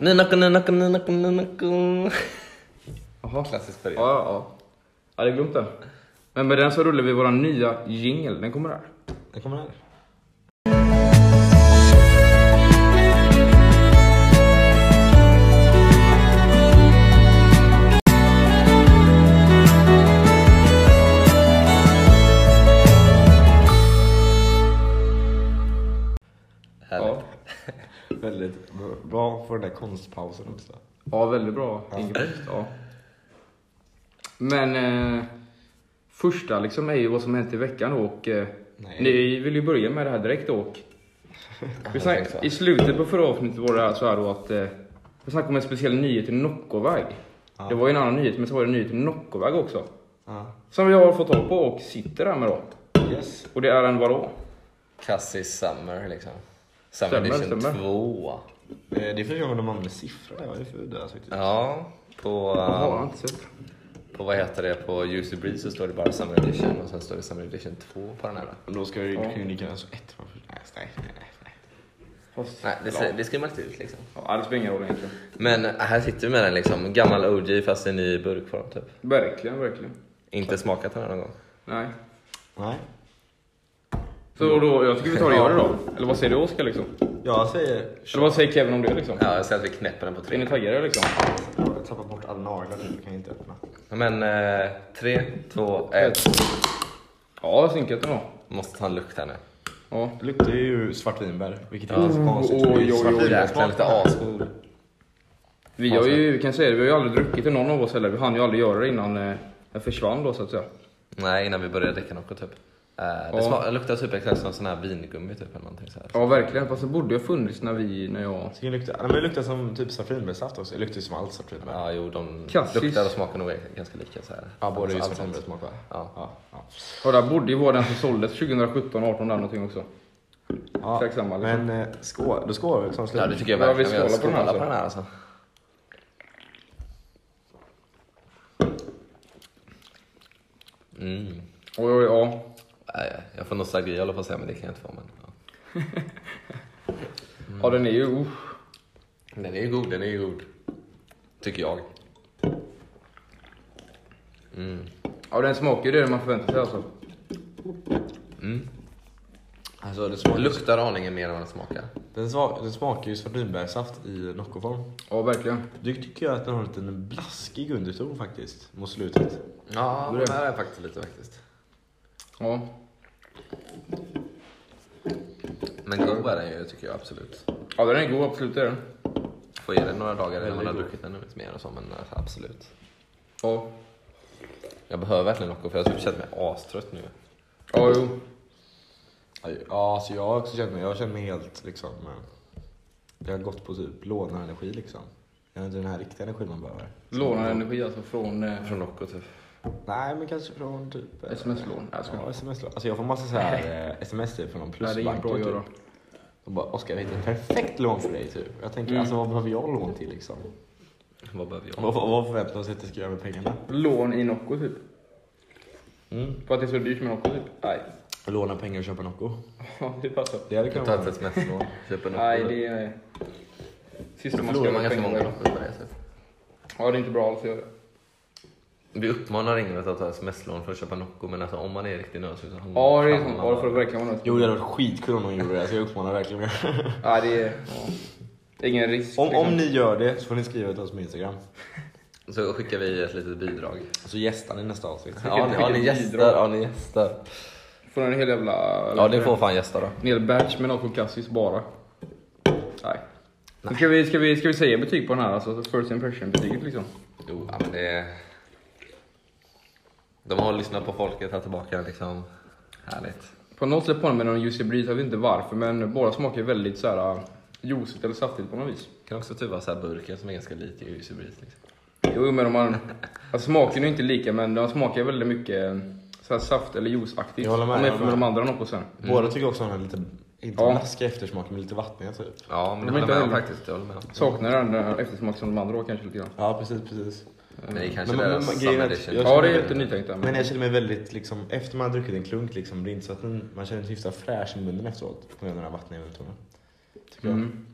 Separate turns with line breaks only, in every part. Ninako, ninako, ninako, ninako.
Jaha.
Klassiskt
Ja,
början.
ja, ja. Jag hade glömt den. Men med den så rullar vi vår nya jingle. Den kommer här.
Den kommer här.
Ja,
Härligt. Väldigt bra för den där konstpausen
Eh,
också.
ja väldigt bra. Ingebrigt, ja. Men eh, första liksom är ju vad som hänt i veckan och eh,
Nej.
ni vill ju börja med det här direkt och vi snack,
tänkte så.
I slutet på förra avsnittet var det så här då att eh, vi snackade om en speciell nyhet i Nockoväg.
Ja.
Det var ju en annan nyhet men så var det en nyhet i Nockoväg också.
Ja.
Som vi har fått tag på och sitter där med då.
Yes.
Och det är en vadå?
Cassis Summer liksom. Summer
Stämmer,
Edition
stämmer.
2.
Det är första gången de använder siffror där, det är för det faktiskt.
Ja, på,
Jaha, jag har
eh,
inte sett.
på vad heter det? På Juicy Breeze så står det bara Summer Edition och sen står det Summer Edition 2 på den här.
Men då ska ju
Ja.
ja. lika gärna så ett framför. Nej, nej, nej. nej.
Fast-
Nej, det,
ja.
ser- det skriver man inte ut liksom.
Ja, det spelar ingen roll egentligen.
Men äh, här sitter vi med den liksom. Gammal OG fast i ny burkform typ.
Verkligen, verkligen.
Inte smakat den här någon gång.
Nej.
Nej.
Så då, jag tycker vi tar och gör det då. Eller vad säger du Oskar liksom?
Jag säger...
Eller vad säger Kevin om det liksom?
Ja, jag säger att vi knäpper den på
Är
tre.
ni taggade liksom?
Jag tappar bort alla naglar nu, jag kan inte öppna.
Men eh, tre, två, ett.
Ja, synkat ändå.
Måste ta en lukt här nu.
Ja.
Det luktar ju svartvinbär, vilket är inte så
Oh, oj,
konstigt. för det är
oj, oj.
svartvinbärsmak.
Jäklar, lite asgod.
Vi har ju, vi kan säga det, vi har ju aldrig druckit det någon av oss heller. Vi hann ju aldrig göra det innan eh, jag försvann då så att säga.
Nej, innan vi började dricka något typ. Eh, det
Ja.
sma- luktar superexakt som sån här vingummi typ eller någonting så här.
Ja, verkligen. Fast det borde ju ha funnits när vi, när jag...
Så det luktar- nej, men det luktar som typ svartvinbärssaft också. Det luktar ju som allt svartvinbär.
Ja, jo, de
Kassis.
luktar och smakar nog ganska lika så här.
Ja, både ju
Alltså, allt sånt.
svartvinbärssmak va?
Ja.
Ja, ja.
Ja, det här borde ju vara den som såldes 2017, 18 där någonting också.
ja.
Exakt samma, liksom.
Men eh, skål, då skålar vi som slut.
ja, det tycker jag
Ja, vi
verkligen. Vi
skålar på den här,
skålar på
alltså.
den här alltså. Mm.
Oj, oj, ja.
Nej, jag får nostalgi jag håller på att säga, men det kan jag inte få. Men, ja.
Mm.
Ja, den är ju... usch.
Den är ju god, den är ju god. Tycker jag.
Ja, den smakar ju det man förväntar sig alltså.
Alltså, det smakar,
Luktar aningen mer än vad den smakar.
den, smak, den smakar ju svartvinbärssaft i Noccoform.
Ja, verkligen.
Du tycker jag att den har en liten blaskig underton faktiskt, mot slutet.
Ja,
det är-
den här är faktiskt lite faktiskt.
Ja.
Men god är den ju, tycker jag absolut.
Ja, den är god, absolut det är den.
Får ge den några dagar innan man har
god.
druckit den lite mer och så, men alltså, absolut.
Ja.
Jag behöver verkligen Nocco, för jag har typ känt mig astrött nu.
Ja, jo.
Aj, Ja, alltså jag har också känt mig, jag känner mig helt liksom... eh, Jag har gått på typ lånarenergi liksom. Jag har inte den här riktiga energin man behöver.
Lånar energi alltså från eh,
Från Nocco typ.
Nej, men kanske från typ... eh,
sms-lån. Jag skojar.
Ja, sms-lån. Alltså jag får massa så här eh, sms typ från någon
Nej, det är inget
plusbank.
bra att göra.
typ. De bara, Oskar vi hittar ett perfekt lån för dig typ. Jag tänker,
Mm.
alltså vad behöver jag lån till liksom?
Vad behöver jag?
Vad, vad, vad förväntar de sig att jag ska göra med pengarna?
Lån i Nocco typ.
Mm.
För att det är så dyrt med Nocco typ. Nej.
Låna pengar och köpa Nocco.
Ja, det passar.
Det hade
Jag
kunnat
tar
vara...
ett sms-lån, köper Nocco.
Nej, det är... Sista
Då
man
förlorar
ska
man ganska många
pengar.
Nocco på det typ.
Ja, det är inte bra alls att göra det.
Vi uppmanar ingen att ta sms-lån för att köpa Nocco, men alltså om man är riktigt nödsugn så handlar
Ja, det är
fan
sånt.
man
Ja, det får
bara-
verkligen vara något.
Jo, det hade varit skitkul om någon gjorde det. Så jag uppmanar verkligen
Nej, det är... Ja. Det är ingen risk.
om,
liksom.
om ni gör det så får ni skriva till oss på Instagram.
Så skickar vi ett litet bidrag.
Så gästar ni nästa avsnitt.
Ja, ni, ja, ni
ett
gästar.
bidrag.
Ja, ni gästar.
Får en hel jävla...
Ja, ni får fan gästa då.
En hel batch med Nocco Cassis bara. Nej. Så Ska, vi, ska, vi, ska vi säga betyg på den här? Alltså first impression-betyget liksom.
Jo, ja, men det... De har lyssnat på folket här tillbaka liksom. Härligt.
På något sätt på den med någon juicy breeze, jag vet inte varför, men båda smakar väldigt så här äh, juicigt eller saftigt på något vis.
Kan också typ vara så här burken som är ganska lite i Juicy Breeze. Liksom.
Jo, men om man... Alltså, smaken är ju inte lika, men de smakar väldigt mycket eh, så här saft eller juiceaktigt.
Jag håller med,
Om
jag
jämfört med
håller
de
med.
andra Noccosen.
Mm. Båda tycker också om en lite, inte
Ja.
blaskig eftersmak, men lite vattniga typ.
Ja, men det håller
De inte
jag med om
heller-
faktiskt. Jag håller med om.
Saknar den där eftersmak som de andra har kanske lite grann.
Ja, precis, precis.
Men det är kanske
Men- men- men-
deras
grejen
summer
är att
edition.
jag-
Ja, det är lite nytänkt där.
Men
Men...
jag känner mig väldigt, liksom, efter man har druckit en klunk, liksom, det är inte så att den, man känner sig hyfsat fräsch i munnen efteråt. På grund av den här vattniga undertonen. Tycker jag.
Mm.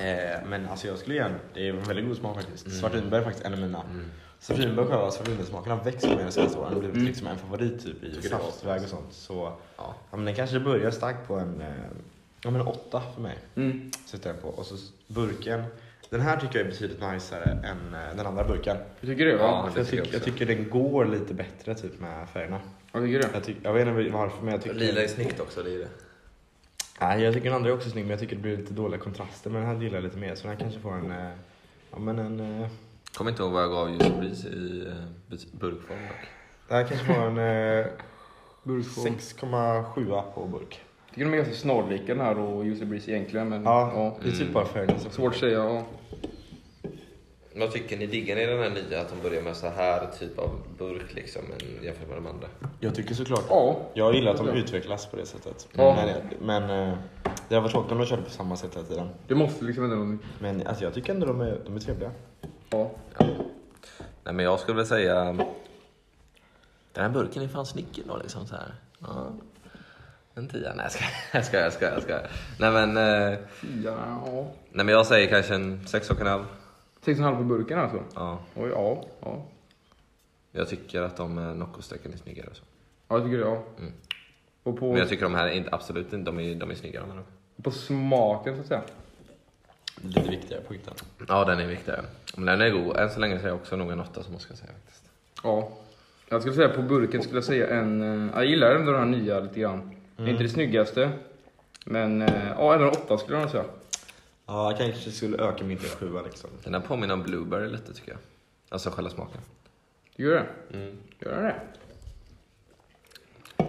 Eh, men alltså jag skulle igen, det är en väldigt god smak faktiskt. Svartvinbär är faktiskt en av mina.
Mm,
Svartvinbär och själva svartvinbärsmaken har växt med de senaste åren. Blivit liksom en favorit typ i
Tycker det är
saftväg och sånt. Så
Ja.
ja, men den kanske börjar starkt på en, eh, ja men en åtta för mig.
Mm.
Sätter den på. Och så burken. Den här tycker jag är betydligt najsare än eh, den andra burken.
Du tycker det?
Ja,
va?
det
jag,
tycker jag
tycker, jag
också.
tycker den går lite bättre typ med färgerna.
Jag tycker det.
Jag, tyck, jag vet inte varför men jag tycker...
Lila är snyggt också, det är det.
Nej, jag tycker den andra är också snygg men jag tycker det blir lite dåliga kontraster. Men den här gillar jag lite mer så den här kanske får en... eh, Ja men en... eh,
Kommer inte ihåg vad jag gav just Breeze i eh, bes- burkform dock.
Den här kanske får en eh,
Burkform.
6,7 på burk.
Tycker de är ganska snarlika den här och Juicy Breeze egentligen. Men,
Ja,
ja.
det är typ bara färgerna som...
Svårt att säga. Ja.
Vad tycker ni? Diggar ni den här nya? Att de börjar med så här typ av burk liksom men jämfört med de andra?
Jag tycker såklart...
ja.
Jag gillar att de utvecklas på det sättet.
Ja.
Men, men eh, det har varit tråkigt om de körde på samma sätt hela tiden.
Det måste liksom ändå vara nytt.
Men alltså, jag tycker ändå de är, de är trevliga.
Ja.
Nej men jag skulle väl säga... um, Den här burken är fan snygg ändå liksom så här. Ja. En tia. Nej jag skojar, jag skojar, jag skojar, jag skojar. Nej men, eh,
Fyra, ja.
nej men jag säger kanske en sex och en halv.
Sex och en halv på burken alltså?
Ja.
Oj, ja. Ja,
Jag tycker att de eh, Nocco-strecken är snyggare och så.
ja jag tycker det. Ja.
Mm.
Och
Men
på,
jag tycker de här är inte, absolut inte, de är, de är snyggare. Men...
på smaken så att säga.
Lite viktigare punkten.
Ja den är viktigare. Men den är god. Än så länge säger jag också nog en åtta som Oskar säger faktiskt.
Ja. Jag skulle säga på burken skulle jag säga en... eh, Jag gillar ändå den här nya lite grann. Det är inte det snyggaste. Men eh, ja, även en åtta skulle jag nog säga.
Ja, jag kanske skulle öka min till sjua liksom.
Den här påminner om Blueberry lite tycker jag. Alltså själva smaken.
Gör det? Gör den det?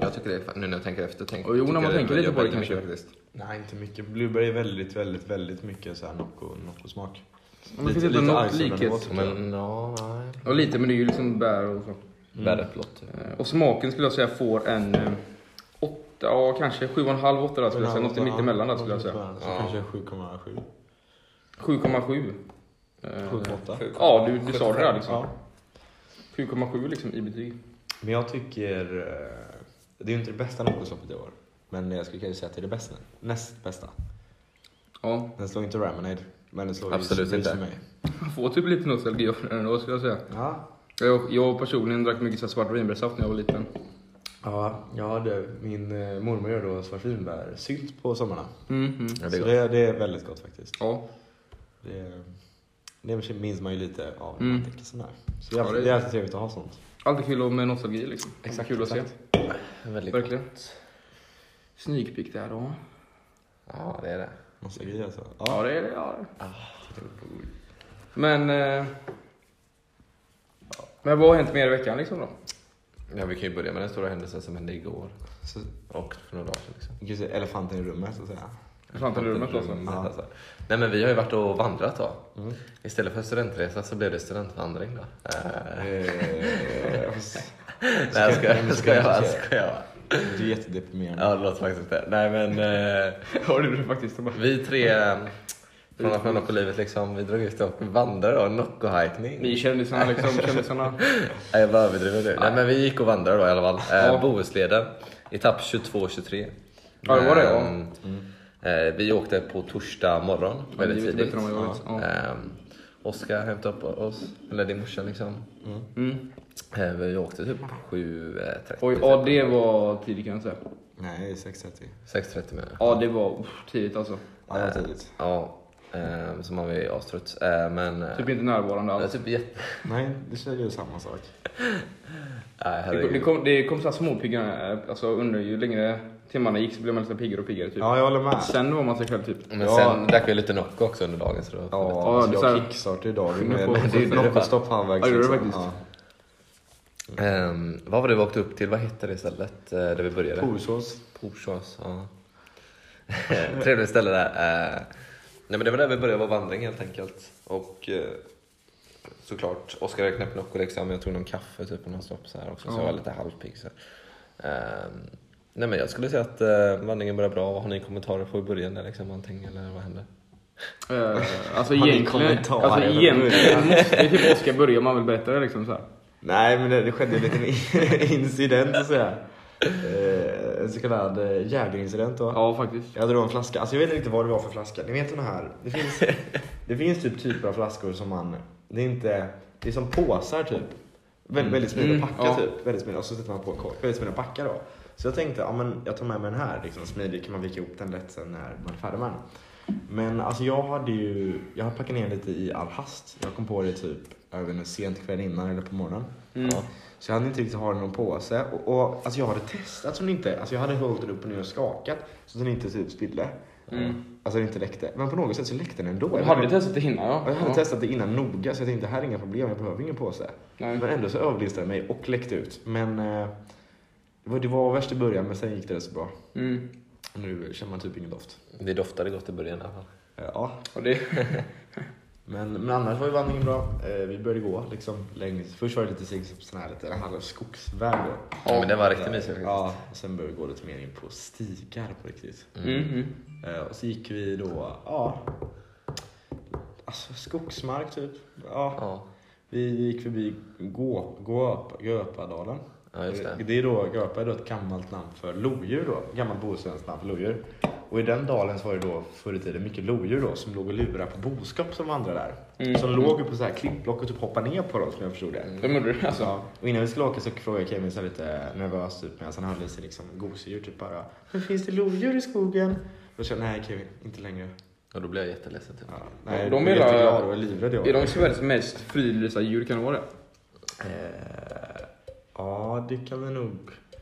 Jag tycker det, är fan- nu när jag tänker efter. Tänk,
Och jo, när man
tycker jag
tänker lite
gör
på det
väldigt mycket
kanske.
faktiskt.
Nej, inte mycket. Blueberry är väldigt, väldigt, väldigt mycket så här Nocco, Nocco-smak.
Men det finns inte något likhet.
Men Mm, ja, nej.
Och lite, men det är ju liksom bär och så.
Bäräpplåt. typ.
Eh, Och smaken skulle jag säga får en... eh, Åtta, ja kanske sju och en halv åtta där skulle jag säga. Något mittemellan där skulle jag säga.
Så
Ja.
kanske 7,7.
7,7. Eh,
7,8.
Ja, du, du sa det där liksom.
Ja.
7,7 liksom i betyg.
Men jag tycker... eh, Det är ju inte det bästa Nocco-soppet i år. Men jag skulle kanske säga att det är det bästa. Näst bästa.
Ja,
Den slår inte Ramonade. Men den slår ju
Absolut
Breeze
inte.
för mig.
jag får typ lite nostalgi av den ändå skulle jag säga.
Ja.
Jag, jag personligen drack mycket så här svart vinbärssaft när jag var liten.
ja, jag hade min eh, mormor gör då svart vinbärsylt på sommarna.
Mm,
Ja,
mm.
det är
så
gott.
det, det är väldigt gott faktiskt.
Ja,
Det, det minns man ju lite av när
Mm.
man tänker sådär. Så det är,
Ja, det är-
det är alltid trevligt att ha sånt.
alltid kul med nostalgi liksom. Exakt, kul att
exakt.
se.
Väldigt gott.
Verkligen. Sneak peek där då.
Ja, det är det.
Nostalgi alltså.
Ja,
Ja.
det är det. Ja. det. Men... Eh, men vad har hänt mer i veckan liksom då?
Ja, vi kan ju börja med den stora händelsen som hände igår.
Så,
Och för några dagar sedan. Liksom.
vi kan säga elefanten i rummet så att säga.
Elefanten i rummet alltså.
Rummet, alltså. Nej, men vi har ju varit och vandrat då.
Mm.
Istället för studentresa så blev det studentvandring då. Eh,
Eh, fast-
Nej,
ska-
ska,
men
ska,
ska
ska jag
jag
vara?
inte säga.
Ska jag vara?
Det är jättedeprimerande.
Ja, det låter faktiskt det. Nej, men... Eh,
Ja, det är det faktiskt.
Vi tre eh, från Afghanistan på livet liksom, vi drog ut och vandrade då, Nocco-hajkning.
Ni kändisarna liksom, kändisarna.
Nej jag bara överdriver nu. Nej men vi gick och vandrade då i alla fall. Eh,
Ja.
Bohusleden, etapp 22-23.
Ja, det var det, ja.
Ehm, eh, vi åkte på torsdag morgon,
det
väldigt
är
tidigt.
bättre än vad jag vet, ja.
Ehm, Oskar hämtade upp oss, eller din morsa liksom.
Mm.
Eh, vi åkte typ 7.30.
Oj, ja det var tidigt kan jag säga.
Nej, 6.30.
6.30 menar jag.
Ja, det var uff, tidigt alltså.
Ja,
Eh.
det var tidigt.
Ja, ehm, så man var ju astrött. Eh, men... eh,
Typ inte närvarande
jag är
alls.
typ jätte...
Nej, det känner ju samma sak.
Typ. Nej,
Det kom, det
herregud.
kom, det kom så här småpigga, eh, alltså under ju längre timmarna gick så blev man lite piggare och piggare typ.
Ja, jag håller med.
Sen var man sig själv typ.
Men
Ja.
sen drack vi lite Nocco också under dagen. Så det var
Ja,
ja.
alltså,
det är så här-
jag kickstartade idag. Det
Skyller på-
är
det är det
ju
faktiskt.
stopp halvvägs.
Ja, det är det
liksom.
faktiskt.
Ehm, vad var det vi åkte upp till? Vad hette det stället eh, där vi
Ja.
började?
Torsås.
Torsås. Ja. Trevligt ställe där. Eh, nej, men det var där vi började vår vandring helt enkelt. Och eh, såklart, Oskar räknade upp Nocco liksom. Jag tog någon kaffe typ på någon stopp så här också. Så
Ja.
jag var lite halvpigg. Så. Eh, nej, men jag skulle säga att eh, vandringen började bra. Har ni kommentarer på i början? Där, liksom, någonting, eller vad hände?
Eh, alltså
Har ni
egentligen,
kommentarer?
alltså egentligen måste ju typ Oskar börja om han vill berätta det liksom så här.
Nej, men det, det skedde en liten incident så att säga. Eh, en så kallad eh, jägerincident då.
Ja, faktiskt.
Jag drog en flaska, alltså jag vet inte riktigt vad det var för flaska. Ni vet den här, det finns, det finns typ typer av flaskor som man, det är inte, det är som påsar typ. Väldigt, väldigt smidiga
Mm,
packar
ja.
typ. Väldigt smidiga, och så sätter man på en kork, väldigt smidiga packar då. Så jag tänkte, ja men jag tar med mig den här liksom, smidig, kan man vika ihop den lätt sen när man är färdig med den. Men alltså jag hade ju, jag hade packat ner lite i all hast. Jag kom på det typ, jag vet inte, sent kväll innan eller på morgonen.
Mm.
Ja. Så jag hade inte riktigt ha någon påse. Och, och alltså jag hade testat så den inte, alltså jag hade hållit den upp och ner och skakat så den inte typ spillde.
Mm.
Alltså den inte läckte. Men på något sätt så läckte den ändå.
Du
Jag
hade
vet-
testat det innan ja.
Ja, jag hade
ja.
testat det innan noga så jag tänkte här är inga problem, jag behöver ingen påse.
Nej.
Men ändå så överlistade jag mig och läckte ut. Men eh, det var, det var värst i början men sen gick det rätt så bra.
Mm.
Nu känner man typ ingen doft.
Det doftade gott i början i alla fall.
Eh, ja,
Och det,
men, men annars var ju vandringen bra. Eh, vi började gå liksom längs. Först var det lite sig som sån här lite halv skogsväg då.
Ja, men det var riktigt mysigt faktiskt.
Ja, och sen började vi gå lite mer in på stigar på riktigt.
mm. Mm.
Eh, Och så gick vi då, ja, alltså skogsmark typ. Ja,
Ja,
vi gick förbi Gå, Gåp, Göpadalen.
ja just det.
är då, Göpa är då ett gammalt namn för lodjur då, gammalt bohuslänskt namn för lodjur. Och i den dalen så var det då förr i tiden mycket lodjur då som låg och lurade på boskap som vandrade där.
Mm.
Som låg på så här klippblock och typ hoppade ner på dem som jag förstod det.
Det gjorde du alltså.
Ja, och innan vi skulle åka så frågade Kevin så här lite nervös typ medan han hade i sig liksom gosedjur typ bara Men finns det lodjur i skogen? Då sa jag nej Kevin, inte längre.
Och då blev jag jätteledsen typ.
Ja, nej,
De
de är
menar-
jätteglad och livrädd jag
Är de Sveriges mest fridlysta djur? Kan det vara det?
Eh, Ja, det kan det nog.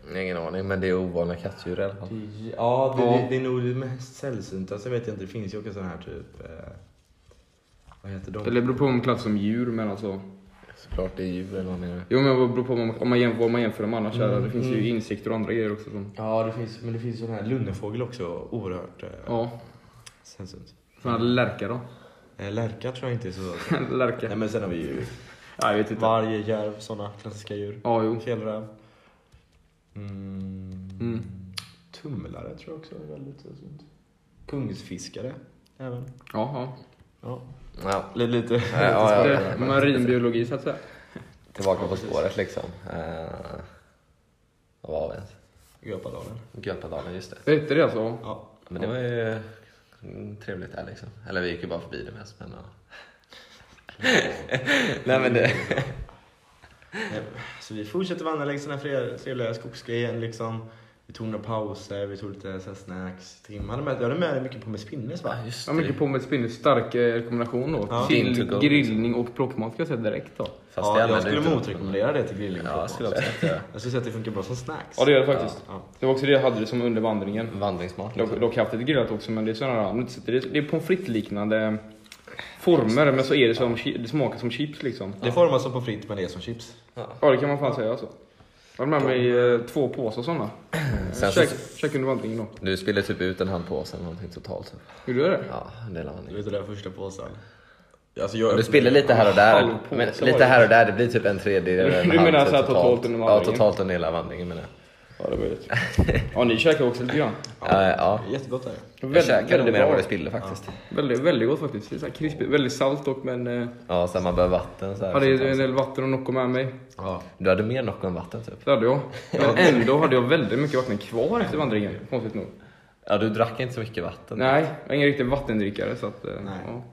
Jag har Ingen aning, men det är ovanliga kattdjur i alla fall.
Det- Ja, det,
Ja.
Det, det är nog det mest sällsynta. Sen vet jag inte, det finns ju också sådana här typ... Eh, vad heter de?
Eller beror på om man klassas som djur men alltså.
Såklart det är djur eller vad menar du?
Jo men vad beror på om man, om man, jämför, vad man jämför dem annars. är det.
Mm,
Det finns
mm.
ju insekter och andra grejer också som.
Ja, det finns, men det finns ju den här lunnefågel också. Oerhört eh,
Ja.
sällsynt.
Såna här lärka då?
Eh, lärka tror jag inte är så... nej,
lärka?
men sen har vi ju
Ja, jag vet inte.
varje järv, sådana klassiska djur.
Ja, jo.
Fjällräv. Mm.
Mm.
Tumlare tror jag också är väldigt sällsynt. Kungsfiskare. Även.
Ja,
Ja.
Ja, Eh,
Lite, lite, lite
ja, ja.
ja.
svårare.
Det är marinbiologi så att säga.
tillbaka på spåret liksom. Eh, vad var vi ens?
Göpadalen.
Göpadalen, just det.
Vad heter det alltså?
Ja.
Men det var ju mm, trevligt där liksom. Eller vi gick ju bara förbi det mest. Men, ja. Nej men det...
Nej, Så vi fortsätter vandra längs den här fre- trevliga skogsgrejen liksom. Vi tog några pauser, vi tog lite så här snacks. Tim hade med, jag hade med dig mycket på med spinnes va?
Ja, just
Ja, mycket
det.
på med spinner. Stark eh, rekommendation då.
Ja.
Fin
Till
to go,
grillning och plockmat ska jag säga direkt då.
Fast
Ja,
det
jag
använde
skulle
inte-
motrekommendera det till grillning.
Ja, jag skulle också säga att det.
Jag skulle säga att det funkar bra som snacks.
Ja det gör det faktiskt. Mm.
Ja.
Det var också det jag hade det som under vandringen.
Vandringsmat.
Dock, dock haft lite grillat också men det är sådana här, det är, det är pommes frites liknande former men så är det som, chi- det smakar som chips liksom.
Det formas som på fritt men det är som chips.
Ja det kan man fan säga alltså. Jag hade med mig eh, två påsar sådana.
Sen så,
Käk, käk under vandringen då.
du spillde typ ut en handpåse eller någonting totalt. Typ.
Gjorde du det?
Ja, en del av
Du
vandringen.
vet den där första påsen? Alltså jag
Du spiller lite här och där.
Halvpåse
Men
var
lite
det.
här och där, det blir typ en tredjedel. eller en
Du menar
halv,
så här
typ,
totalt under vandringen?
Ja, totalt under hela vandringen menar jag.
Ja det var ju det. Ja ni käkade också lite grann.
Ja, ja.
Jättegott är det.
Jag
Väldigt,
käkade
väldigt,
lite mer än
bra.
vad jag spillde faktiskt.
väldigt, väldigt gott faktiskt. Det är så här krispigt, väldigt salt dock men eh,
Ja, så här, man behöver vatten. Så här,
hade
sånt
ju
här.
en del vatten och Nocco med mig.
Ja.
Du hade mer Nocco än vatten typ.
Det hade jag. Men ändå hade jag väldigt mycket vatten kvar efter vandringen konstigt nog.
Ja, du drack inte så mycket vatten.
Nej, jag är ingen riktig vattendrickare så att... eh,
Nej.
Ja.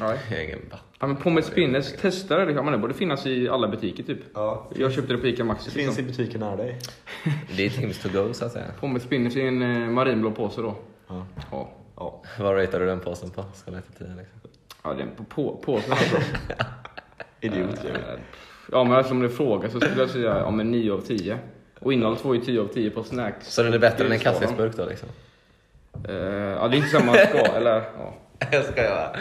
Nej.
Jag har Ingen vatten.
Ja men pommes spinnes, testa det liksom. Men det borde finnas i alla butiker typ.
ja.
Jag köpte det på Ica
Det
Maxi
finns i
liksom.
butiken nära dig.
Det är Tims to go så att säga.
Pommes spinnes i en eh, marinblå påse då.
Ja.
Ja.
ja.
Vad ratear du den påsen på? Ska leta tiden liksom.
Ja den på, på, påsen alltså.
Idiot. Kevin.
Eh, ja men eftersom det frågar så skulle jag säga ja men 9 av 10. Och innehållet får ju 10 av 10 på snacks.
Så den är bättre än en
Grillskalan.
kaffesburk då liksom?
Eh, ja det är inte samma ska eller ja.
Jag skojar bara.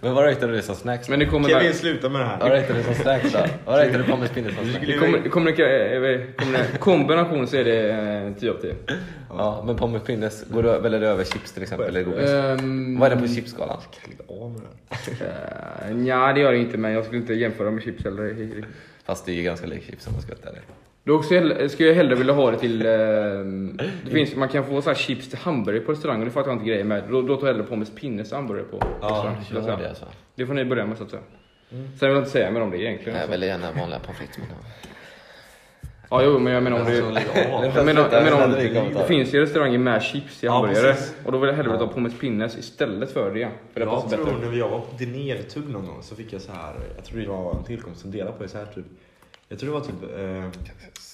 Men vad ratear du det som snacks?
Men det kommer...
Kevin, sluta med det här.
Vad ratear du som snacks då? Vad ratear du pommes spinner som
Du
snacks?
skulle
Det
ju-
kommer, det kommer, det kommer, kombination så är det eh, 10 av 10.
Ja, men pommes spinnes, går du, väljer du över chips till exempel eller godis?
Ehm,
Vad är den på chipsskalan?
Lägg av med det här.
Uh, nja, det gör det inte, men jag skulle inte jämföra med chips heller.
Fast det är ju ganska lik chips om man ska vara ärlig.
Då också hell- skulle jag hellre vilja ha det till... ehm, det finns, man kan få så här chips till hamburgare på restaurang och det fattar jag inte grejer med. Då, då tar jag hellre pommes pinnes till hamburgare på restaurang. skulle jag
Gör det
säga.
alltså.
det får ni börja
Mm.
med så att säga. Sen vill jag inte säga mer om det egentligen.
Jag
alltså.
väljer gärna vanliga pommes frites. men ja.
Ja, jo, men jag menar om
Alltså,
det...
lägg av.
Jag menar, jag menar om,
Det är en kommentar.
det finns ju restauranger med chips i
Ja,
hamburgare
precis.
och då vill jag hellre ta pommes pinnes istället för det. För det
jag
passar
tror
bättre.
när jag var på Dinertug någon gång så fick jag så här, jag tror det var en tillkomst som delade på det så här typ. Jag tror det var typ, eh,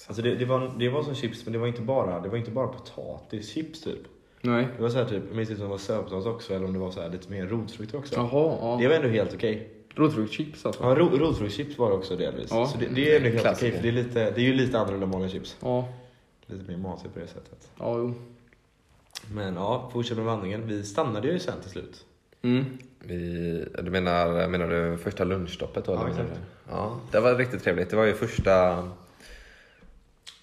alltså det, det, var, det var som chips men det var inte bara, det var inte bara potatischips typ.
Nej.
Det var så här typ, jag minns inte om det var sötpotatis också eller om det var så här lite mer rotfrukter också.
Jaha,
Det
ja.
var ändå helt okej.
Rotfruktschips alltså.
Ja, ro, rotfruktschips var det också delvis.
Ja.
Så det, det är ändå helt
Klassiker.
okej för det är, lite, det är ju lite annorlunda än vanliga chips.
Ja,
Lite mer matigt på det sättet.
ja, jo.
Men ja, fortsätt med vandringen. Vi stannade ju sen till slut.
Mm.
Vi, du menar, menar du första lunchstoppet då?
Ja,
eller menar
exakt.
du? ja, det var riktigt trevligt. Det var ju första...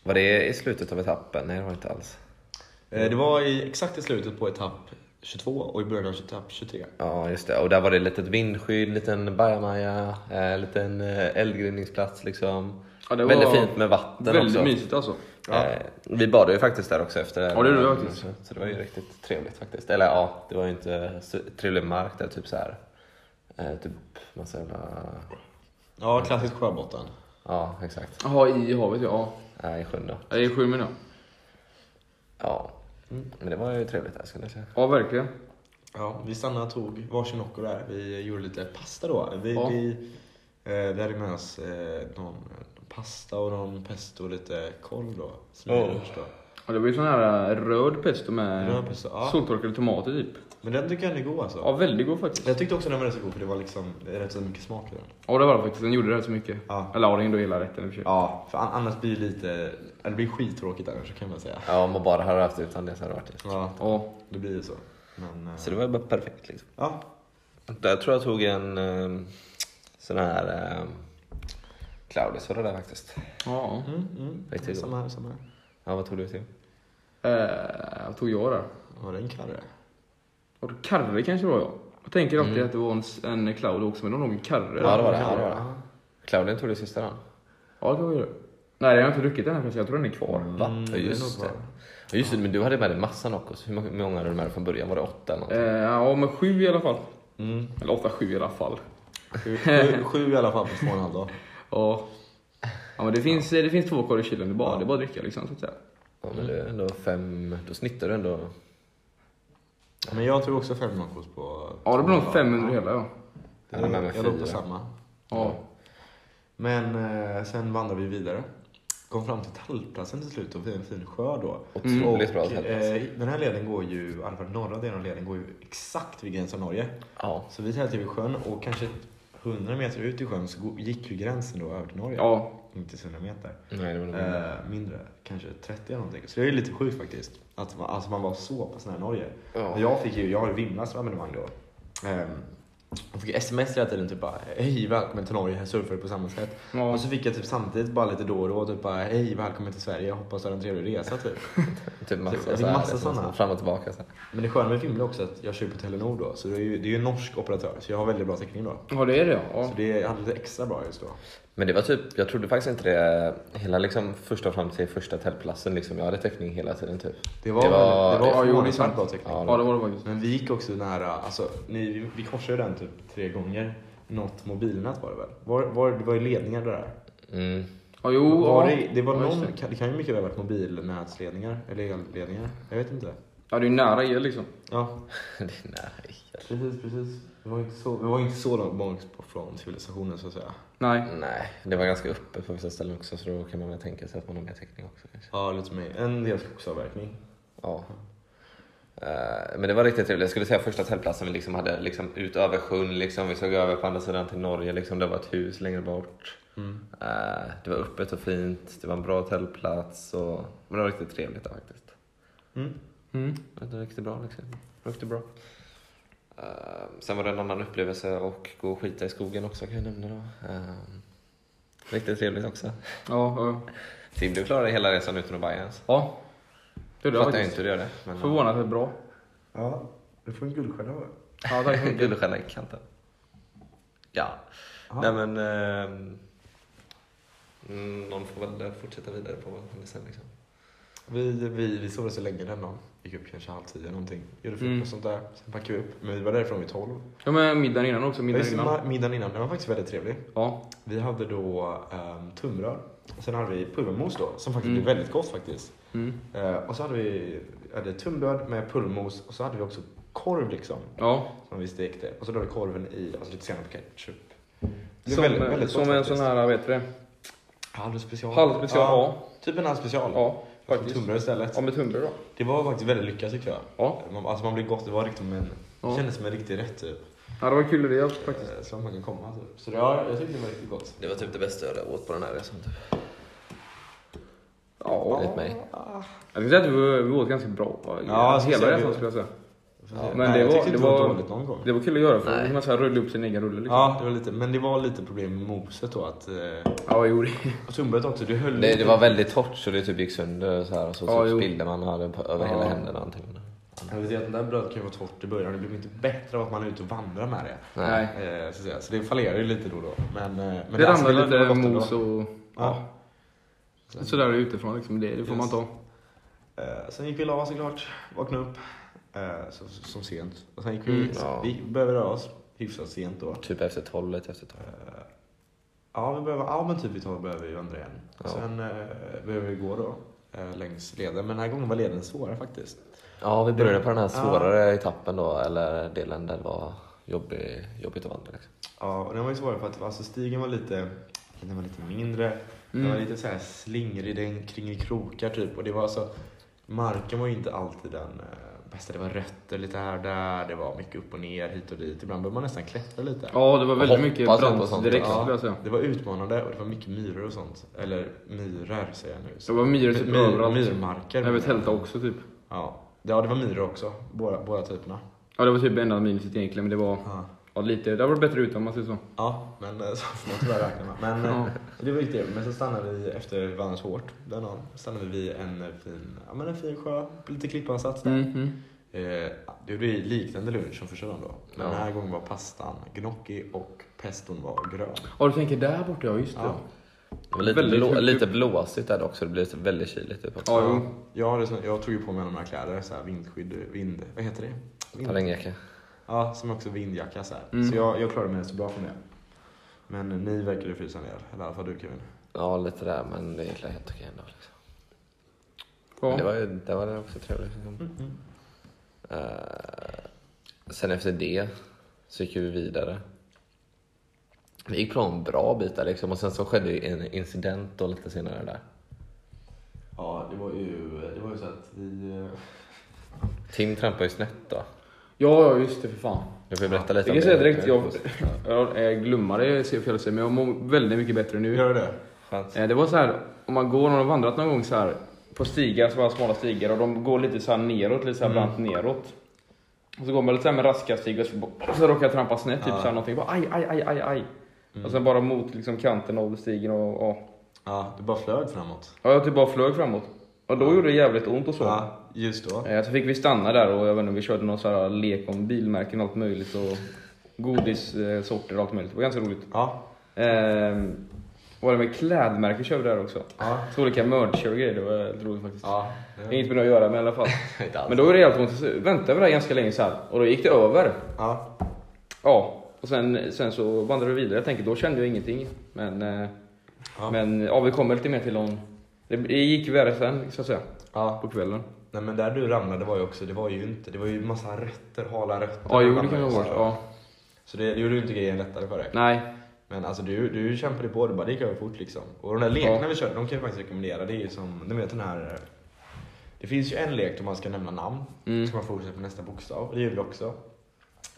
Var det i slutet av etappen? Nej, det var inte alls.
Eh, Det var i, exakt i slutet på etapp 22 och i början av etapp 23.
Ja, just det. Och där var det litet vindskydd, liten bajamaja, eh, liten eh, eldgrinningsplats liksom.
Ja, det var
Väldigt fint med vatten
Väldigt
också.
mysigt alltså.
Eh, vi badade ju faktiskt där också efter. Mm,
Ja, det gjorde vi faktiskt.
Så, så det var ju riktigt trevligt faktiskt. Eller ja, det var ju inte så trevlig mark där, typ så här. Eh, typ massa jävla...
Ja, klassisk sjöbotten.
Ja, exakt.
Jaha, i havet ja.
Nej, i sjön då.
Ja, I sju minuter.
Ja.
Mm.
Men det var ju trevligt där skulle jag säga.
Ja, verkligen.
Ja, vi stannade och tog varsin Nocco där. Vi gjorde lite pasta då. Vi,
Ja.
vi, eh, vi hade med oss eh, någon någon pasta och någon pesto och lite korv då. Som
Oh.
oh. då.
Ja, det var ju sån här eh, röd pesto med
Röd pesto, ja.
soltorkade tomater typ.
Men den tycker jag ändå är god alltså.
Ja, väldigt god faktiskt.
Jag tyckte också den var rätt så god för det var liksom det är rätt så mycket smak i den.
Ja, det var det faktiskt. Den gjorde det så mycket.
Ja.
Eller ja, den gjorde hela rätten i och för sig.
Ja, för an- annars blir det lite, eller det blir skittråkigt annars kan man säga.
Ja, om man bara hade haft det utan det så hade det varit det.
Ja,
Ja.
det blir ju så. Men, eh,
Så det var ju bara perfekt liksom.
ja.
Där tror jag tog en eh, sån här eh, Claudis var det där faktiskt.
ja.
Mm, mm.
Riktigt god.
Samma här, samma här.
Ja, vad tog du till?
Eh, vad tog jag där?
Var det en karre?
Var det karre kanske det var jag? Jag tänker alltid att det var en, en cloud också, men det var nog en karre.
Ja, det var det. Ja,
Karre,
det, var det. Claudin tog det sista dagen.
Ja, det kan vi göra. Nej, jag har inte druckit den här kanske. Jag tror den är kvar.
Va?
Mm,
ja,
det är
just
nog
det.
bra.
Ja, just det, men du hade med dig massa Noccos. Hur många- hur många hade du med dig från början? Var det åtta eller någonting?
Eh, ja, men sju i alla fall.
Mm.
Eller åtta, sju i alla fall.
Sju, sju, sju i alla fall på två och en halv dag.
Ja. Ja, men det finns, det finns två kvar i kylen. Det är bara, det är bara att dricka liksom, så att säga.
Ja, men det är ändå fem. Då snittar du
Mm.
ändå.
Men jag tog också fem nachos på
Ja, det blir
två
nog
dagar.
500 hela, ja.
Jag hade med mig
Jag låg på
fyra.
samma.
Ja.
Men eh, sen vandrade vi vidare. Kom fram till Tallplatsen till slut och vi en fin sjö då.
Otroligt Mm, bra alltså.
Och,
tält.
eh, den här leden går ju, i alla fall norra delen av leden går ju exakt vid gränsen av Norge.
Ja.
Så vi tältade vid sjön och kanske 100 meter ut i sjön så go- gick ju gränsen då över till Norge.
Ja,
Inte 100 meter.
Nej, det var nog
Eh, mindre, kanske 30 eller någonting. Så det är ju lite sjukt faktiskt. Att man, alltså man var så pass nära Norge.
Ja.
Men Jag, fick ju, jag har ju Vimlas abonnemang då. Ehm, jag fick sms hela tiden typ bara hej välkommen till Norge, här surfar du på samma sätt.
Ja.
Och så fick jag typ samtidigt bara lite då och då typ bara hej välkommen till Sverige, jag hoppas du har en trevlig resa typ.
Typ massa,
jag fick
så här,
massa
liksom,
såna.
Fram och tillbaka. Så här.
Men det sköna med Vimla också att jag kör ju på Telenor då, så det är ju, det är ju en norsk operatör så jag har väldigt bra täckning då.
ja det är det ja.
Så det jag hade lite extra bra just då.
Men det var typ, jag trodde faktiskt inte det. Hela liksom första fram till första tältplatsen liksom. Jag hade täckning hela tiden typ.
Det var,
Det
det
var-
var,
ja, jo, det är sant.
förvånansvärt bra täckning.
Ja,
Ja, det var det faktiskt.
Men vi gick också nära, alltså, ni, vi, vi korsade ju den typ tre gånger. Något mobilnät var det väl? Var, var, det var ju ledningar där.
Mm.
Ja, jo,
var
ja.
det, det, var
Ja, just
någon,
det.
kan- det kan ju mycket väl ha varit mobilnätsledningar, eller elledningar. Jag vet inte.
Ja, det är ju nära er liksom.
Ja,
det är nära.
precis, precis. Vi var inte så, vi var inte så långt bort från civilisationen så att säga.
Nej.
Nej, det var ganska uppe på vissa ställen också så då kan man väl tänka sig att man har mer täckning också kanske.
Ja, lite mer. En del skogsavverkning.
Ja. Eh, Men det var riktigt trevligt. Jag skulle säga första tältplatsen vi liksom hade liksom ut över sjön. Liksom. Vi såg över på andra sidan till Norge. Liksom. Det var ett hus längre bort.
Mm.
Eh, Det var öppet och fint. Det var en bra tältplats. Och... Men det var riktigt trevligt där faktiskt.
Mm.
Mm.
Det var riktigt bra. Liksom. Riktigt bra. Eh, Sen var det en annan upplevelse och gå och skita i skogen också kan jag nämna då. Eh, Riktigt trevligt också.
Ja, ja.
Tim, du klarade hela resan utan att baja ens.
ja. Det är det
Fattar jag inte
faktiskt.
hur du gör det. Men...
Förvånansvärt bra.
Ja, du får en guldstjärna va?
Ja, tack så mycket.
Guldstjärna i kanten. Ja.
Ja.
Nej men... ehm, mm, någon får väl fortsätta vidare på vad han sen liksom.
Vi, vi, vi sov så länge den dagen. gick upp kanske halv tio någonting. Gjorde frukost och sånt där. Sen packade vi upp. Men vi var därifrån vid tolv.
Ja men Mm. middagen innan också,
Ja,
middagen
just det,
innan.
ma- Middagen innan, den var faktiskt väldigt trevlig.
Ja.
Vi hade då um, tumrör. Och sen hade vi pulvermos då, som faktiskt
Mm.
blev väldigt gott faktiskt.
Mm.
Eh, och så hade vi hade tunnbröd med pulvermos och så hade vi också korv liksom.
Ja.
Som vi stekte. Och så la vi korven i, alltså lite senap och ketchup. Det är
Som,
väldigt- väldigt
som
gott
en
faktiskt.
sån här, vet du det?
Halv special.
Halv special, ja.
Typ en halv special.
Ja,
Fast
faktiskt.
med tunnbröd istället.
Ja med tunnbröd då.
Det var faktiskt väldigt lyckat tycker jag.
Ja.
Man, alltså man blev gott, det var riktigt men
Ja.
det kändes som en riktig rätt typ.
Ja det var kul det också faktiskt.
Eh, Som man kan komma typ. Så det var, jag tyckte det var riktigt gott.
Det var typ det bästa jag hade åt på den här resan. Typ.
Ja.
Enligt mig.
Jag skulle säga att vi, vi åt ganska bra. Ja,
jag skulle
hela
säga
resan
det.
skulle jag säga.
Ja,
men det
jag
var-
tyckte inte
det var-
dåligt någon gång.
Det var kul att göra för
Nej.
då kan man så här rulla upp sin egen rulle liksom.
Ja, det var lite, men det var lite problem med moset då att... Eh,
Ja, jo det.
och tunnbrödet också, det höll
Det,
lite.
det var väldigt torrt så det typ gick sönder så här, och så
Ja,
typ
jo.
spillde man och hade på, över hela
Ja.
händerna. Antingen.
Jag vet ju att den där brödet kan ju vara torrt i början, det blir inte bättre av att man är ute och vandrar med det.
Nej.
Eh, så, att säga. så det fallerar ju lite då och då. Men, eh, men
det
alltså,
ramlade
var
lite
gott ändå.
mos och...
Ja.
Ja. Sådär utifrån liksom, det, det får man
Yes.
ta.
Eh, sen gick vi och la oss såklart, vaknade upp. Eh, så, så, som sent. Och sen gick vi
Mm.
ut,
Ja.
vi började röra oss hyfsat sent då. eh,
Typ efter tolv, lite efter tolv.
Ja, vi behöver, ja men typ vid tolv behöver vi vandra igen.
Ja.
Sen eh, behöver vi gå då eh, längs leden. Men den här gången var leden svårare faktiskt.
Ja, vi började på den här
Ja.
svårare etappen då, eller delen där det var jobbig, jobbigt att vandra. Liksom.
Ja, och den var ju svårare för att alltså, stigen var lite, den var lite mindre. Den var
Mm.
lite så här slingrig, den kring i krokar typ. Och det var alltså, marken var ju inte alltid den eh, bästa. Det var rötter lite här och där, det var mycket upp och ner, hit och dit. Ibland behövde man nästan klättra lite.
Ja, det var väldigt
Och
mycket
hoppas jag på
brant
sånt.
direkt
Ja.
skulle jag säga.
Det var utmanande och det var mycket myror och sånt. Eller myrar säger jag nu.
Det var myror typ
My-
överallt.
Myrmarker.
Jag vet tälta också typ.
Ja. ja, det var myror också. Båda, båda typerna.
Ja, det var typ enda minuset egentligen, men det var
Ja.
ja, lite... Det var bättre utan om man säger så.
Ja, men eh, så får man tyvärr räkna med. Men
Ja.
eh, det var riktigt Men sen stannade vi efter vi vandrat hårt den dagen. Stannade vi vid en eh, fin, ja, men en fin sjö, lite klippansats där.
Mm, mm.
Eh, det gjorde ju liknande lunch som första dagen då. Men
Ja.
den här gången var pastan gnocchi och peston var grön.
Ja, du tänker där borta, ja just det.
Ja.
Det var lite,
Väldigt
blå,
högt
lite
upp.
blåsigt där också, det blev lite väldigt kyligt. Typ, också.
Ja, jo.
Jag, hade, sån- jag tog ju på mig alla de här kläder, så här vindskydd, vind, vad heter det? Vind,
Parängjacka.
ja, som också vindjacka så här.
Mm.
Så jag, jag klarade mig så bra från det. Men ni verkade frysa ner, eller i alla fall du Kevin.
Ja, lite där, men det är egentligen helt okej ändå. Liksom.
Ja. Mm,
Men det var ju det var det också trevligt. Liksom. Eh, sen efter det så gick vi vidare. Vi gick på en bra bit där liksom, och sen så skedde ju en incident då lite senare där.
Ja, det var ju, det var ju så att vi... eh,
Tim trampade ju snett då.
ja, ja, just det för fan.
Du får ju berätta lite
Jag kan säga direkt, jag,
Ja.
jag, jag glömmer det, ser fel att säga, men jag mår väldigt mycket bättre nu.
Gör det?
Skönt.
Eh, Det var så här, om man går och har vandrat någon gång så här på stigar som var smala stigar och de går lite så här neråt, lite så här brant neråt. Och så går man lite så här med raska stigar och så, bara- och så råkar jag trampa snett, typ
Ja.
så här någonting. Bara, aj, aj, aj, aj, aj. Och sen bara mot liksom kanten av stigen och, och
Ja, det bara flög framåt.
ja, jag typ bara flög framåt. Och då gjorde det jävligt ont och så.
Ja, just då.
Eh, Så fick vi stanna där och jag vet inte, vi körde någon så här lek om bilmärken och allt möjligt och godissorter och allt möjligt. Det var ganska roligt.
Ja,
Ehm, var det med klädmärken körde vi där också.
ja,
Så olika merger och grejer, det var lite roligt faktiskt.
ja.
Inget med det att göra men i alla fall.
Inte alls.
Men då var det helt ont. Så väntade vi där ganska länge så här och då gick det över.
ja.
Ja, och sen, sen så vandrade vi vidare. Jag tänker då kände jag ingenting. Men, eh,
Ja.
men ja, vi kommer lite mer till om... Det det gick värre sen så att säga,
ja.
på kvällen.
Nej men där du ramlade var ju också, det var ju inte, det var ju massa rötter, hala rötter.
Ja, jo det
Ramlade
kan det
ju
ha varit.
så.
Ja.
Så det, det gjorde ju inte grejen lättare för dig.
Nej.
Men alltså du, du kämpade på, det bara det gick över fort liksom. Och de där lekarna vi körde, de kan jag faktiskt rekommendera. Det är ju som, ni vet den här... eh, Det finns ju en lek där man ska nämna namn,
Mm.
så man fortsätter på nästa bokstav. Det gjorde vi också.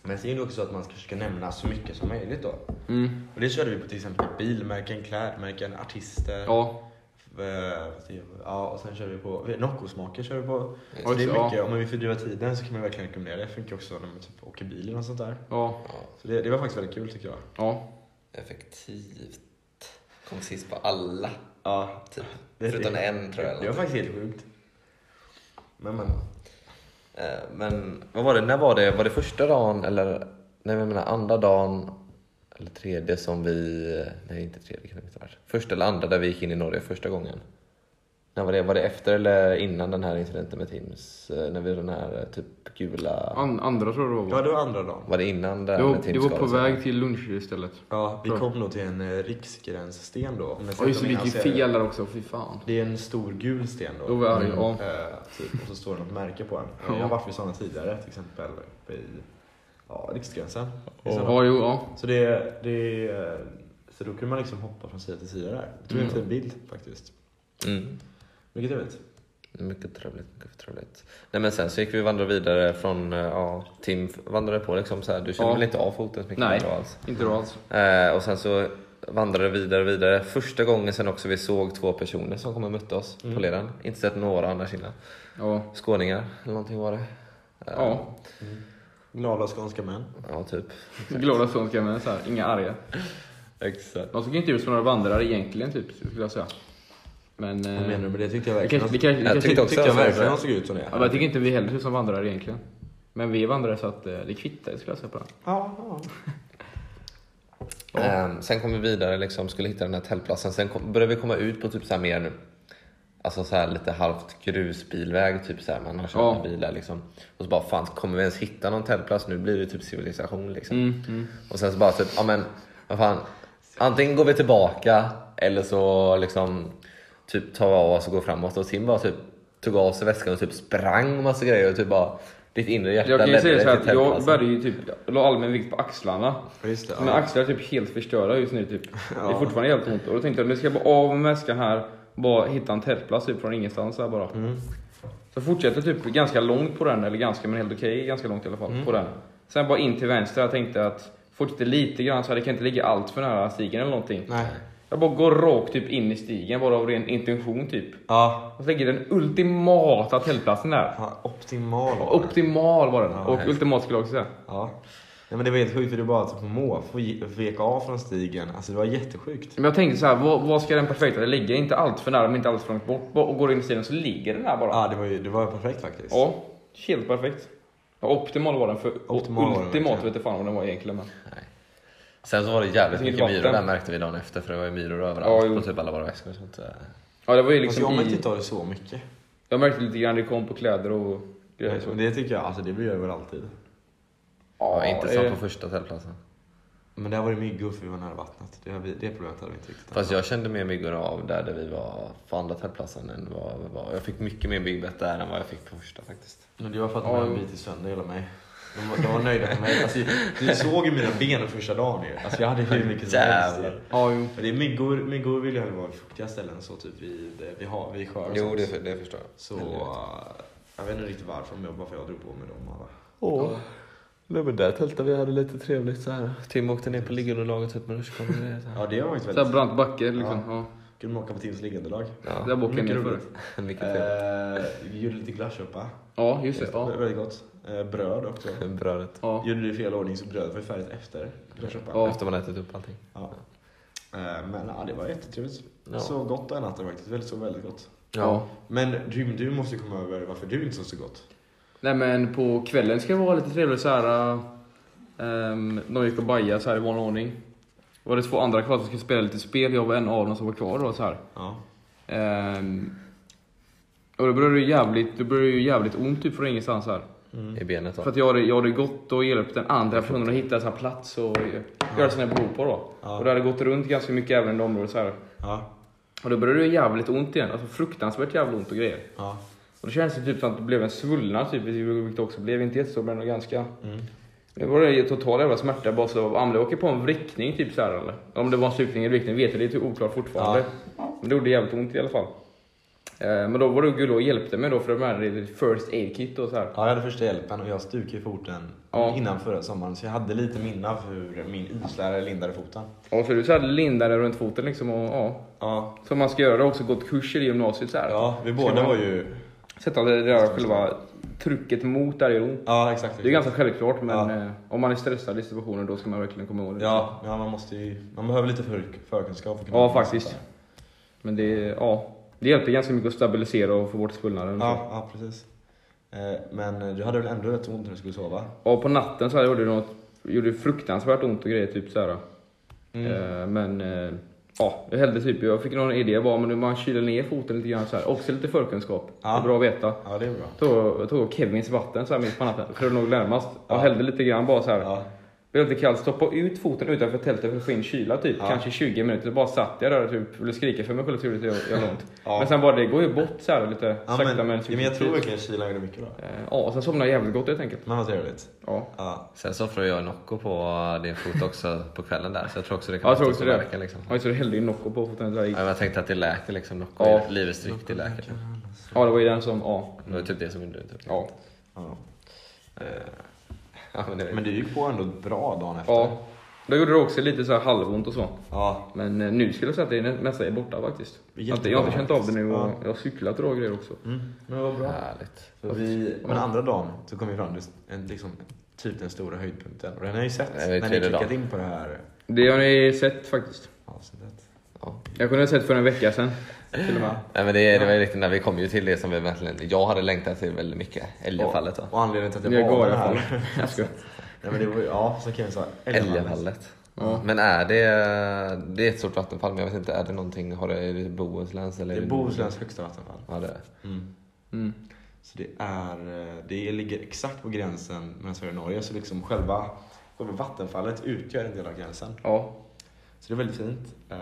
Men sen är det också så att man ska försöka nämna så mycket som möjligt då.
Mm.
Och det körde vi på till exempel bilmärken, klädmärken, artister.
Ja.
Eh, fast det- Ja, och sen kör vi på vi- Noccosmaker. Kör vi på.
Just
Så det är
det, ja.
mycket, om man vill fördriva tiden så kan man verkligen rekommendera det. Det funkar också när man typ åker bil eller något sånt där.
Ja.
Så det, det var faktiskt väldigt kul tycker jag.
Ja.
Effektivt. Kom sist på alla,
Ja,
typ.
det,
Förutom
det,
en tror jag. eller
det var faktiskt helt sjukt. Men, men
Eh, Men vad var det, när var det? Var det första dagen eller? Nej men jag menar andra dagen eller tredje som vi... Nej inte tredje kan det inte ha varit. Första eller andra där vi gick in i Norge första gången. När var det? Var det efter eller innan den här incidenten med Tims? Eh, När vi den här eh, typ gula...
An, andra tror jag det var.
Ja,
va?
det var andra dagen.
Var det innan det
Det
här
var,
med Tims
det var på
skada?
väg till lunch istället.
Ja, vi
Bra.
kom då till en eh, riksgränssten då. Om jag
Ja just det,
om
vi
jag
gick ju
ser det.
fel där också. Fy fan.
Det är en stor gul sten då.
Då var jag arg. Ja.
Eh, typ, och så står det något märke på den.
Ja.
Jag har varit vid sådana tidigare, till exempel uppe i ja, Riksgränsen. I sådana-
Ja, jo, ja.
Så, det, det, eh, så då kunde man liksom hoppa från sida till sida där. Jag
Mm.
tog en fin bild faktiskt.
Mm.
Mycket trevligt.
Mycket trevligt, mycket trevligt. Nej men sen så gick vi och vandrade vidare från, eh, ja, Tim vandrade på liksom så här. Du kände
Ja.
väl inte av foten så mycket?
Nej.
bra alls?
Inte då alls.
Eh, och sen så vandrade vi vidare, vidare. Första gången sen också vi såg två personer som kom och mötte oss på leden. Inte sett några annars innan.
Ja.
Skåningar eller någonting var det. Eh,
ja.
Glada skånska män.
Ja, typ.
Glada skånska men så här, inga arga.
Exakt.
De såg inte ut som några vandrare egentligen typ, skulle jag säga. Men... eh,
Vad menar du med det? Tyckte jag
vi
verkligen.
kanske, vi kanske, vi
Jag tyckte
kanske inte-
också
tyckte jag
alltså,
verkligen
så-
han såg ut som det.
Ja, men jag tycker inte vi heller ser ut som vandrare egentligen. Men vi är vandrare så att eh, det kvittar skulle jag säga på det.
Ja, ja.
Ehm, sen kom vi vidare, liksom, skulle hitta den här tältplatsen. Sen kom, började vi komma ut på typ så här mer nu. Alltså så här lite halvt grusbilväg, typ så här, man har kört
Ja.
med bilar liksom. Och så bara, fan kommer vi ens hitta någon tältplats? Nu blir det typ civilisation liksom.
Mm,
Och sen så bara typ, ja men vad fan. Antingen går vi tillbaka eller så liksom typ tar vi av oss och går framåt. Och Tim bara typ tog av sig väskan och typ sprang massa grejer och typ bara ditt inre hjärta
Jag kan ju
ledde
säga
dig
så här
till
att jag
tältplatsen.
började ju typ, la allmän vikt på axlarna.
Just det.
Mina
alltså? Ja.
axlar är typ helt förstörda just nu typ. Det är
Ja.
fortfarande helt ont. Och då tänkte jag, nu ska jag bara av med väskan här. Bara hitta en tältplats typ från ingenstans här bara.
Mm.
Så fortsätter typ ganska långt på den, eller ganska men helt okej, ganska långt i alla
Mm.
fall på den. Sen bara in till vänster, jag tänkte att fortsätter lite grann så här, det kan inte ligga allt för nära stigen eller någonting.
Nej.
Jag bara går rakt typ in i stigen, bara av ren intention typ.
Ja.
Och så ligger den ultimata tältplatsen där.
ja, Optimal. var det.
Optimal var den.
Ja,
och
hemskt.
ultimat skulle jag också säga.
Ja. Nej, men det var helt sjukt för du bara typ på måfå vek av från stigen. Alltså det var jättesjukt.
Men jag tänkte så här, vad, vad ska den perfekta ligga? Inte allt för nära men inte allt för långt bort. Bara- Och går in i stigen så ligger den där bara.
Ja, det var ju det var ju perfekt faktiskt.
Ja, helt perfekt. Ja, optimal var den för
Optimal var den,
ultimat
verkligen.
vet jag fan vad den var egentligen. Men.
Nej. Sen så var det jävligt
Inget
mycket myror
vatten.
där märkte vi dagen efter för det var ju myror
Ja,
överallt
jo.
på typ alla våra väskor. och sånt. eh.
Ja, det var ju
Alltså,
liksom
jag märkte
i,
inte av det så mycket.
jag märkte lite grann det kom på kläder och grejer. Så.
Men det tycker jag, alltså det blir jag väl alltid.
Ja, inte som
eh,
på första tältplatsen.
Men där var det mygg för vi var nära vattnet. Det, har vi, det problemet hade vi inte riktigt.
Fast jag kände mer myggor av där, där vi var på andra tältplatsen än vad vi var. Jag fick mycket mer byggbett där än vad jag fick på första faktiskt.
Men det var för att
Ja,
de hade
jo.
bitit sönder hela mig. De, var- de var nöjda med mig. Alltså, du såg ju mina ben första dagen ju. Alltså jag hade hur mycket som helst.
Jävlar.
Ja, jo.
Men det är myggor, myggor vill ju hellre vara i fuktiga ställen så typ vid, vid, hav, vid sjöar och sånt.
det förstår jag.
Så eh, jag vet inte riktigt varför, men jag bara för jag drog på mig dem alla.
Åh. Nej men där tältade vi hade lite trevligt så här. Tim åkte ner på liggunderlaget typ med rutschkanor och grejer. så här.
Ja, det var faktiskt
Så här
väldigt...
brant backe liksom. Ja.
Kunde man åka på Tims liggunderlag.
Där
Ja,
bak jag
mycket
ner för.
roligt.
mycket trevligt.
Eh, vi gjorde lite glasssoppa.
Ja, just det. Ja.
Vä- Väldigt gott. Eh, bröd också.
Brödet.
Ja.
Gjorde det i fel ordning så brödet var ju färdigt efter glasssoppan.
Ja.
Efter man ätit upp allting.
Ja. Eh, men ja, det var jättetrevligt.
Ja.
Så gott den natten faktiskt. Väldigt, så väldigt gott.
Ja.
Men Rym, du måste komma över varför du inte sov så gott.
Nej men på kvällen ska det vara lite trevligt såhär. Um, någon gick och bajade såhär i vanlig ordning. Det var det två andra kvar som skulle spela lite spel, jag var en av dem som var kvar då såhär.
Ja.
Ehm, och då började det jävligt, det började ju jävligt ont typ från ingenstans här.
Mm.
I benet
Mm. För
då.
att jag hade, jag hade gått och hjälpt den andra personen att hitta en sån här plats och göra sina behov på då.
Ja.
Och det hade gått runt ganska mycket även i det området så här.
Ja.
Och då började det ju jävligt ont igen, alltså fruktansvärt jävligt ont och grejer.
Ja.
Och det känns det typ som att det blev en svullnad typ, vilket det också blev. Inte jättestor men ganska.
Mm.
Det var det total jävla smärta bara så, om det åker på en vrickning typ så här eller? Om det var en stukning eller vrickning vet jag, det är typ oklart fortfarande. Men det gjorde jävligt ont i alla fall. Eh, Men då var det Gulo och hjälpte mig då för de här det är first aid kit och så här.
Ja, jag hade första hjälpen och jag stukade foten
Ja.
innan förra sommaren. Så jag hade lite minne av hur min islärare lindade foten.
Och så är det så här lindade runt foten liksom och ja.
Ja,
Som man ska göra, det har också gått kurser i gymnasiet så här.
ja vi
Ska
båda
man
var ju...
Sätta det där själva trycket mot där det gör ont.
Ja, exakt.
Det är ganska självklart men
Ja.
eh, om man är stressad i situationen då ska man verkligen komma ihåg det.
Ja, ja, man måste ju... Man behöver lite för, förkunskap för att
Ja, faktiskt. Men det, ja, det hjälper ganska mycket att stabilisera och få bort svullnaden.
Ja, ja, precis. Eh, Men du hade väl ändå rätt ont när du skulle sova?
Och på natten så
Mm.
här gjorde det något, gjorde det fruktansvärt ont och grejer. Typ så här. Eh, Men eh, Ja, jag hällde typ, jag fick någon idé bara, men man kyler ner foten lite grann så här. Också lite förkunskap.
Ja.
Det är bra att veta.
Ja, det är bra.
Tog, tog Kevins vatten så här mitt på natten, för det låg närmast. Och hällde lite grann bara så här.
Ja.
Blev lite kallt, stoppa ut foten utanför tältet för att få in kyla typ. Kanske 20 minuter. Bara satt jag där och typ ville skrika för mig själv tur att jag jag har ont.
Ja.
Men sen bara, det går ju bort så här lite sakta
Ja, men,
men
ja, men jag tror
successivt.
verkligen kylan gjorde mycket då.
Eh, Ja, och sen somnade jag jävligt gott helt enkelt.
Men vad trevligt.
Ja.
Ja.
Sen så offrade jag Nocco på din fot också på kvällen där. Så jag tror också det
Ja,
kan
jag tror
vara
också
stor
det.
verkan, liksom.
Ja, just det, du hällde ju Nocco på foten. där.
Ja, men jag tänkte att det läker liksom. Nocco
Ja.
är livets dryck, det läker.
Ja, det var ju den som, ja.
Det var typ det som gjorde det. Typ.
Ja,
Ja.
Ja, men det,
Men du gick på ändå bra dagen efter.
ja. Då gjorde det också lite så här halvont och så.
Ja.
Men eh, nu skulle jag säga att det är nä- nästan är borta faktiskt.
Jättebra,
Att jag har inte känt av det nu och
faktiskt.
jag har cyklat och grejer också.
Mm, Men vad
Härligt.
Vi, men andra dagen så kom vi fram till en, liksom, typ den stora höjdpunkten. Och den har jag ju sett
Det är
när ni
tredje
klickat
dagen.
in på det här
Det har ni sett faktiskt.
avsnittet.
Ja.
Jag kunde ha sett för en vecka sedan. Till och med.
Nej, men det, det var ju riktigt, när vi kom ju till det som vi verkligen, jag hade längtat till väldigt mycket. Älgafallet då.
Och, och anledningen till att
Jag
jag
går i
valde
alla
den
fall.
här.
Jag skojar.
Nej, men det var, ju- ja, så kan jag säga.
Älgafallet.
Ja.
Men är det, det är ett stort vattenfall, men jag vet inte, är det någonting, har det, är det Bohusläns eller?
Det är Bohusläns högsta vattenfall.
Ja, det är det.
Mm.
Så det, är, eh, det ligger exakt på gränsen mellan Sverige och Norge. Så liksom själva, själva vattenfallet utgör en del av gränsen.
Ja.
Så det är väldigt fint. Eh,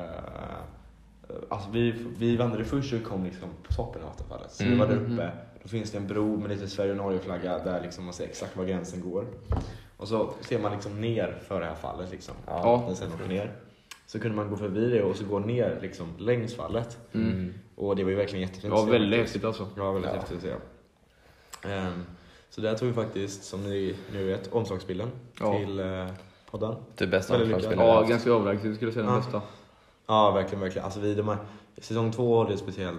alltså vi, vi vandrade först och kom liksom på toppen av vattenfallet. Så vi var
Mm.
där uppe. Då finns det en bro med lite Sverige och Norge-flagga där liksom man ser exakt var gränsen går. Och så ser man liksom ner för det här fallet. Liksom.
Ja.
Den sen åker ner. Så kunde man gå förbi det och så gå ner liksom längs fallet.
Mm.
Mm.
Och det var ju verkligen
Det
jättefint. att
var
se
väldigt
faktiskt.
häftigt alltså.
Ja, väldigt häftigt att se. Ehm, så där tog vi faktiskt, som ni nu vet, omslagsbilden
Ja.
till eh, podden.
Typ bästa
Väldigt
omslagsbilden.
Ja, ganska överlägset skulle jag säga den
Ja.
bästa.
Ja, verkligen, verkligen. Alltså vi, de här, säsong två det är speciell,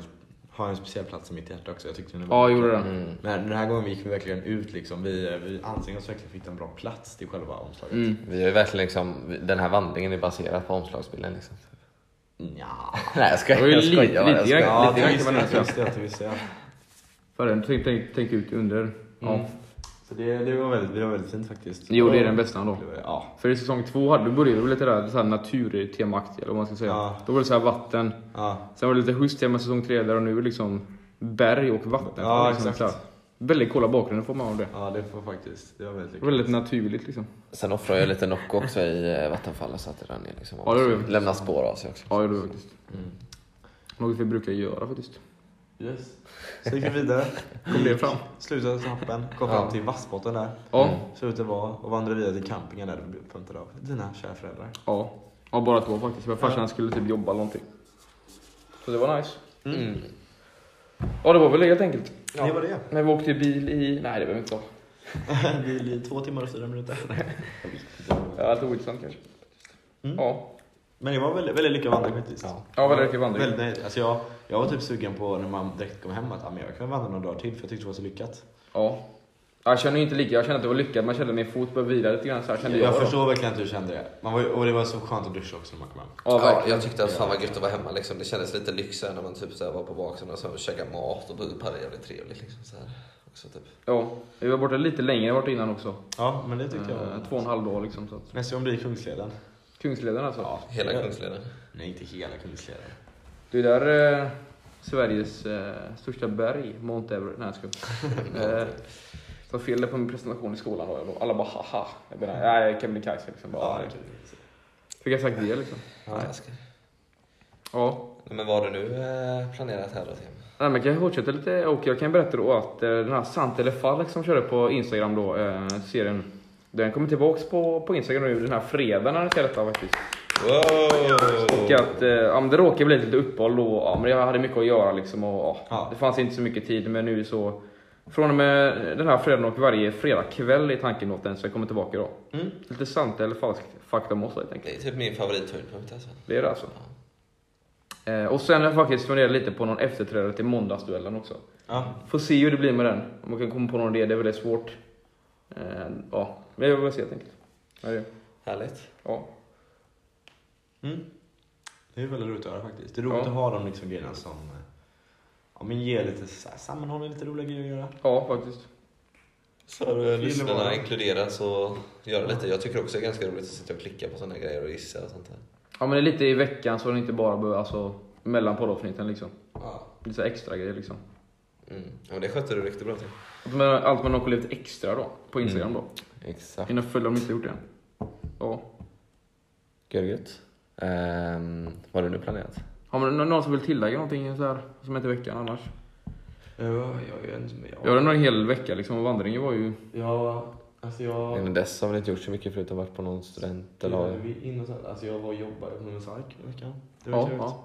har en speciell plats i mitt hjärta också. Jag tyckte den
Ja, gjorde den.
Mm.
Men den här gången gick vi verkligen ut liksom. Vi, vi ansträngde oss verkligen för att hitta en bra plats till själva omslaget.
Mm.
Vi har ju verkligen liksom, den här vandringen är baserad på omslagsbilden liksom.
Mm.
Nja.
Nej jag skojar,
Det var ju
jag skojar.
lite-
bara,
lite
jag skojar.
grann.
Ja,
lite
det
kan
visste
man
jag.
nästan.
Det visste jag, det visste jag.
För den tänk, tänk, tänk ut under. Ja.
Så det, det, var väldigt, det var väldigt fint faktiskt.
Jo, det är den bästa ändå.
Det var- Ja.
För i säsong två hade du började väl lite där, så här naturtemaaktigt eller vad man ska säga.
Ja.
Då var det så här vatten.
ja.
Sen var det lite husstema säsong tre där och nu är det liksom berg och vatten.
Ja,
liksom,
exakt.
så här. Väldigt coola bakgrunder får man av det.
Ja, det får faktiskt. Det var väldigt
Det var väldigt naturligt liksom.
Sen offrar jag lite Nocco också i eh, vattenfallet så att det rann ner liksom.
Ja, det gjorde vi.
Lämnar spår av sig också.
Ja, det gjorde vi faktiskt.
Mm.
Något vi brukar göra faktiskt.
Yes. Så gick vi vidare.
Kom det fram?
Slutade trappen. Kom
Ja.
fram till Vassbotten där.
Ja.
Slutade var och vandrade vidare till campingen där du blev puntad av dina kära föräldrar.
Ja. ja, bara två faktiskt. Men farsan skulle typ jobba eller någonting. Så det var nice.
Mm.
Ja, det var väl det helt enkelt.
Det var det.
När vi åkte i bil i... Nej, det behöver vi inte ta.
Vi blir två timmar och fyra minuter.
Det var lite ointressant kanske.
Mm.
Ja.
Men det var väldigt, väldigt lyckad vandring faktiskt.
Ja.
Ja, väldigt lyckad vandring.
Väldigt nöjd. alltså jag, jag var typ sugen på när man direkt kom hem att ah, men jag kan vandra några dagar till för jag tyckte det var så lyckat.
Ja. Jag känner ju inte lika. Jag kände att det var lyckat. Man kände att min fot började vila lite grann. Så här kände
Jag,
jag. då.
förstår verkligen att du kände det. Man var, ju- och det var så skönt att duscha också när man kom hem.
Ja,
Ja,
verkligen.
jag tyckte att fan vad gött att vara hemma liksom. Det kändes lite lyxigare när man typ så här var på baksidan och så käkade mat och bu- hade jävligt trevligt liksom så här. Också typ.
Ja. Vi var borta lite längre än vi varit innan också.
Ja, men det tyckte jag
Eh,
var...
Två och en halv dag liksom. Så att...
Mm. Nästa gång blir Kungsleden.
Kungsleden alltså.
Hela Kungsleden.
Nej, inte hela Kungsleden.
Det är där eh, Sveriges eh, största berg, Mount Everest. Nej, jag skojar. Eh, Jag fel där på min presentation i skolan då. Alla bara haha. Jag menar, nej, Kebnekaise liksom. Bara,
Ja,
Fick jag sagt det liksom?
Ja. jag ska-
Ja.
Men vad har du nu eh, planerat här då Tim?
Nej, men kan jag fortsätta lite? Och jag kan berätta då att eh, den här Sant eller Falk som körde på Instagram då, eh, serien. Den kommer tillbaks på, på Instagram nu den här fredagen när ni ser detta faktiskt. Och
Wow!
att, eh, ja, men det råkade bli lite uppehåll då. Ja, men jag hade mycket att göra liksom. Och, ja,
Ja.
Det fanns inte så mycket tid men nu så. Från och med den här fredagen och varje fredagkväll i tanken åt den så jag kommer tillbaka då.
Mm.
Lite sant eller falskt fakta om oss helt enkelt.
Det är typ min favorithöjdpunkt alltså.
Det är det alltså. Eh, och sen har jag faktiskt funderat lite på någon efterträdare till måndagsduellen också.
Ja.
Får se hur det blir med den. Om man kan komma på någon idé, det är väldigt svårt. Eh, ja, men jag vill se helt enkelt. Ja, det är-
Härligt.
Ja.
Mm. Det är väldigt roligt att höra faktiskt. Det är roligt
Ja.
att ha de liksom grejerna som eh, ja, men ger lite så här sammanhållning, lite roliga grejer att göra.
ja, faktiskt.
Så har du lyssnarna
Gillar
inkluderas och göra lite. Jag tycker också det är ganska roligt att sitta och klicka på sådana grejer och gissa och sånt där.
Ja men det är lite i veckan så den inte bara behöver, alltså mellan poddavsnitten liksom.
Ja.
Lite så här extra grejer liksom.
Mm. Ja, men det skötte du riktigt bra till.
Allt man, allt man har kollat lite extra då, på
Mm.
Instagram då.
Exakt.
Innan följer om inte gjort det än. Ja.
Görgött. Ehm, vad har du nu planerat?
Har man nå- någon som vill tillägga någonting så här, som inte veckan annars?
Ja, jag är inte med.
Jag hade nog en hel vecka liksom och vandringen var ju...
Ja, alltså jag...
Innan dess har vi inte gjort så mycket förutom varit på någon student eller har...
Vi in och sen, alltså jag var och jobbade på Mummins Ark i veckan. Det var
Ja,
trevligt.
ja.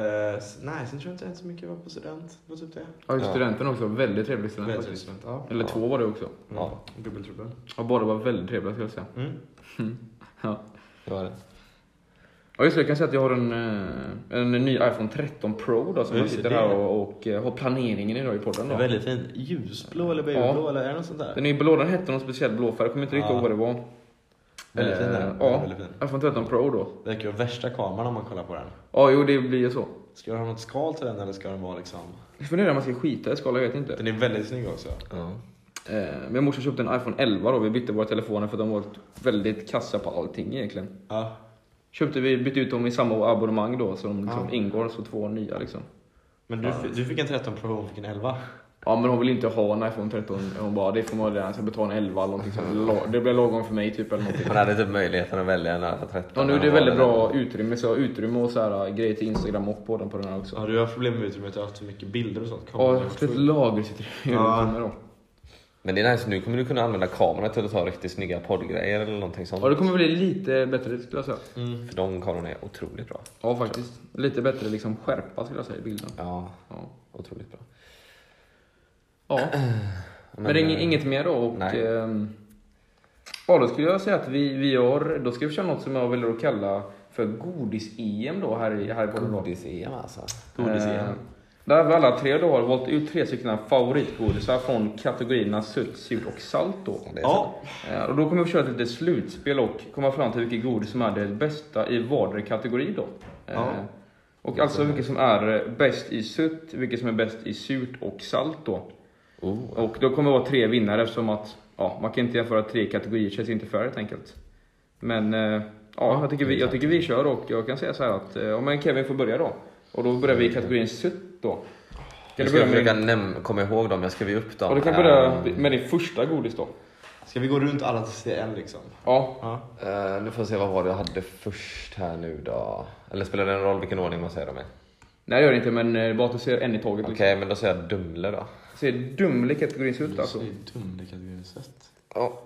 Eh, s- nej, sen tror jag inte än så mycket jag var på student. Det var typ det.
ja just
Ja.
studenten också. Väldigt trevlig student
Väldigt
faktiskt.
student, ja.
Eller
Ja.
två var det också.
Ja.
Mm. Dubbeltrubbel.
Och båda var väldigt trevliga skulle jag säga.
Mm.
Det var det.
Ja just det, jag kan säga att jag har en, eh, en ny iPhone 13 Pro då, som
Ja,
jag
just
sitter
det.
här och, och eh, har planeringen idag i podden då.
Väldigt fint. Ljusblå eller
beigeblå
eller är det något sånt där?
Den är ju blå, den hette någon speciell blå färg, jag kommer inte riktigt
Ja.
ihåg vad det var.
Väldigt fin
Eh,
den. Den är
Ja,
väldigt fin.
iPhone 13 Pro då.
Verkar vara värsta kameran om man kollar på den.
Ja, jo det blir ju så.
Ska jag ha något skal till den eller ska den vara liksom...
Jag funderar om man ska skita i skalet, jag vet inte.
Den är väldigt snygg också.
Ja.
Eh, Min morsa köpte en iPhone 11 då, vi bytte våra telefoner för de var väldigt kassa på allting egentligen.
Ja.
Köpte vi, bytte ut dem i samma abonnemang då, så de liksom
Ja.
ingår, så två nya liksom.
Men du, fi- du fick en 13 Pro, hon fick en 11.
Ja men hon vill inte ha en iPhone 13, hon bara det får man redan, jag ska betala en 11 eller någonting sånt. Det blir lagom för mig typ eller någonting.
Han hade typ möjligheten att välja en iPhone 13.
Ja, nu är
eller
det
vad
väldigt
var.
bra utrymme, så jag har utrymme och så här, äh, grejer till Instagram och på den på den här också.
Ja, du har problem med utrymmet, du har haft så mycket bilder och sånt.
Ja,
Kameran
jag
har
har
varit
fått ett
full.
lagerutrymme
Ja.
då.
Men det är nice, nu kommer du kunna använda kameran till att ta riktigt snygga poddgrejer eller någonting sånt.
Ja, det kommer bli lite bättre skulle jag säga.
Mm.
För de kamerorna är otroligt bra.
Ja, faktiskt. Lite bättre liksom skärpa skulle jag säga i bilden.
Ja,
Ja.
otroligt bra.
ja. Men, det är ing-
eh,
inget mer då? Och,
nej.
ehm, ja, då skulle jag säga att vi, vi gör, då ska vi köra något som jag väljer att kalla för godis-EM då här i, här i podden. då.
Godis-EM alltså.
Godis-EM.
Eh, Där har vi alla tre då har valt ut tre stycken favoritgodisar från kategorierna sött, surt och salt då.
Det är sant.
Ja,
Eh, Och då kommer vi köra ett litet slutspel och komma fram till vilket godis som är det bästa i vardera kategori då. Eh,
Ja.
Och alltså vilket som är eh, bäst i sött, vilket som är bäst i surt och salt då.
Oh.
Och då kommer det vara tre vinnare eftersom att ja, man kan inte jämföra tre kategorier, känns inte fair helt enkelt. Men eh, ja, jag tycker, vi, jag tycker vi kör och jag kan säga så här att eh, ja, men Kevin får börja då. Och då börjar vi i kategorin sött då. Kan
Jag
du
ska
börja med,
försöka
din-
näm- komma ihåg dem, jag skrev ju upp dem.
ja, du kan börja med din första godis då.
ska vi gå runt alla tills det är en liksom?
Ja,
Ja.
Eh, nu får jag se vad var det jag hade först här nu då. Eller spelar det någon roll vilken ordning man säger dem i?
nej det gör det inte men eh, bara att du ser en i taget.
Okej,
liksom.
men då säger jag Dumle då.
Ser Dumle kategorin ut alltså?
Det är dum, det kan du sett.
Ja.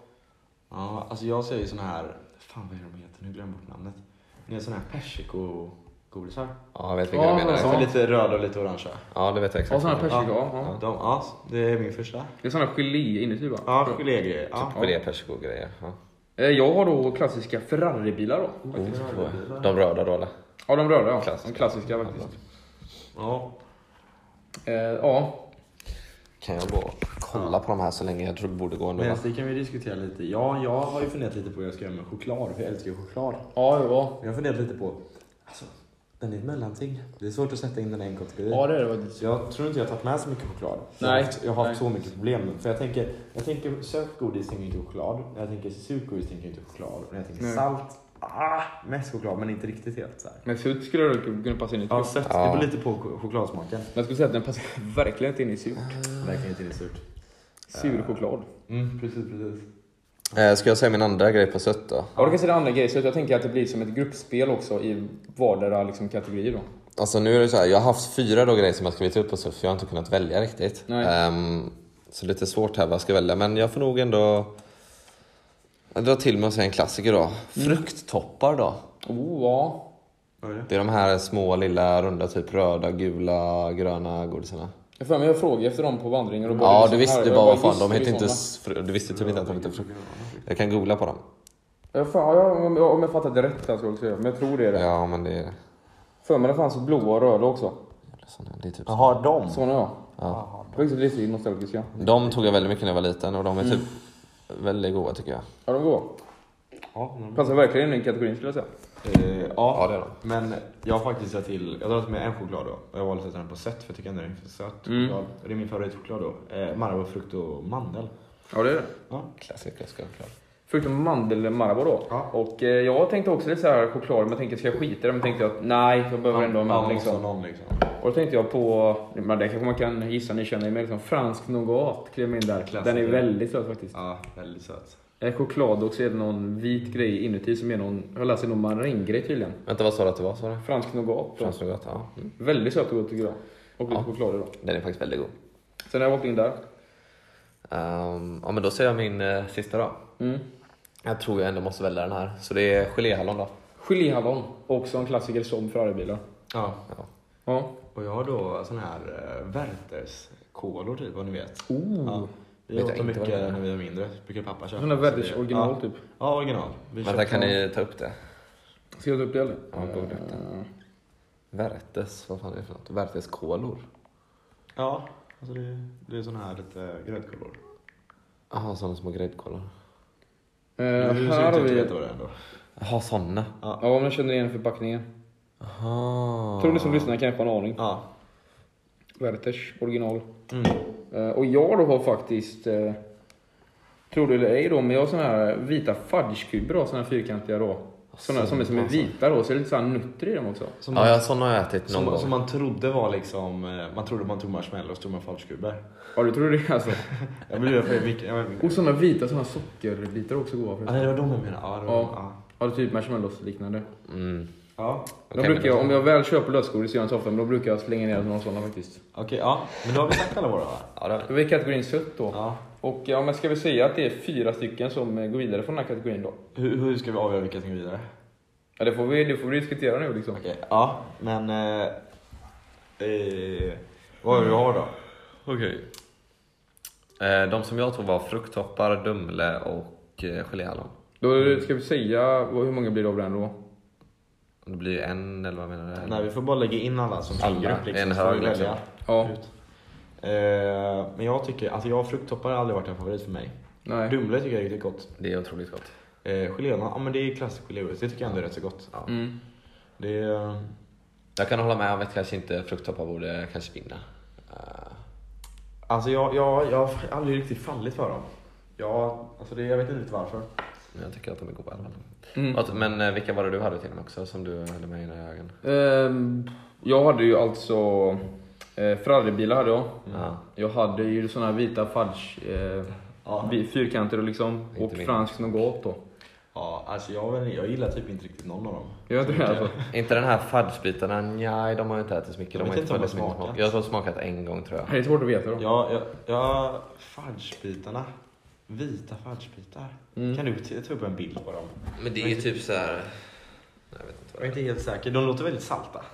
Ja, alltså jag ser ju såna här... Fan vad är de heter? Nu glömmer jag bort namnet. Ni är såna här persikogodisar.
Ja, jag vet vilka
Ja,
du menar.
Som är
Ja.
ja.
lite röda och lite orangea.
det vet jag exakt.
Ja, sådana
vilka.
persika, ja.
Ja.
ja.
De, ja, det är min första.
Det är sådana gelé inuti va?
Ja, gelégrejer. Ja.
Med det persikogrejer. Ja.
Eh, Jag har då klassiska Ferraribilar då.
Oh, de röda då eller?
Ja, de röda ja.
Klassiska.
De klassiska faktiskt.
Ja.
Eh, ja,
Kan jag bara kolla på de här så länge? Jag tror det borde gå ändå.
Men
va?
det kan vi diskutera lite. Ja, jag har ju funderat lite på vad jag ska göra med choklad. För jag älskar ju choklad.
ja, ja.
Men jag har funderat lite på... Alltså, den är ett mellanting. Det är svårt att sätta in den i en kategori.
ja det är det faktiskt.
Så jag tror inte jag har tagit med så mycket choklad. Jag har
Nej.
haft, jag har haft
Nej.
så mycket problem. För jag tänker, jag tänker sött godis tänker jag inte choklad. När jag tänker surt godis tänker jag inte choklad. När jag tänker
Nej.
salt, ah, mest choklad men inte riktigt helt så här.
Men surt skulle jag kunna passa in i
Ja,
surt.
sött.
Ja.
Det beror lite på ch- chokladsmaken.
Men jag skulle säga att den passar verkligen inte in i surt.
Verkligen inte det är surt.
Sur choklad.
Mm, precis, precis.
Eh, ska jag säga min andra grej på sött då?
Ja, då kan jag säga det andra grejen. Så jag tänker att det blir som ett gruppspel också i vardera liksom, kategorier då.
Alltså nu är det så här, jag har haft fyra då grejer som jag skrivit upp på sött för jag har inte kunnat välja riktigt.
Nej.
Ehm, så lite svårt här vad jag ska välja men jag får nog ändå dra till mig och säga en klassiker
Mm.
då. Frukttoppar då?
Oh, ja.
Vad är det?
Det är de här små lilla runda typ röda, gula, gröna godisarna.
Jag får jag frågade efter dem på vandringen och bara,
Ja
liksom,
du visste
här,
ju
jag
bara vad fan,
just
de
det,
heter inte...
såna.
s- fru- Du visste typ inte att de hette frukt. Jag kan googla på dem.
Ja, fan, ja, om jag- om jag fattat det rätt alltså, också, men jag tror det är det.
Ja men det är...
För mig det fanns blåa och röda också.
såna- Det är typ
Jaha, de?
Såna ja.
Ja.
Det var Faktiskt lite nostalgisk ja.
De tog jag väldigt mycket när jag var liten och de är typ väldigt goda tycker jag.
Ja, de går.
Ja, de-
Passar verkligen in i den kategorin skulle jag säga.
Eh,
Ja,
ja,
det är de.
men jag har faktiskt sett till, jag har tagit med en choklad då. Och jag valde att sätta den på sött för jag tycker ändå den är för söt.
Mm.
choklad. Och det är min favoritchoklad då. Eh, Marabou, frukt och mandel.
Ja, det är det.
Ja.
Klassiker ska jag klara.
Förutom mandelmarabou då.
Ja.
Och eh, jag tänkte också lite så här choklad, men jag tänkte ska jag skita i det? Men tänkte jag att nej, jag behöver ändå
Ja, man
mandel.
måste ha
Liksom.
någon liksom.
Och då tänkte jag på, men det kanske man kan gissa ni känner med, liksom, fransk nougat klev in där.
Klassiker.
Den är väldigt söt faktiskt.
Ja, väldigt söt.
Eh, Choklad och så är det någon vit grej inuti som är någon, jag läste någon maringgrej tydligen.
Vänta, vad sa du att det var? Sa du?
Fransk nougat. då.
Fransnougat? Ja. Mm.
Väldigt söt och god tycker jag. Och lite
Ja.
choklad i då.
Den är faktiskt väldigt god.
Sen har jag åkt in där.
Ehm, ja, men då säger jag min eh, sista då.
Mm.
Jag tror jag ändå måste välja den här. Så det är geléhallon då.
Geléhallon. Också en klassiker som Ferraribilar.
Ja,
Ja.
Ja.
och jag har då sån här eh, Werthers kolor typ, om ni vet.
Oh.
Ja. Vi
Vet jag
åt dem
inte
mycket
vad det är.
när vi var mindre. Brukar pappa köpa.
Sån där
Så
Werthers
vi-
original
ja.
typ.
Ja, original. Vi
Vänta,
köpte
kan
dem.
ni ta upp det?
Ska jag ta upp det eller?
Ja, gå upp det.
Eh,
Värtes, vad fan är det för något? Värteskolor?
Ja, alltså det, det är såna här lite gräddkolor.
Jaha, sådana små gräddkolor.
eh,
du
här har
ser ut att
vi...
veta vad det är ändå.
Jaha, sådana.
Ja, om jag känner igen förpackningen.
Jaha.
Tror ni som lyssnar kan jag få en aning.
Ja.
Werthers original.
Mm.
Eh, och jag då har faktiskt, eh, tror du eller ej då, men jag har såna här vita fudgekuber då, såna här fyrkantiga då. Såna som är, som är vita då, så är det lite såhär nutter i dem också.
Som,
Ja, ja, sådana har jag ätit någon
som,
gång.
som man trodde var liksom, eh, man trodde man tog marshmallows och tog man fudgekuber.
Ja, du tror det alltså?
Jag blev för vilken, jag vet
Och
inte.
såna vita såna sockerbitar är också goda
Ja,
förresten.
Ah, nej, det var de jag menade. Ja, det var,
Ja.
ja.
Ja, det är typ marshmallows-liknande.
Mm.
ja.
De
Okej,
brukar
men-
jag, om jag väl köper lösgodis gör jag inte så ofta, men då brukar jag slänga ner några såna faktiskt.
Okej, ja. Men då har vi sagt alla våra va?
Ja, det har jag.
Då är vi i kategorin sött då.
Ja.
Och ja, men ska vi säga att det är fyra stycken som eh, går vidare från den här kategorin då?
Hur, hur ska vi avgöra vilka som går vidare?
Ja, det får vi, det får vi diskutera nu liksom.
Okej, ja. Men... Eh, eh, vad är det vi har då?
Okej. Eh, De som jag tog var frukttoppar, dumle och eh, geléhallon.
Då ska vi säga, vad- hur många blir det av den då?
Det blir ju en eller vad menar du?
Nej, vi får bara lägga in alla som
Alla,
grupp liksom.
en
så får vi
hög, liksom.
välja
Ja.
ut. Eh, men jag tycker, alltså jag frukttoppar har aldrig varit en favorit för mig.
Nej.
Dumle tycker jag är riktigt gott.
Det är otroligt gott.
Eh, Geléerna, ja men det är klassisk gelégodis. Det tycker jag ändå är rätt så gott.
Ja.
Mm.
Det är,
Jag kan hålla med om att kanske inte frukttoppar borde kanske vinna. Eh,
alltså jag, jag, jag har aldrig riktigt fallit för dem. Ja, alltså det, jag vet inte riktigt varför.
Men jag tycker att de är goda i alla fall.
Mm.
Att- Men eh, vilka var det du hade till mig också som du hade med i dina ögon?
Ehm, jag hade ju alltså eh, Ferraribilar hade jag.
Mm.
Ja.
Jag hade ju såna här vita fudge eh,
Ja.
vi- fyrkanter och liksom
Inte
och
min.
fransk nougat då.
Ja, alltså jag, vet inte, jag gillar typ inte riktigt någon av dem.
Jag vet inte alltså.
Inte den här fudgebitarna, nej de har ju inte ätit så mycket.
Jag
de
vet
har inte
inte om
funnits
de
så
har
mycket smak. Jag har
smakat.
smakat en gång tror jag.
Det är svårt att veta då.
Ja, jag, jag, fudgebitarna. Vita fudgebitar.
Mm.
Kan du t- ta upp en bild på dem?
Men det är ju typ så här. Nej, jag vet inte vad
Jag är
det
inte helt säker. De låter väldigt salta.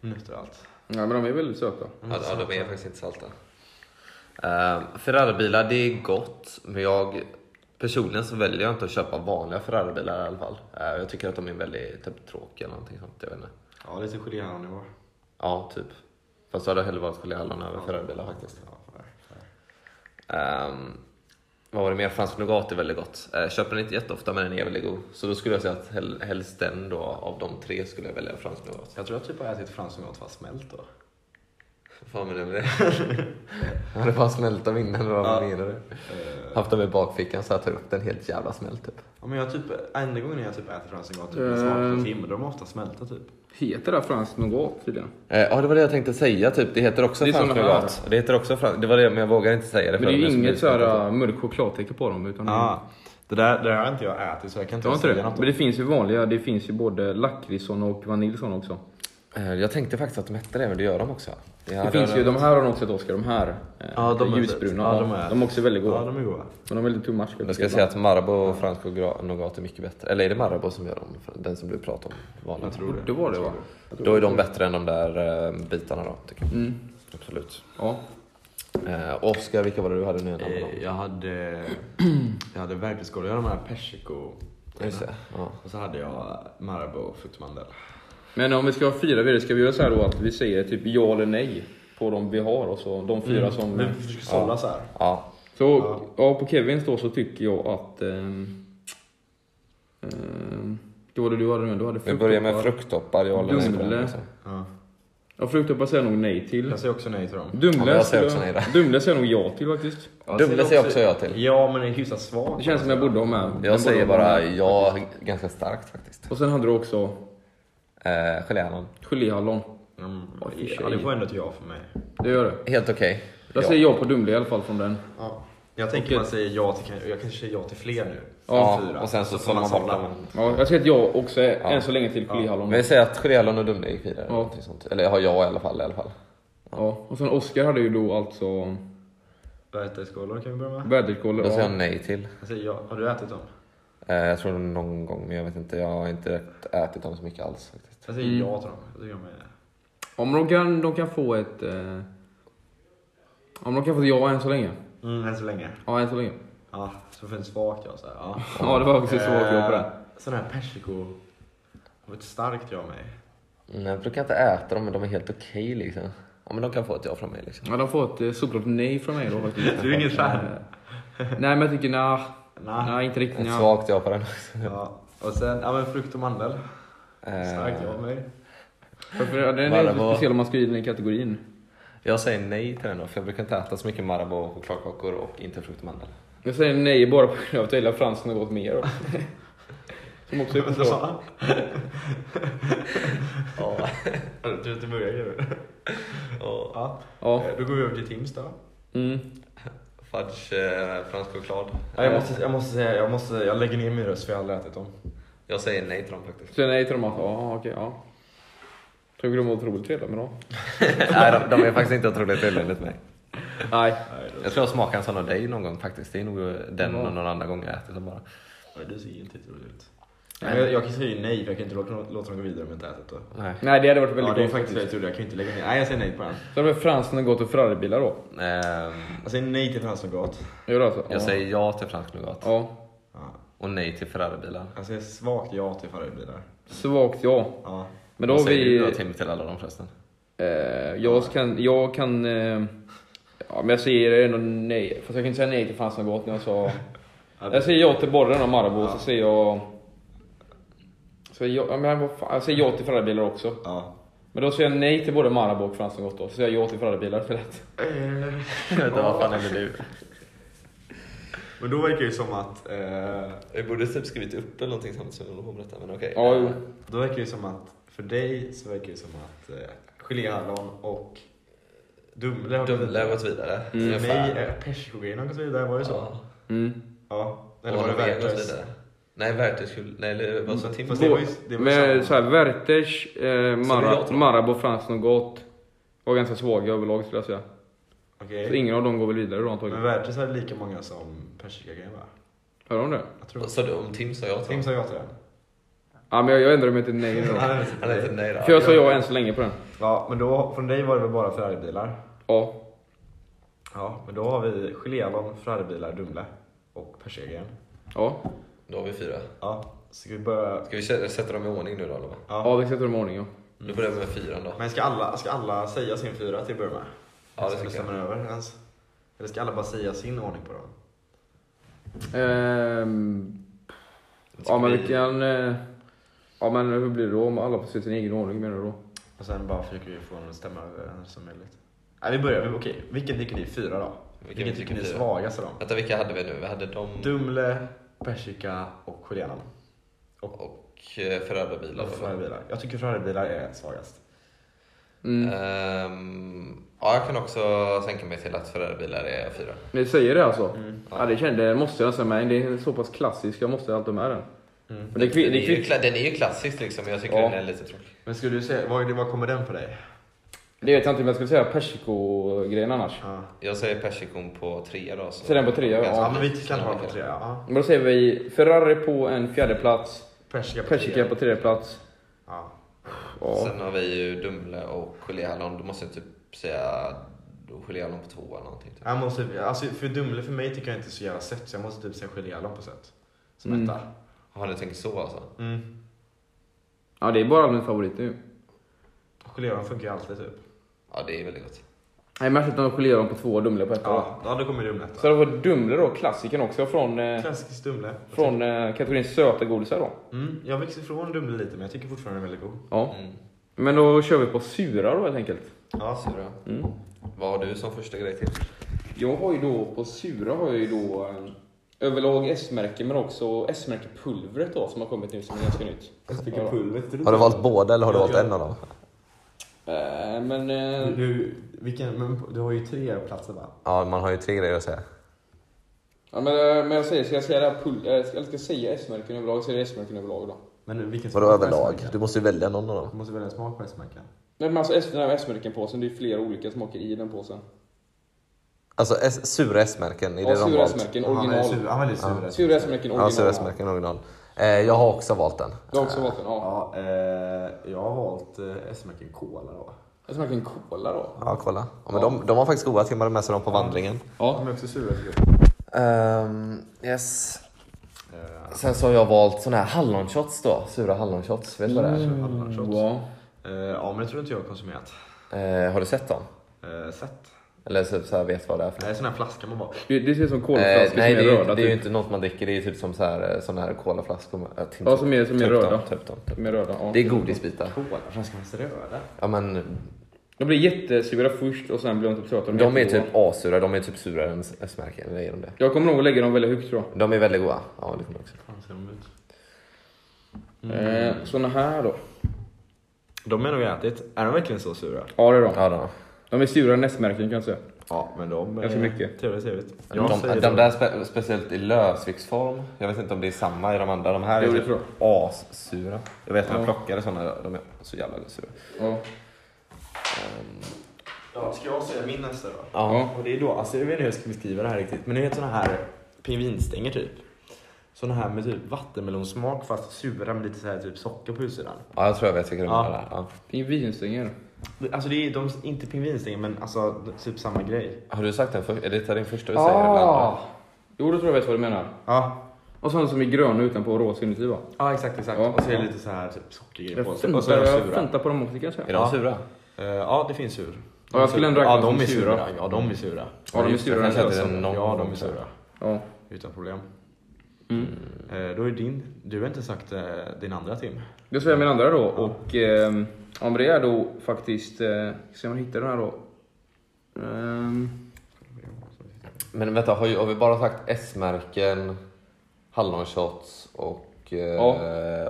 Nötter och allt.
Nej, men de är väldigt söta.
är. Ja, ja, de är faktiskt inte salta. Uh, Ferraribilar, det är gott. Men jag personligen så väljer jag inte att köpa vanliga Ferraribilar i alla fall. Eh, jag tycker att de är väldigt typ, tråkiga eller någonting sånt. Jag vet inte.
Ja, lite geléhallonnivå.
Ja, typ. Fast då hade jag hellre valt geléhallon över Ferraribilar faktiskt.
Ja, för- för-
Ehm, vad var det mer? Fransk nougat är väldigt gott. Eh, köper den inte jätteofta men den är väldigt god. Så då skulle jag säga att hel- helst den då av de tre skulle jag välja fransk nougat.
Jag tror jag typ har ätit fransk nougat fast smält då.
Vad fan menar du med det? Har det bara smält av innan eller vad
Ja.
menar du?
Eh,
Haft dem i bakfickan så jag tar upp den helt jävla smält typ.
Ja, men jag typ, enda gången jag typ äter fransk nougat typ,
Eh.
med smak på tim, de har ofta smälta typ.
Heter det fransk nougat tydligen?
Eh, Ja, det var det jag tänkte säga typ. Det heter också
Det är
fransk
såna här.
nougat. Det heter också fransk... Det var det, men jag vågar inte säga det.
Men
för
det är
dem,
ju
jag skulle
inget
bli utskrattad.
såhär mörk chokladtäcke på dem. Utan
Ah, det, där, det där har inte jag ätit så jag kan
det
inte
var Mm. inte
säga
det.
något.
Men det finns ju vanliga, det finns ju både lakritson och vaniljson också.
Eh, Jag tänkte faktiskt att de hette det, men det gör de också. Ja,
det finns
har-
ju, de här har nog sett Oskar, de här eh,
Ja, de har jag sett.
ljusbruna.
Ja,
Ja,
de
de,
har jag
är.
ätit.
också väldigt goda.
Ja, de är goda.
Men de är lite too much.
Jag ska säga att Marabou och fransk nougat- nougat är mycket bättre. Eller är det Marabou som gör dem? Den som du pratar om. Vanligen.
Jag tror det.
Det var det va?
Då är de bättre än de där eh, bitarna då, tycker jag.
Mm.
Absolut.
Ja.
Eh, Oskar, vilka var det du hade nu innan?
Eh, Jag hade, jag hade verklighetsskål, jag hade de här persiko.
Just det.
eh,
Ja.
Och så hade jag Marabou och fruktmandel.
Men om vi ska ha fyra vidare, ska vi göra så här då att vi säger typ ja eller nej på de vi har och så de
Mm.
fyra som...
Vi försöker sålla så här.
ja.
Så ja, på Kevins då så tycker jag att... ehm, ehm, det var det du hade nu, du hade
Vi börjar med
frukttoppar.
frukttoppar. Jag håller med på den liksom.
Dumle.
också.
Ja.
Ja, frukttoppar säger jag nog nej till.
Jag säger också nej till dem.
Ja, men jag
Dumle
säger också
skulle-
nej där.
Dumle säger jag nog ja till faktiskt.
Dumle säger också ja till.
Ja, men det är hyfsat svag.
Mm. Det känns som jag borde ha med. Den borde
Jag säger
ha
bara
med.
ja ganska starkt faktiskt.
Och sen hade du också
Eh, Geléhallon.
geléhallon.
Mm,
Oj, för
ja, det
sig.
får ändå ett ja för mig.
Det gör det.
Helt okej.
Jag
Ja.
säger ja på Dumle i alla fall från den.
Ja. Jag tänker
Okej.
man säger ja till, jag kanske säger ja till fler nu.
Ja,
Fyra.
och sen så,
får
sållar man bort
sålla.
dem.
Ja, jag säger att jag också är, än så länge till geléhallon.
Men vi säger att Geléhallon och Dumle gick vidare.
Ja.
någonting Sånt. Eller jag har jag i alla fall. I alla fall.
Ja. Och sen Oscar hade ju då alltså
Värteskålar kan vi börja med.
väderkoll.
Då säger
Ja.
jag nej till.
Jag säger ja. Har du ätit dem?
Eh, jag tror någon gång, men jag vet inte. Jag har inte ätit dem så mycket alls faktiskt.
Jag säger
Mm.
ja till dem. Jag tycker de är...
Om de kan, de kan få ett... Eh, om de kan få ett ja än så länge.
Mm, än så länge.
Ja, än så länge.
Ja, så finns svagt ja. Så här, ja. Eh,
Ja, det var också svårt jobb på det.
Sån här persiko. Det var ett starkt ja mig.
Nej, jag brukar inte äta dem, men de är helt okej liksom. Ja, men de kan få ett ja från mig liksom.
Ja, de får ett eh, solklart nej från mig då faktiskt.
Du är ingen fan?
Eh, Nej, men jag tycker nah.
Nah.
Nej, inte riktigt
Ett
nah.
svagt ja på den också.
Ja. Och sen, ja men frukt och mandel. Starkt ja
Eh,
mig.
Varför- ja, Den är
Bara
lite
vad-
speciell om man skriver den i kategorin.
jag säger nej till den då, för jag brukar inte äta så mycket Marabou, chokladkakor och inte frukt och mandel.
Jag säger nej bara på grund av att jag gillar fransen något mer. också. Som också är på tråd.
Ja. Du tror att du börjar ju. Ja.
Ja.
Eh, Då går vi över till Tims då.
Mm.
Fudge, eh, fransk choklad.
Ja, jag, måste, jag måste säga, jag, måste, jag lägger ner min röst för jag har aldrig ätit dem.
Jag säger nej till dem faktiskt.
Så nej till dem att, ja okej, ja. Tycker de var otroligt trevliga med dem?
nej, de, de är faktiskt inte otroligt trevliga enligt mig.
Nej.
Jag tror jag smakade en sån av dig någon gång faktiskt. Det är nog den
Ja.
och någon annan gång jag ätit dem bara.
Ja, det ser inte roligt ut. Men jag, jag kan säga ju nej för jag kan inte låta, låta dem gå vidare om jag inte ätit då.
Nej.
Nej, det hade varit
Ja,
väldigt
det är
gott.
faktiskt väldigt roligt. Jag kan ju inte lägga ner. Nej, jag säger nej på den.
Så hade väl fransen gått och Ferraribilar då?
Ehm,
Jag säger nej till fransnougat.
Gör det alltså?
jag säger ja till fransk nougat
Ja.
Ja.
och nej till Ferraribilar.
Jag säger svagt ja till Ferraribilar.
Svagt ja.
Ja.
Men då har
Vad säger
vi...
du då Tim till alla dem förresten?
Eh, jag kan... Jag kan eh, ja, men jag säger ändå nej. Fast jag kan inte säga nej till Fransen Gott när jag sa... alltså. jag säger ja till borren och Marabou, så säger jag... Så jag, ja, men vad fan, jag säger ja till Ferraribilar också.
Ja.
Men då säger jag nej till både Marabou och Fransen Gott då. Så säger jag ja till Ferraribilar istället.
Eh.
Vänta, vad fan är det nu?
Men då verkar det ju som att... Eh,
Jag borde typ skrivit upp eller någonting samtidigt som jag håller på med detta, men okej.
Ja, jo.
då verkar det ju som att för dig så verkar det som att eh, geléhallon och Dumle har gått
Dumle har
vidare.
gått vidare.
För mig
Ungefär.
är persikogrejen har gått vidare, var det så? Ja.
Ja.
Mm.
Eller
Och
var det
de har gått
Werthers?
vidare. Nej, Werthers skulle... Nej, eller vad sa Tim?
Fast det var ju, det var ju
Men
samma.
såhär, Werthers, eh,
jag
Mara,
tror.
Marabou, Fransen och Gott var ganska svaga överlag skulle jag säga. Så
Okej.
ingen av dem går väl vidare då antagligen.
Men Werthers hade lika många som persikogrejen va?
Hör de det?
Jag tror
Vad sa du om Tim sa jag till
Tim
honom?
sa ja till den.
Ja, men jag, jag ändrar mig till nej nu då.
Han hade inte
Han är inte nej då.
För jag sa ja än så länge på den.
Ja, men då, från dig var det väl bara Ferraribilar?
Ja.
Ja, men då har vi geléhallon, Ferraribilar, Dumle och persikogrejen.
Ja.
Då har vi fyra.
Ja, ska vi börja...
Ska vi kä- sätta dem i ordning nu då eller? vad?
Ja, vi sätter dem i ordning ja.
Du börjar med fyran då.
Men ska alla, ska alla säga sin fyra till att börja med?
Ja, det
Som
tycker jag.
stämmer över ens? Eller ska alla bara säga sin ordning på dem?
Ehm,
Tycker
ja men vi kan... eh, Ja men hur blir det då om alla får se sin egen ordning menar du då?
Och sen bara försöker vi få dem att stämma överens som möjligt. Nej, vi börjar. Vi- Okej, vilken tycker ni är fyra då?
Vilken
Vilken
tycker
tycker ni är
fyra?
svagast av dem?
Vänta, vilka hade vi nu? Vi hade dem
Dumle, persika och geléhallon.
och eh, Ferraribilar.
Och
var det?
Ferraribilar. Jag tycker Ferraribilar är svagast.
Mm.
Ehm, ja, jag kan också sänka mig till att Ferraribilar är fyra.
Ni säger det alltså?
Mm.
Ja det kände jag, måste jag nästan med. Det är så pass klassisk, jag måste alltid ha med den.
Mm.
Men det, är kvi-
den,
det
är
är
ju,
kvick,
kla- den är ju klassisk liksom, men jag tycker
Ja.
den är lite tråkig.
Men skulle du säga, vad, vad kommer den på dig?
det vet jag inte men jag skulle säga persikogrejen annars.
Ja. Alltså,
Jag säger persikon på tre då. Så
Säg den på tre, ja.
Ganska
Ja, men vi
likt.
kan ha den på tre. Ja.
Men då säger vi Ferrari på en fjärde plats,
Persika på
persika på
tre.
tredje plats.
Ja.
Ja.
Sen har vi ju Dumle och Geléhallon. Då måste jag typ säga Geléhallon på två eller någonting. Typ.
Jag måste, typ- alltså, för Dumle för mig tycker jag inte är så jävla sött så jag måste typ säga geléhallon på sätt. Som
Mm.
etta.
Har ni tänkt så alltså?
Mm.
ja det är bara allmän favorit nu.
Geléhallon funkar ju alltid typ.
Ja, det är väldigt gott.
Nej men de skiljer dem på två och Dumle på ett. Ja.
Ja, då kommer Dumle etta.
Så det var Dumle då, klassikern också från... Eh,
Klassisk Dumle.
Från eh, kategorin söta godisar då.
Mm. Jag växer ifrån Dumle lite men jag tycker fortfarande den är väldigt god.
Ja.
Mm.
Men då kör vi på sura då helt enkelt.
Ja, sura.
Mm.
Vad har du som första grej till?
Jag har ju då, på sura har jag ju då eh, överlag S-märke men också S-märkepulvret då som har kommit nu som är ganska nytt.
Stycke pulver.
Har du valt båda eller har du valt en av dem?
Eh, Men eh,
Du, vilken, men du har ju tre platser va?
Ja, man har ju tre grejer att säga.
Ja, men, eh, men jag säger, ska jag säga det här pul- eh, ska- eller ska jag säga S-märken överlag, så är det S-märken överlag då.
Men vilken
Vadå
smak på
överlag?
S-märken?
Du måste ju välja någon av dem.
Du måste välja en smak på S-märken.
Nej men alltså S- den här S-märken-påsen, det är flera olika smaker i den påsen.
Alltså S, sura S-märken, är det
Ja,
de
sura
valt?
S-märken,
Han är sur-
original.
han är väldigt sur.
Sura S-märken, original.
Ja, sura S-märken original. Eh, jag har också valt den.
Du har också valt den? Ja.
Ja, eh, jag har valt eh, S-märken Cola då.
S-märken Cola då?
Ja, kolla. Ja, men de, de var faktiskt goda, Tim hade med sig dem på vandringen.
Ja.
De är också sura.
Ehm, yes.
Eh,
Sen så har jag valt såna här hallonshots då, sura hallonshots. Vet du vad det är?
Mm.
hallonshots.
Wow.
eh, ja, men det tror inte jag har konsumerat.
Eh, har du sett dem?
Eh, sett.
Eller typ så, så här, vet vad det är för
Nej, sån här flaska man bara...
Det, det ser ut som
Eh,
colaflaskor
nej, det
som
är,
är
ju
röda.
inte, det är ju
typ.
inte något man dricker, det är typ som så här, eh, såna här colaflaskor. med- eh, Tim,
Ja,
typ.
som är, som
Ta
är
upp
röda.
dem, ta upp dem, ta upp dem.
Som är röda, ja.
Det är godisbitar.
Flaskan är röda.
Ja, men,
De blir jättesura först och sen blir de typ söta.
de är
jättegoda.
typ asura, de är typ surare än S-märken. Eller är de det?
Jag kommer nog att lägga dem väldigt högt tror jag.
De är väldigt goda. Ja, det kommer jag också.
Fan ser de ut?
Mm.
Eh, såna här då.
De är nog ätit. Är de verkligen så sura?
Ja det är de.
Ja, då.
De är surare än S-märken kan jag säga.
Ja, men de...
Ganska mycket.
Trevligt, trevligt.
De, de där spe, speciellt i lövsviksform, jag vet inte om det är samma i de andra. De här
Jo,
är
det
typ
tror
assura. Jag vet att jag
Ja.
plockade såna, de är så jävla sura.
Ja.
Ja, ska jag säga min nästa då?
Ja.
Och det är då, alltså jag vet inte hur jag ska beskriva det här riktigt, men ni vet såna här pingvinstänger typ. Såna här med typ vattenmelonsmak fast sura med lite så här typ socker på utsidan.
Ja, jag tror jag vet vilka de
Ja.
är. där. Ja.
Pingvinstänger.
Alltså det är de, inte pingvinstänger men alltså typ samma grej.
Har du sagt den först? Är det din första du säger? Ah.
Jo, då tror jag vet vad du menar.
Ja,
Och sådana som är gröna utanpå och rosa inuti va?
ja exakt exakt.
Ja.
Och så är det lite så här typ sockergrej på
Jag
sig. Och så är de sura.
föntar på dem också kanske.
Är de
Ja.
sura?
Eh, ja, det finns sur.
Ja, jag skulle ändå räkna
ja, de
som
är sura.
sura.
Ja, de är sura. Eh,
Ja, de är
just det,
surare än
kanske att det är
lösen.
någon
ja, de är
också.
sura.
Ja.
Utan problem.
Mm.
Eh, då är din, du har inte sagt eh, din andra Tim.
Då säger jag min andra då och ehm, om det är då faktiskt, eh, ska man hitta den här då? Ehm,
Men vänta, har, ju, har vi bara sagt S-märken, hallonshots och eh,
Ja.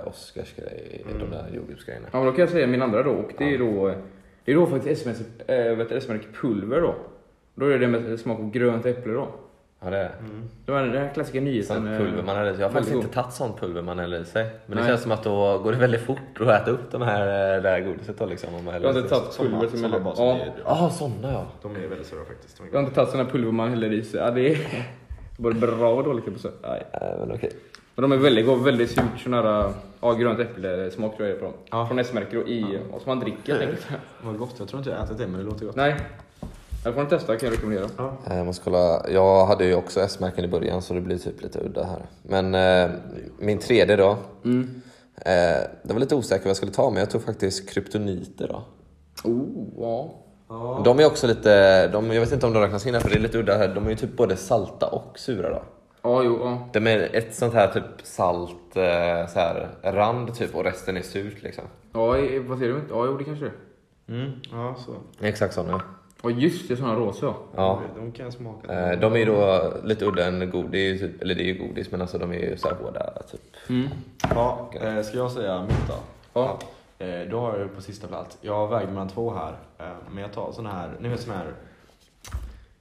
Oscarsgrej, de där jordgubbsgrejerna?
ja men då kan jag säga min andra då och det är då, eh, det är då faktiskt sms, äh, vet, du, sms pulver då. Då är det med smak av grönt äpple då.
Ja, det är det.
Det var den här klassiska nyheten.
Sånt
eh,
pulver man häller i sig. Jag har faktiskt
Varsågod.
inte tagit sånt pulver man häller i sig. Men det
Nej.
känns som att då går det väldigt fort att äta upp de här, eh, det här godiset då liksom. Om man
Jag har
häller i
inte
sig.
tagit pulver som
såna
häller...
bara som
Ja,
är-
Jaha, såna ja.
De är väldigt sura faktiskt. De är-
jag har inte tagit sådana pulver man häller i sig. Ja, det är både bra och dåligt på så. Nej.
Eh, Men okej.
Men de är väldigt goda, väldigt surt, sån här eh, ja, grönt äpple-smak tror jag det är på dem.
Ja.
Från S-märken och i, och som man dricker helt enkelt.
Vad gott, jag tror inte jag har ätit det men det låter gott.
Nej. Jag får den testa kan jag rekommendera.
Eh, Jag måste kolla. Jag hade ju också S-märken i början så det blir typ lite udda här. Men eh, min tredje då. Eh, det var lite osäker vad jag skulle ta men jag tog faktiskt kryptoniter då.
Oh, ja.
De är också lite, de, jag vet inte om de räknas in här för det är lite udda här. De är ju typ både salta och sura då.
Ja, jo, ja.
De är ett sånt här typ salt eh, så här, rand typ och resten är surt liksom.
Ja, i- i- vad säger du? Ja, jo, det kanske det är.
Mm, ja, så.
Exakt såna.
Ja, just det, såna rosa.
Ja.
De kan jag smaka.
Eh, De är ju då lite udda än godis, typ, eller det är ju godis men alltså de är ju så här hårda typ.
Mm.
Ja, eh, ska jag säga mitt då?
Ja.
Eh, då har jag på sista plats. Jag vägde mellan två här. Eh, men jag tar sån här, ni vet sån här.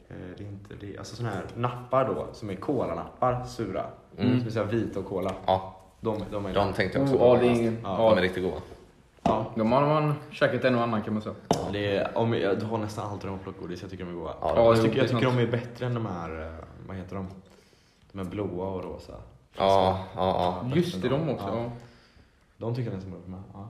Eh, det är inte det. Alltså sån här nappar då, som är kolanappar, sura. Som är så här vita och kola.
Ja,
De, de är
de tänkte jag
Oh,
också
ja,
på.
det är ingen...
De är
Ja,
riktigt goda.
Ja,
de har man käkat en och annan kan man säga.
det är, om, jag, du har nästan alltid de plockgodis. Jag tycker de är goda.
Ja,
Ja,
jag tycker,
jo, det är
jag tycker
sant.
de är bättre än de här, eh, vad heter de? De här blåa och rosa.
Ja, ja, ja.
Just det, de också. Ja.
De tycker jag nästan borde med. Ja.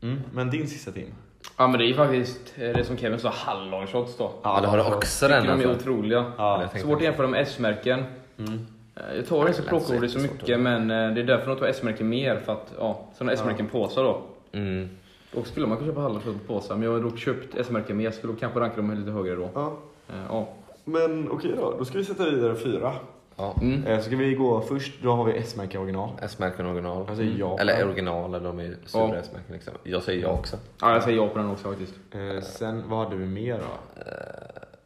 Mm, men din sista tim?
ja, men det är faktiskt eh, det som Kevin sa, hallonshots då.
Ja, det har du också den
Tycker de är
alltså.
otroliga.
Ja, jag
Svårt att
tänkte-
jämföra med S-märken.
Mm.
Eh, Jag tar inte
lätt
plockgodis så
svårt
mycket, men eh, det är därför de tar S-märken mer. För att, ja, sådana S-märken-påsar då.
Mm.
Och skulle man kunna köpa hallonskott på påsar, men jag har dock köpt S-märken mer, så då kanske rankar de lite högre då.
Ja,
Eh, Ja.
men okej då. Då ska vi sätta vidare fyra.
Ja.
Mm.
Eh, Ska vi gå först, då har vi S-märke original. Alltså,
S-märken original.
Jag säger ja.
Eller original, eller de är sura
Ja.
S-märken. Liksom. Jag säger ja också.
Ja, jag säger ja på den också faktiskt.
Eh, Sen, vad hade vi mer då?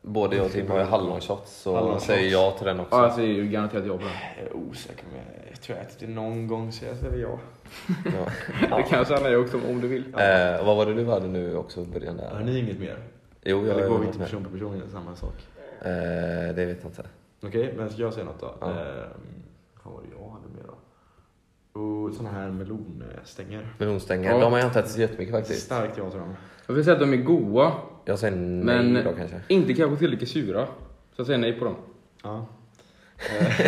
Både jag och Tim har ju hallonshots, så
Hallonshots.
säger jag till den också.
Ja, jag säger ju garanterat ja på den.
Eh, oh, Jag är osäker, men jag tror jag ätit det någon gång så jag säger ja.
Ja.
Det kan jag säga nej också om du vill.
Eh, vad var det du hade nu också i början där?
Har ni inget mer?
Jo, jag har
Eller går vi
något
inte
mer.
person på person, det är samma sak.
Eh, det vet jag inte.
Okej, men ska jag säga något då?
Ja.
Ehm, vad var det jag hade mer då? Och såna här melonstänger.
Melonstänger,
Ja.
de har jag inte ätit så jättemycket faktiskt.
Starkt ja till dem.
Jag vill säga att de är goa,
Jag säger nej
men
då kanske.
inte kanske tillräckligt sura. Så jag säger nej på dem.
Ja. Eh,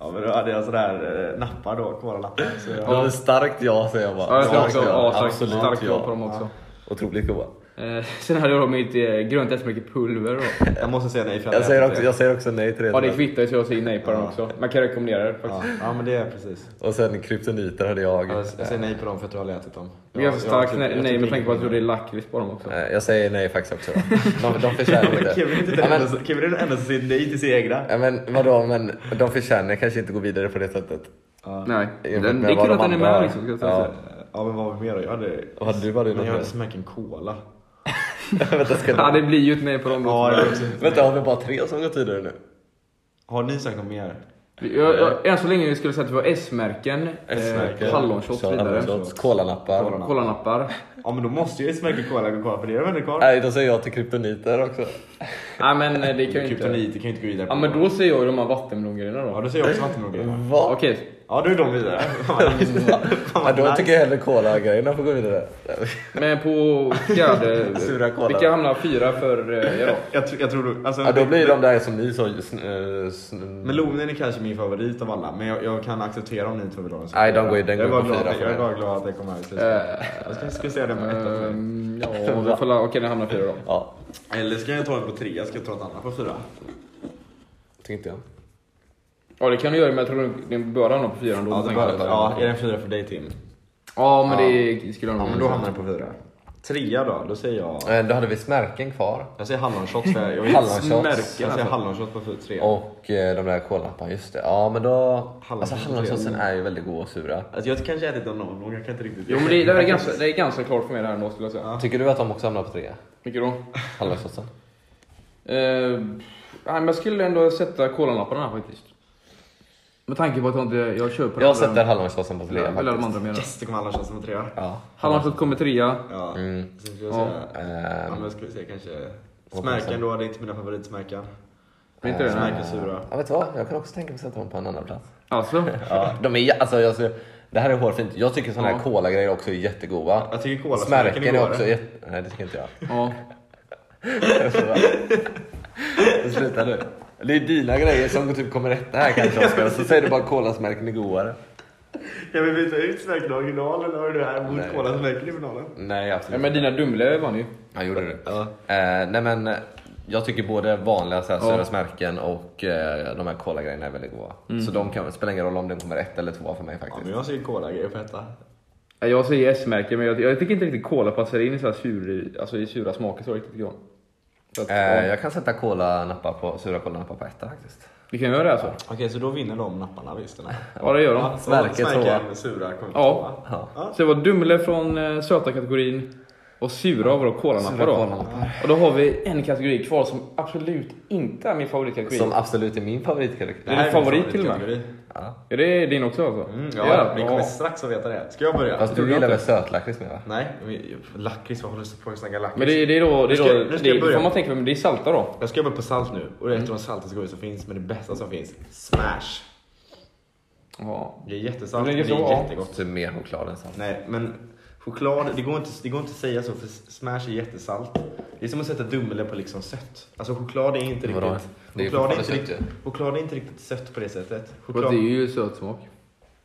ja men då hade jag sådär eh, nappar då, kolanappar. Så jag...
Ja. men starkt ja säger jag bara.
Ja, jag säger också
Starkt
ja. Starkt,
Absolut
starkt ja på
ja.
dem också.
Otroligt goda.
Eh, sen hade jag då mitt eh, grönt S-märke-pulver då.
Jag måste säga nej för
Jag
hade
säger,
ätit
också,
det.
jag säger också nej till det.
Ja, det kvittar ju så jag säger nej på den
Ja.
också. Man kan rekommendera det faktiskt.
Ja. ja men det är precis.
Och sen kryptoniter hade jag.
Jag säger nej på dem för att du aldrig ätit dem.
Det är ganska starkt
jag-
nej,
jag
nej
tycker
med tanke på att
inget om
det är lakrits på dem också.
Eh, Jag säger nej faktiskt också. Då. De, de förtjänar
det.
inte.
Kevin är inte
Ja,
den
men-
enda som- Kevin är den enda som säger nej till sina egna.
Ja, men vadå, men de förtjänar kanske inte gå vidare på det sättet.
Nej,
Jämfört
den, det
med
är
vad
kul
de
att den är
andra har.
med liksom. ska jag
Ja.
säga.
Ja men vad var vi mer då? Jag hade...
Vad hade du varit
Men
med
jag hade
för?
smaken cola.
Vänta, ska
Ja,
du...
det blir ju ett nej på dem då.
Ja, jag har också-
Vänta, har vi bara tre som gått vidare nu?
Har ni sagt något mer?
Jag, jag, än så länge skulle jag säga att det var S-märken,
Eh. S-märken,
eh, hallonshots
Så,
vidare,
hallonshots, Kolanappar.
Kolanappar.
kolanappar.
Ja men då måste jag ju smaka cola och cola för det är de enda kvar.
Nej, då säger jag till kryptoniter också.
Nej men eh, det kan ju inte...
Kryptonit, det kan ju inte gå vidare
Ja men då säger jag ju de här vattenmelongrejerna
Ja
då.
då säger jag också vattenmelongrejerna.
Va?
Okej,
Ja då är de vidare. Fan,
Ja,
vad
då
nice.
tycker jag hellre Cola-grejerna får gå vidare.
men på fjärde...
Sura kolar.
Vilka hamnar fyra för eh, er då?
jag, tror- jag tror du, alltså,
Ja, då blir de där som ni sa... sn- eh, sn-
Melonen är kanske min favorit av alla men jag, jag kan acceptera om ni inte vill ha den som
Nej, de går ju- den
jag är
går
bara
på
glad,
fyra för
Jag är
mig. Eh.
bara glad att den kom här. Så
Eh,
jag ska, ska säga den på etta för mig.
ehm, ja, vi får la- okej den hamnar fyra då.
Ja,
Eller ska jag ta den på tre? Jag ska ta ett annat på fyra.
tänkte jag.
Ja det kan du göra men jag tror den bör hamna på fyran då.
Ja,
med
det
tanke på
var,
detta.
ja, är den fyra för dig Tim?
ja men det skulle jag
Ja
nog
men då hamnar den på fyra. Trea då, då säger jag...
Eh, Då hade vi smärken kvar.
Jag säger hallonshots för jag vill
Hallonshots.
Jag säger hallonshots på fyra- tre.
Alltså. Och eh, de där kolapparna, just det. Ja men då... alltså hallonsåsen är ju väldigt god och sura.
Alltså jag kanske ätit dem någon gång, jag kan inte riktigt...
Jo men det, det, är ganska, det är ganska klart för mig det här ändå skulle jag säga.
Tycker du att de också hamnar på tre?
Vilka då?
Hallonsåsen?
Eh, nej, men jag skulle ändå sätta kolanapparna här faktiskt. Med tanke på att jag inte jag köper
Jag sätter hallonsåsen på tre
Jag vill ha de
faktiskt.
andra mer.
Yes, det kommer hallonshots som en trea.
Ja.
Hallonshot kommer trea.
Ja.
Mm.
Sen skulle jag
Ja.
säga... Ja, men
Ehm,
jag skulle säga kanske...
Vad
Smärken
passar?
då, det är inte mina favoritsmärken.
Ehm,
Är inte det?
Smärken
Nej.
sura.
ja, vet du vad? Jag kan också tänka mig att sätta dem på en annan plats.
Alltså?
Ja, de är, jä- alltså, jag, ser- det här är hårfint. Jag tycker såna här
Ja.
kolagrejer också är jättegoda.
Jag tycker kolasmärken
Smärken är
igår.
också jätte... Nej det tycker inte jag.
Ja.
Sluta nu. Det är dina grejer som typ kommer rätta här kanske Oskar. Så säger du bara kolasmärken är godare.
Kan vi byta ut smärken original eller har du det här
Nej.
mot kolasmärken i finalen?
Nej
ja
absolut
men dina Dumle vann ju.
Han gjorde det. Eh, nej men eh, jag tycker både vanliga så här, sura smärken och eh, de här kolagrejerna är väldigt goda. Så de kan, spelar ingen roll om den kommer ett eller två för mig
Ja,
faktiskt.
men jag säger kolagrejer på etta.
Ja, Jag säger S-märke men jag, jag tycker inte riktigt kola passar in i, så här sur, alltså i sura smaker så riktigt. tycker jag. Så att,
eh,
ja.
jag kan sätta kolanappar på, sura kolanappar på etta faktiskt.
Vi kan göra det alltså.
Okej, så då vinner de napparna visst? eller?
Ja det gör de.
Ja,
Smärken
och smärken sura kommer på
Ja.
tvåa.
Ja.
Så det var Dumle från eh, söta kategorin och sura var då kolanappar
Sura
då.
kolanappar.
Och då har vi en kategori kvar som absolut inte är min favoritkategori.
Som absolut är min favoritkategori.
Det här är
Min
min
favorit till och med.
favoritkategori.
Ja.
Är det din också alltså?
Mm, ja, vi kommer strax att veta det. Ska jag börja?
Fast
tror
du
jag
gillar
inte.
väl sötlakrits mer va?
Nej, men- lakrits, vad håller du på att snacka lakrits?
Men det, det är då, det
Nu
är
ska-
då,
nu ska
det,
jag börja.
får man tänka på, men det är salta då.
Jag ska jobba på salt nu och det är ett av
Mm.
de saltaste godis som finns, men det bästa som finns, smash!
Ja.
Det är jättesalt,
Det
men
är
det är
så, ja.
jättegott.
Typ mer choklad än salt.
Nej, men choklad, det går, inte, det går inte att säga så för smash är jättesalt. Det är som att sätta Dumle på liksom sött. Alltså choklad är inte
Vadå?
riktigt...
Det är ju
Choklad är,
fortfarande
inte riktigt
sött
choklad är inte riktigt sött på det sättet.
Fast
Choklad,
det är ju söt smak.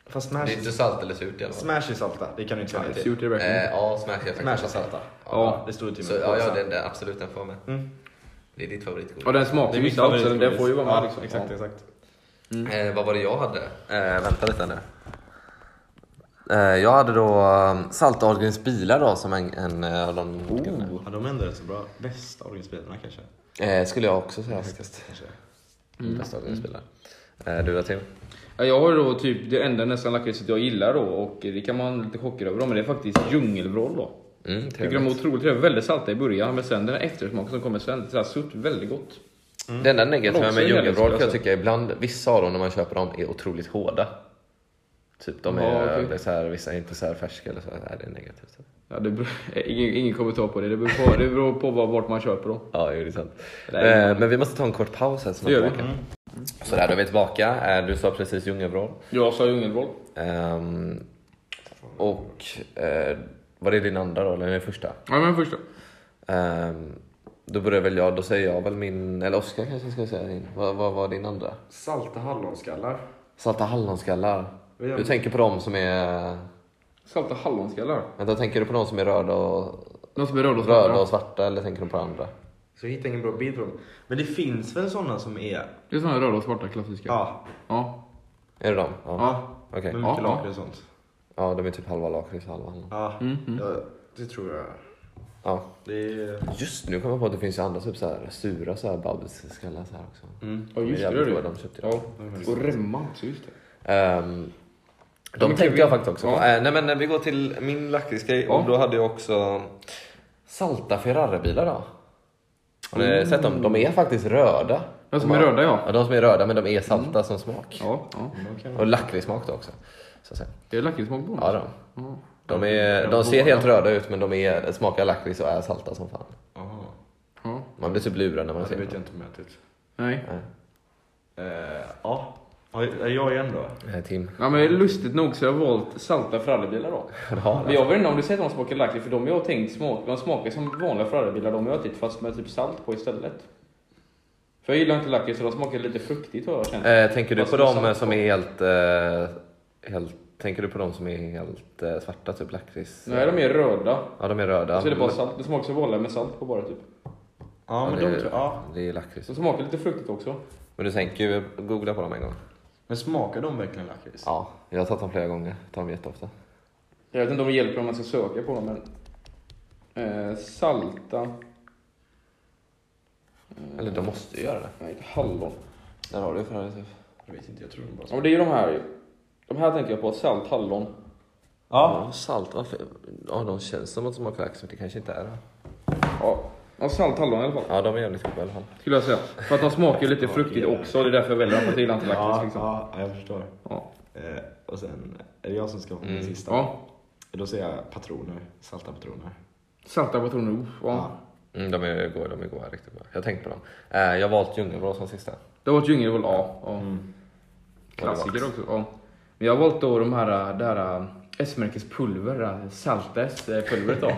fast smash,
Det är inte salt eller surt i alla fall.
smash är salta, det kan du inte säga nej till.
Surt är det
Eh,
verkligen.
ja, smash är faktiskt
Smash är salta.
Ja.
Det står ju till
Så,
och med på
ja, ja
salt.
den där, absolut den får med.
Mm.
Det är ditt favoritgodis.
Och den smakar ju
mitt
salt så den där
favoritgodis.
får ju vara med
ja,
liksom.
Exakt,
Ja.
exakt.
Eh, vad var det jag hade? Eh, vänta lite nu. Eh, jag hade då eh, Salta Ahlgrens bilar då som en, en eh, av de
Ja, de är ändå rätt så bra. Bästa originalspelarna kanske.
eh, Skulle jag också säga faktiskt.
Kanske.
De bästa lagringsbilar. Eh, Du då Theo?
Ja, jag har ju då typ det enda nästan lakritset jag gillar då och det kan man lite chockad över då, men det är faktiskt djungelvrål då.
Mm,
Tycker de är
trevligt.
otroligt trevliga, väldigt salta i början men sen den här eftersmaken som kommer sen, så här surt, väldigt gott.
Det enda
Men
negativa
också
med
Mm. jävligt,
djungelvrål kan jag
alltså.
tycka ibland, vissa av dem när man köper dem är otroligt hårda. Typ de är,
Ja, okej.
det är så här, vissa är inte så här färska eller så. Nej, det är negativt.
Ja, det beror, ingen, ingen kommentar på det, det beror på, det beror på var, vart man köper då.
Ja, jo, det är sant.
Nej, det är
Eh, Men vi måste ta en kort paus här så
Det gör vi. Mm.
Så där, då är vi tillbaka. Eh, Du sa precis djungelvrål.
Jag sa djungelvrål.
Ehm, och eh, var det din andra då, eller den första?
Ja men första.
Ehm, då börjar väl jag, då säger jag väl min, eller Oskar kanske ska jag säga din. Vad, vad var din andra?
Salta hallonskallar.
Salta hallonskallar.
Vad gör
Du
vi?
tänker på dem som är,
Salta hallonskallar.
vänta, tänker du på dem som är röda och,
Någon som är röd och svart,
röda
va?
och svarta eller tänker du på andra?
Så jag hittar ingen bra bild på dem. Men det finns väl sådana som är...
Det är såna här röda och svarta klassiska.
Ja.
Ja.
Är det dem? Ja.
Ja.
Okej.
Med
Ja, Mm.
mycket
ja.
lakrits och sånt.
Ja, de är typ halva lakrits, halva hallon.
Ja.
Mm,
ja. Det tror jag.
Ja.
Det är...
Just nu kommer jag på att det finns ju andra typ så här sura så här babelskallar så här också.
Mm.
Ja just
Det är
det, det är
jävligt
det.
goda de köpte.
Ja. Och remma också, just det.
Ehm,
Ja,
de
men
tänkte
vi-
jag faktiskt också på.
ja.
Eh, nej men eh, vi går till min lakritsgrej och
Ja.
då hade jag också salta Ferraribilar då. Har ni sett dem? De är faktiskt röda.
Mm. De som är röda, ja. Mm.
ja. De som är röda men de är salta som smak.
Ja, ja.
Och lakritssmak då också. Så att säga.
Det är lakritssmak på dem.
Ja, de.
Ja.
De, är, de ser helt röda ut men de är, smakar lakrits och är salta som fan.
Jaha.
ja.
Man blir typ lurad när man
Det
ser
vet
dem.
jag inte om jag har ätit.
Nej.
Eh, Ja. Ja, Jag igen då.
Eh, Tim.
Ja, men lustigt nog så har jag valt salta Ferraribilar då.
Ja,
Men jag vet inte om du säger att de smakar lakrits, för de jag har tänkt smak, de smakar som vanliga Ferraribilar, de jag har ätit fast med typ salt på istället. För jag gillar inte lakrits, så de smakar lite fruktigt har jag känt.
Eh, tänker du
Vad
på
som är
dem
sant
som är helt, eh, helt... Tänker du på dem som är helt eh, svarta, typ lakrits?
Nej, de är röda.
Ja, de är röda.
Så är det bara
Men-
salt, det smakar som vanliga med salt på bara typ.
Ja,
Ja,
men
det,
de
är,
tror... Ja.
det är lakrits.
Så smakar lite fruktigt också.
Men du tänker ju googla på dem en gång.
Men smakar de verkligen lakrits?
Ja, jag har tagit dem flera gånger. Jag tar dem jätteofta.
Jag vet inte om det hjälper om man ska söka på dem, men... Eh, salta...
Eller de måste ju göra det.
Nej, inte hallon.
Där har du Ferrari typ.
Jag vet inte, jag tror de bara
Ja, men det är ju de här ju. De här tänker jag på, salt, hallon.
Ja.
Salt, varför? Ja, de känns som att de smakar lakrits, men det kanske inte är det.
Ja, ja salt, hallon i alla fall.
Ja, de är jävligt goda i alla fall.
Skulle jag säga. För att de smakar ju lite fruktigt också, det är därför jag väljer dem, för att jag gillar inte lakrits
Ja,
liksom.
ja, jag förstår.
Ja.
Eh, Och sen är det jag som ska få den sista.
Mm.
Eh,
ja.
Då säger jag patroner. Salta patroner.
Salta patroner, uff. Ja.
Ja.
Mm, de är goda, de är goda, riktigt bra. Jag har tänkt på dem. Eh, jag har valt djungelblå som sista.
Det var ett djungelvåld, ja. ja.
Mm.
Klassiker också. Ja. Men jag har valt då de här, det här eh, S-märkespulver, det här salta S-pulvret då.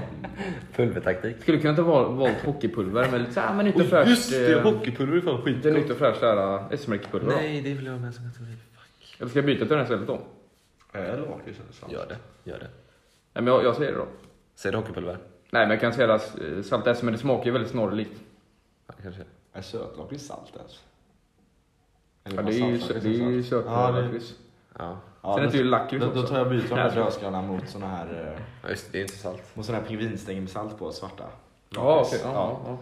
Pulvertaktik.
Skulle kunna ta val, valt hockeypulver men lite såhär, men nytt och fräscht. eh,
hockeypulver är fan
Lite nytt och fräscht äh, där S-märkespulver då.
Nej, det vill jag ha med som kategori.
Eller ska jag byta till den här istället då? Nej
Eller lakrits eller salt.
Gör det, gör det.
men jag, jag säger det då.
Säger du hockeypulver?
Nej men jag kan säga att eh, salta S men det smakar ju väldigt snorrigt.
Ja, det kanske.
Är sötlakrits salt ens? Eller
Ja,
bara
det är ju,
salt,
sö- det
liksom
är ju
salt.
sötare
Ja, det-
lakrits.
Ja.
Ja,
Sen är
men-
det ju lakrits
Då, då tar
också.
jag byter de
Nej,
här
så-
dödskallarna mot såna här, eh,
ja, just det, det är inte salt.
mot såna här pingvinstänger med salt på, svarta.
Ja okej.
Lakrits.
Ja, ja.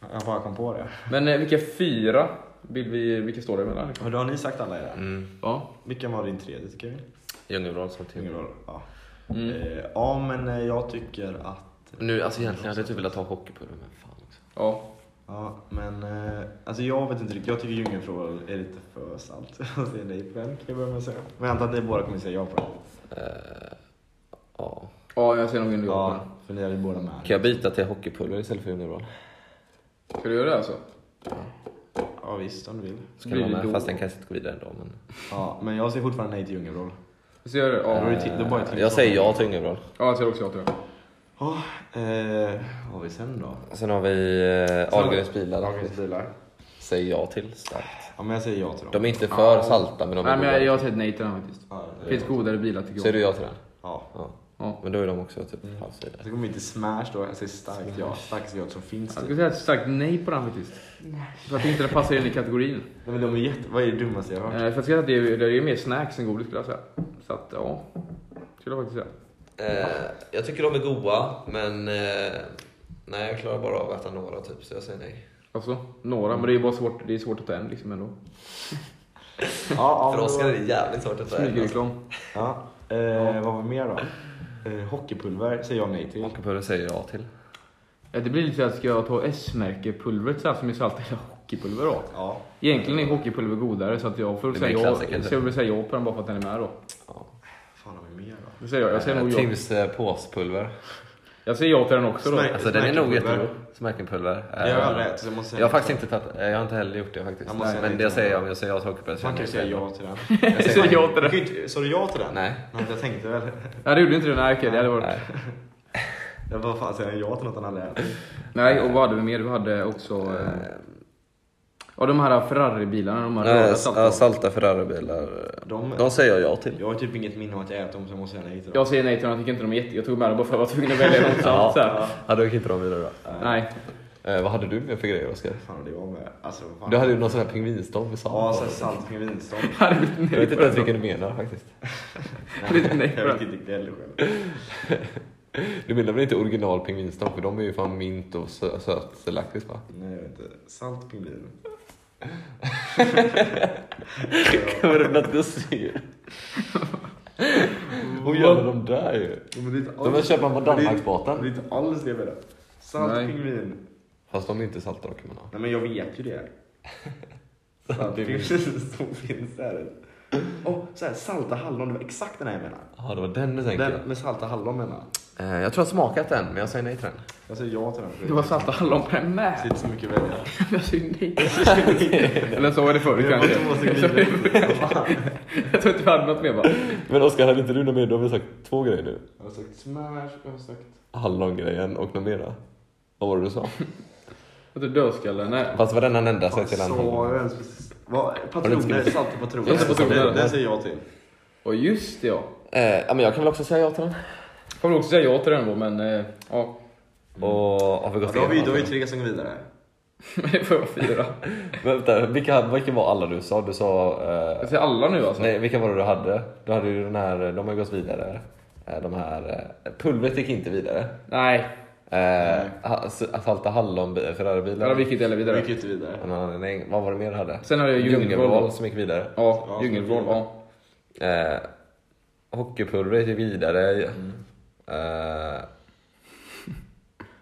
Ja, Jag bara kom på det.
Men eh, vilka fyra vill vi, vilka står det mellan?
Och då har ni sagt alla era.
Mm.
Ja.
Vilken var din tredje tycker vi?
Djungelvrål som
Ingen
till.
roll. Ja.
Mm.
Eh, ja, men eh, jag tycker att...
Nu, alltså egentligen hade jag typ velat ha hockeypulver, men fan också.
Ja.
Ja, men eh, alltså jag vet inte riktigt. Jag tycker djungelfrågor är lite för salt. Jag säger nej på den, kan jag börja med att säga. Men jag antar att ni båda kommer säga ja på den.
Eh, ja.
Ja jag säger nog Junior.
Ja,
Ja.
för ni är ju båda med.
Kan jag byta till hockeypulver istället för djungelvrål?
Ska du göra det alltså?
Ja, visst om du vill.
Så kan
Blir
man
det
med,
då-
fast den kanske inte går vidare ändå. Men...
Ja, men jag säger fortfarande nej till djungelvrål.
Så gör det?
Då är
Ja.
det till- då är det bara till-
Eh, jag säger ja till djungelvrål.
ja jag säger också ja till det.
Ja, eh, vad har vi sen då?
Sen har vi eh, Ahlgrens bilar.
Ahlgrens bilar.
Säger jag till starkt.
Ja, men jag säger ja till dem.
De är inte för salta, men de är
Nej men jag,
goda.
jag har sett nej till den här faktiskt.
Ja, det-
Det finns godare bilar tycker jag.
Säger du ja till den?
Ja.
Ja.
Ja.
Men då är de också typ halvsida.
Så kommer vi till Smash då. Jag säger starkt ja. Starkaste jag som finns.
Jag
Typ.
skulle säga ett starkt nej på den här faktiskt. För att inte den passar in i kategorin.
Nej, men de är jätte... Vad är det dummaste jag
Eh,
har hört?
för jag skulle säga att det är, det är mer snacks än godis skulle jag säga. Så att ja. Skulle jag faktiskt säga.
Eh, jag tycker de är goda, men eh, nej, jag klarar bara av att äta några typ, så jag säger nej.
Ja Alltså, några. Men det är bara svårt, det är svårt att ta en liksom ändå.
Ja, ja,
För
men
oss
vad-
är det jävligt svårt att ta en.
Smygreklam.
Ja, eh, vad var mer då? Eh, hockeypulver säger jag nej till.
Hockeypulver säger jag till.
Ja, Eh, det blir lite såhär, ska jag ta S-märkepulvret såhär som är salt eller hockeypulver då?
Ja.
Egentligen är hockeypulver godare så att jag får
Det
säga
blir
ja,
klassiker,
så jag vill säga ja på den bara för att den är med då.
Ja.
Fan har vi mer då?
Då säger jag, jag säger nog
Eh,
ja.
Tims eh, påspulver.
Jag säger ja till den också då.
Smärk-
Alltså den är nog
Smärkenpulver.
jättegod. Smärkenpulver.
Det har jag aldrig ätit så jag måste säga
Eh, Jag har
nej.
faktiskt inte tagit, eh, jag har inte heller gjort det faktiskt.
Jag måste säga
men
nej
det
till
säger
den.
jag om jag säger ja till hockeypulver. så
Man kan ju
jag
säga
nej.
ja till den.
Jag säger ja till
Du
den.
kan ju inte- Sa du ja till den?
Nej.
Nej, jag tänkte väl.
Nej det gjorde inte det, nej okej det hade varit...
Nej.
Jag bara, fan säger jag ja till något han aldrig ätit?
Nej och vad hade vi mer? Vi hade också... Eh, ja de här Ferrari-bilarna, de här röda
Nej,
saltan.
ja, salta Ferraribilar.
De-
De säger jag ja till.
Jag har typ inget minne om att jag ätit dem så jag måste säga nej till dem.
Jag säger nej till den, jag tycker inte de är jätte... Jag tog med dem bara för att jag var tvungen att välja något
Ja.
salt såhär.
Ja, då gick inte de vidare då.
Nej.
Eh, vad hade du med för grejer Oskar?
Fan det var med. Alltså vad fan.
Du hade ju någon sån här pingvinstång med
Ja,
salt.
så här salt pingvinstång.
Jag hade blivit
Jag vet
nej på
inte
den.
ens vilken du menar faktiskt.
Jag hade blivit nej på
Jag vet
den.
inte heller själv.
Du menar väl inte original pingvinstång? För de är ju fan mint och sö- söt lakrits va?
Nej, jag vet inte. Salt pingvin.
Kommer du något gossyr? Hon gör de där ju. De vill köpa på
Det är
Danmarksbåten.
inte alls det jag menar. Salt
Nej.
pingvin.
Fast de är inte salta kan man ha.
Nej men jag vet ju det. Salt
pingvin.
pingvin som finns där. Och så här, salta hallon, det var exakt den här jag menar.
Ja, det var den du tänkte.
Den med salta hallon menar jag.
Eh, jag tror jag har smakat den, men jag säger nej till den.
Jag säger ja till den.
Det var salta hallon på den
Det
med.
finns inte så mycket att välja.
Jag säger nej. Eller så var det förut
Jag
kanske.
måste- måste glida.
Jag tror inte vi hade något mer bara.
Men Oskar, hade inte du något mer? Du har väl sagt två grejer nu?
Jag har sagt smash, jag har sagt...
Hallongrejen och något mera. Vad var det du sa?
Att du dödskallen, nej.
Fast var den han ändrade sig
Fan,
till en
sa
hallong.
jag ens precis? Vad-
Har du
Patroner,
inte-
salt och patroner.
Just det, patroner.
Den- Den säger jag till.
Och just det ja.
Eh, ja, men jag kan väl också säga ja till den.
Jag kommer också säga ja till den då men eh, ja.
Och har vi gått
Mm. Då har vi, då
igenom
har vi
allting?
tre som går vidare.
Men det får jag fyra.
Vänta, vilka, vilka var alla du sa? Du sa... Eh,
Jag säger alla nu alltså.
nej, vilka var det du hade? Du hade ju den här, de har ju gått vidare. Eh, De här, eh, pulvret gick inte vidare.
Nej.
Eh, ha- salta hallon, Ferraribilar.
Eller vi gick inte heller
Vi
vidare.
gick inte vidare.
En anledning. Vad var det mer du hade?
Sen hade jag
Djungelvrål
djungelvrål.
som gick vidare.
Ja, djungelvrål. Ja.
Eh, hockeypulver gick vidare.
Mm.
Eh,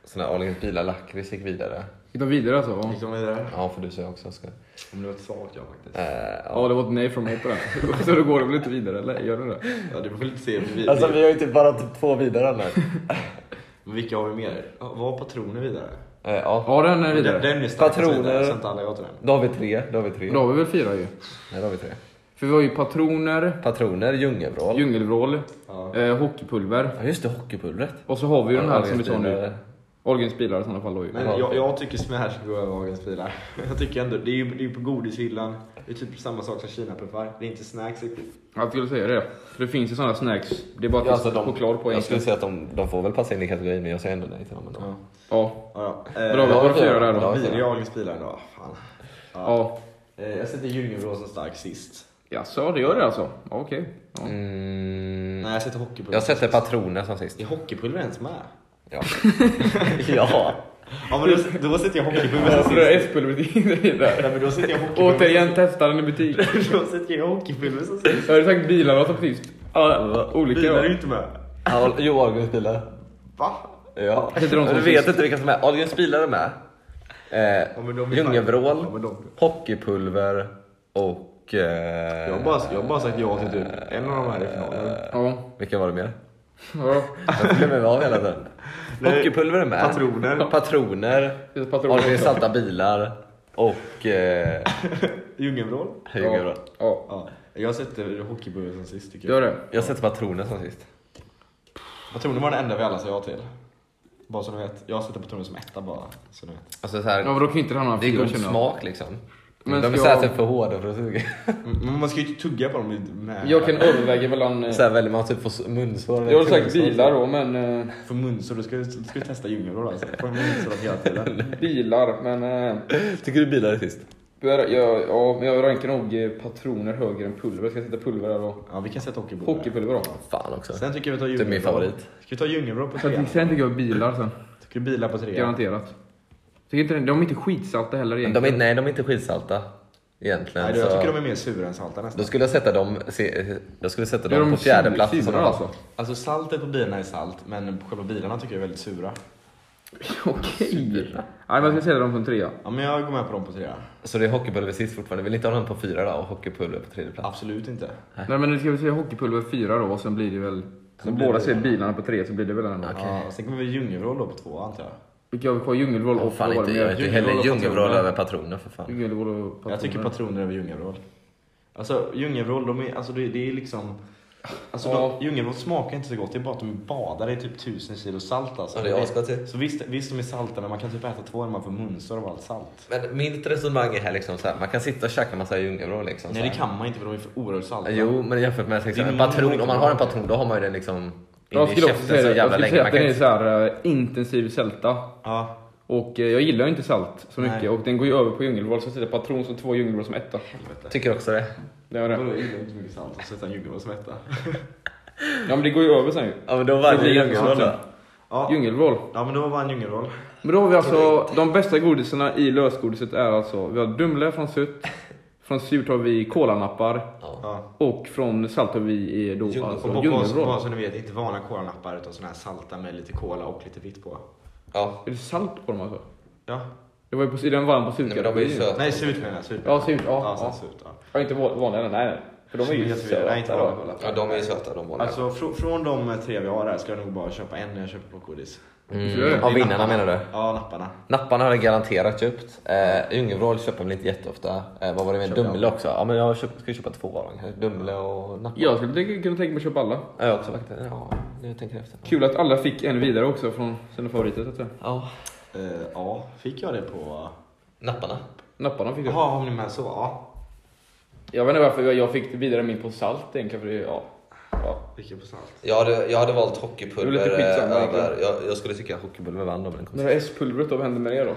såna här Ahlgrens bilar, lakrits gick vidare.
Gick de vidare alltså? Ja.
Gick de vidare?
Ja, för du säger också Oskar.
Om det var ett svagt ja faktiskt.
Eh,
Ja, det var ett nej från mig på den. Så då går det väl inte vidare eller? Gör det det?
Ja, det får vi lite se. hur Vi,
Alltså vi har ju typ bara typ två vidare nu.
Men Vilka har vi mer? Ja, Var patroner vidare?
Eh, ja.
Ja, den är vidare.
Den, den är starkast
Patroner.
vidare, så inte alla jag till den.
Då har vi tre. Då har vi tre.
Då har vi väl fyra ju.
Nej, då har vi tre.
För vi har ju patroner,
Patroner, djungelvrål.
djungelvrål,
Ja.
eh, hockeypulver
ja just det, hockeypulvret.
och så har vi ju den här som vi
Ahlgrens
sa nu.
bilar.
Ahlgrens bilar i sådana fall då ju.
Men jag, jag tycker Smash går över Hagens bilar. Jag tycker ändå, det är ju det är ju på godishyllan. Det är typ samma sak som kinapuffar. Det är inte snacks riktigt.
Jag skulle säga det. För det finns ju sådana snacks. Det är bara att
Ja, alltså,
det är
de,
choklad på
jag skulle
egentligen.
säga att de, de får väl passa in i kategorin men jag säger ändå nej till dem ändå.
Ja.
Ja.
Ja, Eh, ja.
Bra,
då har
vad var
vi
det fyra
fyra.
där
Då har
då?
vi-
Fyra Hagens bilar idag. Fan.
Ja.
Eh, Jag sätter Djungelblå som stark sist.
Jaså, det gör det alltså? Ja, Okej. Ja.
Mm,
Nej, jag sätter hockeypulver.
jag sätter patroner som sist.
Är hockeypulver ens med?
Ja. ja.
Ja, men då, då sätter jag hockeypulver som
Så det är
sist.
S-pulvret in i där.
Nej, men då sätter jag hockeypulver.
Återigen, testa den i butik.
då sätter jag hockeypulver som sist.
Jag hade sagt bilarna som sist. Ja, olika
Bilar är ju
ja.
inte med.
Al- Jo, Ahlgrens bilar.
Va?
Ja.
Jag heter de som
Jag vet
sist.
inte vilka som är. Ahlgrens bilar är med. Eh,
Ja, men de är
Ljungevrål,
fan- ja, men de-
hockeypulver och... Eh,
Jag har bara, jag har bara sagt ja till typ en av de här i finalen.
Ja.
Vilka var det mer?
ja.
Jag glömmer av hela tiden.
Nej.
Hockeypulver är med.
Patroner.
Patroner.
Det är patroner
Ahlgrens
också.
salta bilar. Och... Eh,
Ljungenvrål?
Ljungevrål.
Ja.
Ja. Jag sätter hockeypulver som sist tycker jag.
Gör det.
Jag sätter patroner som sist.
Patroner var den enda vi alla sa ja till. Bara så ni vet. Jag sätter patroner som etta bara. Så ni vet.
Alltså så här,
Ja, men då kan ju inte den här
det är
fyra
god
känna.
smak liksom.
Men
de är
ska jag-
säkert för hårda för att suga.
Mm, Men man ska ju inte tugga på dem med...
Jag kan överväga mellan... eh,
Så här väljer man typ på munsår. eller
Jag hade sagt
krogsår.
bilar då, men... eh,
För munsår, då ska du, då ska du testa Ljungenvrål alltså. Får munsår hela tiden.
Bilar, men... eh,
Tycker du bilar är sist?
Jag, jag, ja, men jag rankar nog eh, patroner högre än pulver. Ska jag sätta pulver där då?
Ja, vi kan sätta hockeypulver.
Hockeypulver då?
Fan också.
Sen tycker jag vi tar
Det är
Ljungenvrål.
min favorit.
Ska vi ta Ljungenvrål på
Sen
trean?
tycker jag bilar sen.
Tycker du bilar på trean?
Garanterat. Tycker inte, den- de är inte skitsalta heller
Men
egentligen.
de är, nej, de är inte skitsalta. Egentligen.
Nej, du, jag
så-
tycker de är mer sura än salta nästan.
Då skulle jag sätta dem, se, jag skulle sätta
Ja,
dem
de
på fjärde plats. i
sura
sådana fall.
alltså.
Alltså saltet på bilarna är salt, men själva bilarna tycker jag är väldigt sura.
alltså. Okej. Nej, vad ska jag säga dem från trea?
Ja, men jag går med på dem på trea.
Så det är hockeypulver sist fortfarande. Vill ni inte ha dem på fyra då och hockeypulver på tredje plats?
Absolut inte.
Nej men nu ska vi säga hockeypulver fyra då och sen blir det väl... Om
blir
båda
det-
ser bilarna på tre så blir det väl ändå.
Ja, och sen kommer vi Ljungevrå då på två antar jag.
Vilka har vi kvar? Djungelvrål
Åh
och
fan,
Vrål,
inte,
men
jag är inte heller
Djungelvrål och
djungelvrål
patroner.
över patroner för fan.
Djungelvrål och patroner.
Jag tycker patroner över Ljungevrå. Alltså Ljungevrå, de är, alltså, det, det är liksom... Alltså
Ja.
de, Ljungevrå smakar inte så gott, det är bara att de är badade i typ tusen kilo salt alltså.
Ja, det är asgott.
Så visst, visst de är salta, men man kan typ äta två när man får munsår av allt salt.
Men mitt resonemang är här liksom så här, man kan sitta och käka massa djungelvrål liksom.
Nej
så
det
här.
kan man inte för de är för oerhört salta.
Jo, men jämfört med liksom,
Det är
en patron,
mindre-
om man har en patron då har man ju den liksom
Jag
in i
skulle också
käften
säga
så
det. Jag
jävla
skulle
länge.
säga
Man
att
kan
den är
inte...
så här eh, intensiv sälta.
Ja.
Och eh, jag gillar ju inte salt så
Nej.
mycket och den går ju över på djungelvrål så jag sätter patron som två djungelvrål som etta.
Tycker också det.
Det var det.
Vadå, gillar inte så mycket salt och sätta en Ljungevrå som etta?
Ja men det går ju över sen ju.
Ja men då var det
blir
djungelvrål då.
djungelvrål.
Ja.
Djungelvrål.
ja, men då var en Ljungevrå.
Men då har vi alltså, de bästa godisarna i lösgodiset är alltså, vi har Dumle från Sutt, från Surt har vi kolanappar
Ja.
Ja.
och från Salt har vi eh, då
Och
alltså
bara- bara, bara
djungelvrål.
så ni vet, inte vanliga kolanappar utan såna här salta med lite kola och lite vitt på.
ja.
Är det salt på dem alltså?
Ja.
Det var ju på sidan varm på
Nej, men de är ju
surkategorin.
söta.
Nej, surt menar jag. Surt.
Ja, surt, ja,
ja,
ja.
surt, ja.
Ja, inte va- vanliga, nej nej. För de är ju
Kinesiskt vin, nej, inte
söta
vanliga
då.
kola.
Ja de är ju söta de båda.
Alltså fr- från de tre vi har här ska jag nog bara köpa en när jag köper plockgodis.
Kör.
Mm. Av vinnarna menar du?
Ja, napparna.
Napparna har jag garanterat köpt. Eh, Ljungerål köper man väl inte jätteofta. Eh, vad var det med
Köper jag.
Dumle också? Ja men jag köp, ska ju köpa två av dem. kanske. Dumle och nappar.
Jag skulle tänka- kunna tänka mig att köpa alla.
Ja, jag också faktiskt. Ja, nu tänker jag efter.
Kul att alla fick en vidare också från sina favoriter så att säga.
Ja.
Eh, ja, fick jag det på...
Napparna.
Napparna fick jag.
Jaha, om ni med så? Ja.
Jag vet inte varför jag fick vidare min på salt egentligen för det, ja. ja.
Vilken på salt?
Jag hade, jag hade valt
Det är
hockeypulver
väl lite skitsamma,
eh,
egentligen.
över... Jag, jag skulle tycka att hockeypulver vann om den kom
Det här S-pulvret då, vad hände med det då?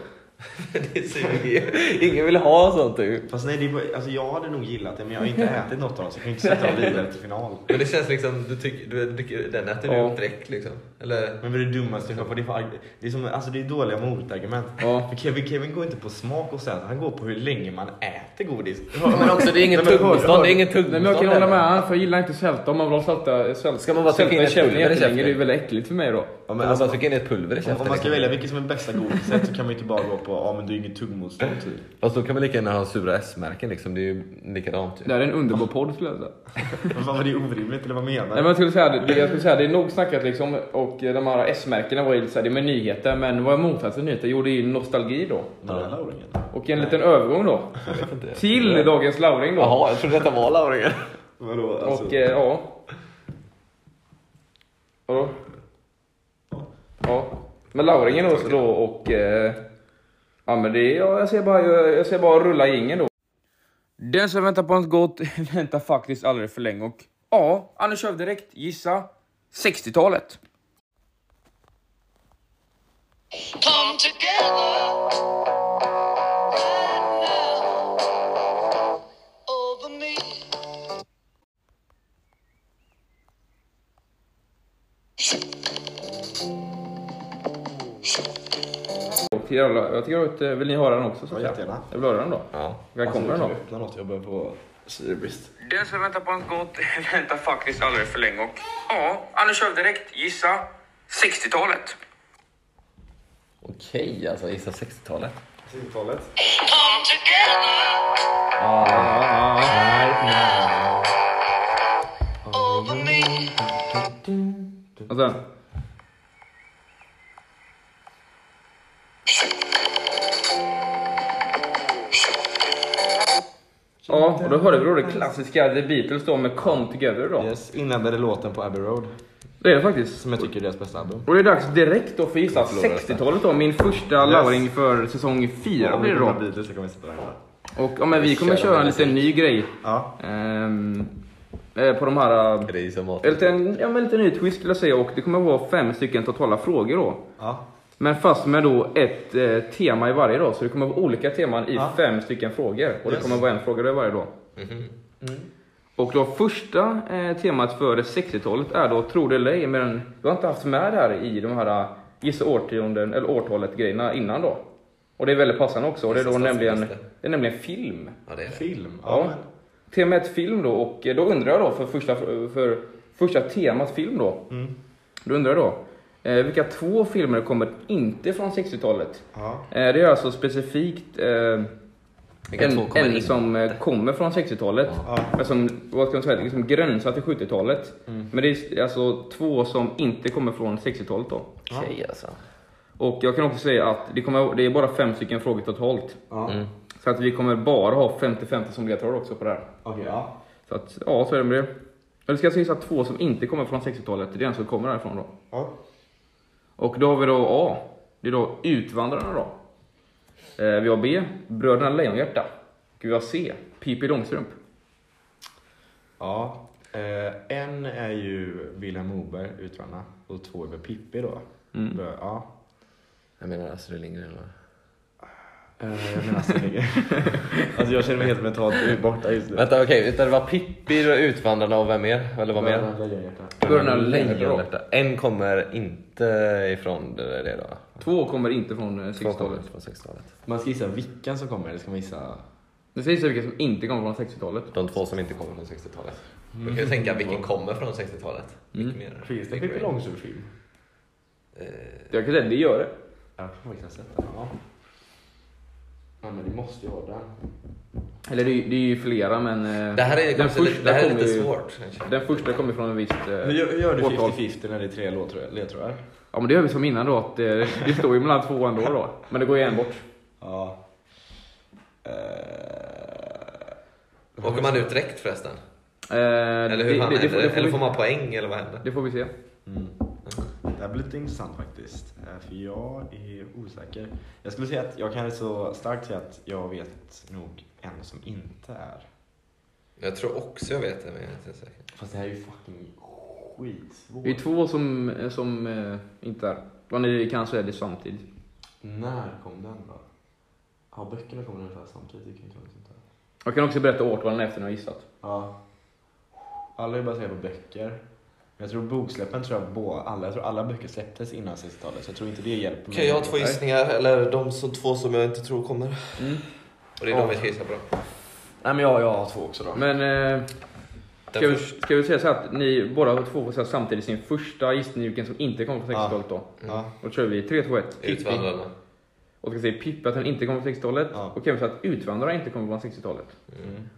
Det suger Ingen vill ha sånt typ. ju.
Fast nej, det är bara, alltså, jag hade nog gillat det men jag har inte ätit något av dem så jag kan ju inte sätta dem vidare till final.
Men det känns liksom, du tycker, du, du, den äter
Ja.
du upp direkt liksom. Eller?
Men vad är det dummaste jag hört? Vad är det för arg- Det är, som, alltså, det är dåliga motargument.
Ja.
För Kevin, Kevin går inte på smak och sånt, han går på hur länge man äter godis.
Men också det är inget
Nej, men hör-
tuggmotstånd, det är
hör-
inget
Nej, men jag kan
tuggmotstånd.
hålla
heller.
med han, för jag gillar inte sälta. Om man vill ha sälta, sälta,
Ska man bara trycka in
i
ett
käften
pulver i
jättelänge, det är
käften?
väl äckligt för mig då.
Ja, men alltså, trycka in ett pulver i käften.
Om man ska
liksom.
välja vilket som är bästa godiset så kan man ju inte bara gå på ja men det är inget tuggmotstånd typ.
Fast då kan man lika gärna ha sura S-märken liksom. Det är ju likadant typ. ju.
Det här är en underbar podd skulle jag säga.
Vad fan var det orimligt eller vad menar
Nej, men jag, skulle säga, det, det- jag skulle säga det är nog snackat liksom. Och eh, de här S-märkena var ju lite såhär, det är med nyheter. Men vad är motsatsen till nyheter? Jo, det är ju nostalgi då.
Var det Lauringen?
Och en liten övergång då. Till dagens lauring då.
Jaha, jag trodde detta var lauringen.
Vadå alltså?
Och eh, ja. Vadå? Ja. Men Lauringen också då och... Eh, ja men det är, ja, jag ser bara, jag, jag ser bara rulla ingen då. Den som väntar på något gott väntar faktiskt aldrig för länge och ja, Anders kör vi direkt. Gissa 60-talet.
come together right now over me.
Och jävla- Jag tycker att, eh, vill ni höra den också? Så att
Ja,
säga?
jättegärna.
Jag vill höra den då.
Ja.
Här kommer den då.
öppna något, jag börjar på syrebrist.
Den som väntar på något gott väntar faktiskt aldrig för länge och ja, Anders kör vi direkt. Gissa 60-talet.
Okej, alltså gissa 60-talet.
60-talet.
Come together over me.
Och sen. Ja, och då hörde vi då det klassiska The Beatles då med Come Together då.
Yes, inledde låten på Abbey Road.
Det är det faktiskt.
Som jag tycker är deras bästa album.
Och det är dags direkt då för gissa
förlorar detta.
60-talet då. Min första
Yes.
lauring för säsong 4
Om
blir
vi
det
kommer
då.
med Beatles så kommer vi sätta den här.
Och ja, men vi kommer köra en liten ny grej.
Ja.
Ehm, eh, på de här...
Är det gissa mat?
eh, Lite, en- ja, men lite ny twist skulle jag säga och det kommer vara fem stycken totala frågor då.
ja.
Men fast med då ett eh, tema i varje dag, så det kommer vara olika teman i
Ja.
fem stycken frågor. Och det
Yes.
kommer vara en fråga i varje dag. Och då första eh, temat för 60-talet är då tro det eller ej, men jag har inte haft med det här i de här eh, gissa årtionden, eller årtalet grejerna innan då. Och det är väldigt passande också. Och det, är då
Nästa
nämligen,
semester.
det är nämligen film.
Ja, det är det.
Film? Ja.
Ja. Temat film då och eh, då undrar jag då för första, för första temat film då.
Mm.
Då undrar jag då. Eh, vilka två filmer kommer inte från 60-talet?
ja.
Eh, det är alltså specifikt eh,
Vilka
en,
två kommer
en
in?
som eh, kommer från 60-talet.
Ja.
Men som, vad ska man säga, liksom gränsar till 70-talet.
Mm.
Men det är alltså två som inte kommer från 60-talet då.
Tjej alltså.
Och jag kan också säga att det, kommer, det är bara fem stycken frågor totalt.
ja.
Mm.
Så att vi kommer bara ha 50-50 som ledtråd också på det här.
Okej, ja.
Så att, ja, så är det med det. Eller ska jag säga att två som inte kommer från 60-talet, det är den som kommer härifrån då.
ja.
Och då har vi då A. Det är då Utvandrarna då. Eh, vi har B. Bröderna Lejonhjärta. Och vi har C. Pippi Långstrump.
Ja. Eh, en är ju Vilhelm Moberg, Utvandrarna. Och två är väl Pippi då. Bör- Ja.
Jag menar alltså, Astrid Lindgren va?
Eh, jag menar Astrid Lindgren. alltså jag känner mig helt mentalt borta just nu.
Vänta okej, okay. det var Pippi, Utvandrarna och vem mer? Eller vad mer?
Bröderna Lejonhjärta.
Bröderna Lejonhjärta.
Lejonhjärta. En kommer inte ifrån det, det då?
Två kommer inte från eh,
Två kommer
60-talet.
från 60-talet.
Man ska gissa vilken som kommer eller ska man gissa?
Det sägs vilka som inte kommer från 60-talet.
De två som inte kommer från 60-talet. Du kan ju tänka vilken kommer från 60-talet. Vilken mer?
Finns det Pippi Långstrump-film?
Jag kan säga, det gör det.
Jag har faktiskt sett den. Ja. ja men det måste ju vara den.
Eller det, är- det är ju flera men... eh,
Det här är,
den
kanske lite, det här är
kommer
lite
ju-
svårt.
Den första kommer från en viss... eh,
Hur gör, hur gör du
årtal.
50-50 när det är tre låtro- ledtrådar?
Ja men det gör vi som innan då, att det, det står ju mellan två ändå då. Men det går ju en bort.
Ja. Eh,
Åker man ut direkt förresten?
Eh,
Eller hur fan händer det? Eller
vi,
får man poäng eller vad händer?
det får vi se.
Mm. Det här blir lite intressant faktiskt. eh, För jag är osäker. Jag skulle säga att jag kan så starkt säga att jag vet nog en som inte är.
Jag tror också jag vet det men jag är inte säker.
Fast det här är ju fucking skitsvårt.
Det är två som, som eh, inte är... Och ni kanske är det samtidigt.
När kom den då? Ja, böckerna kom ungefär samtidigt. Det kan ju inte vara sånt där.
Jag kan också berätta årtalen efter när jag gissat.
Ja. Alla är baserade på böcker. Men jag tror boksläppen tror jag båda, alla, jag tror alla böcker släpptes innan 60-talet så jag tror inte det hjälper mig.
Okej, jag har två gissningar. Eller de som, två som jag inte tror kommer. Och det är de vi ska gissa på. då.
Nej men jag, jag har två också då.
Men eh,
Den
ska, vi,
första-
ska vi säga så här att ni båda två får säga samtidigt sin första gissning vilken som inte kommer från 60-talet då.
Ja.
Och då kör vi 3, 2, 1. Pippi.
Utvandrarna.
Och ska säga Pippi att den inte kommer från 60-talet.
Ja. Mm.
Och även så att Utvandrarna inte kommer från 60-talet.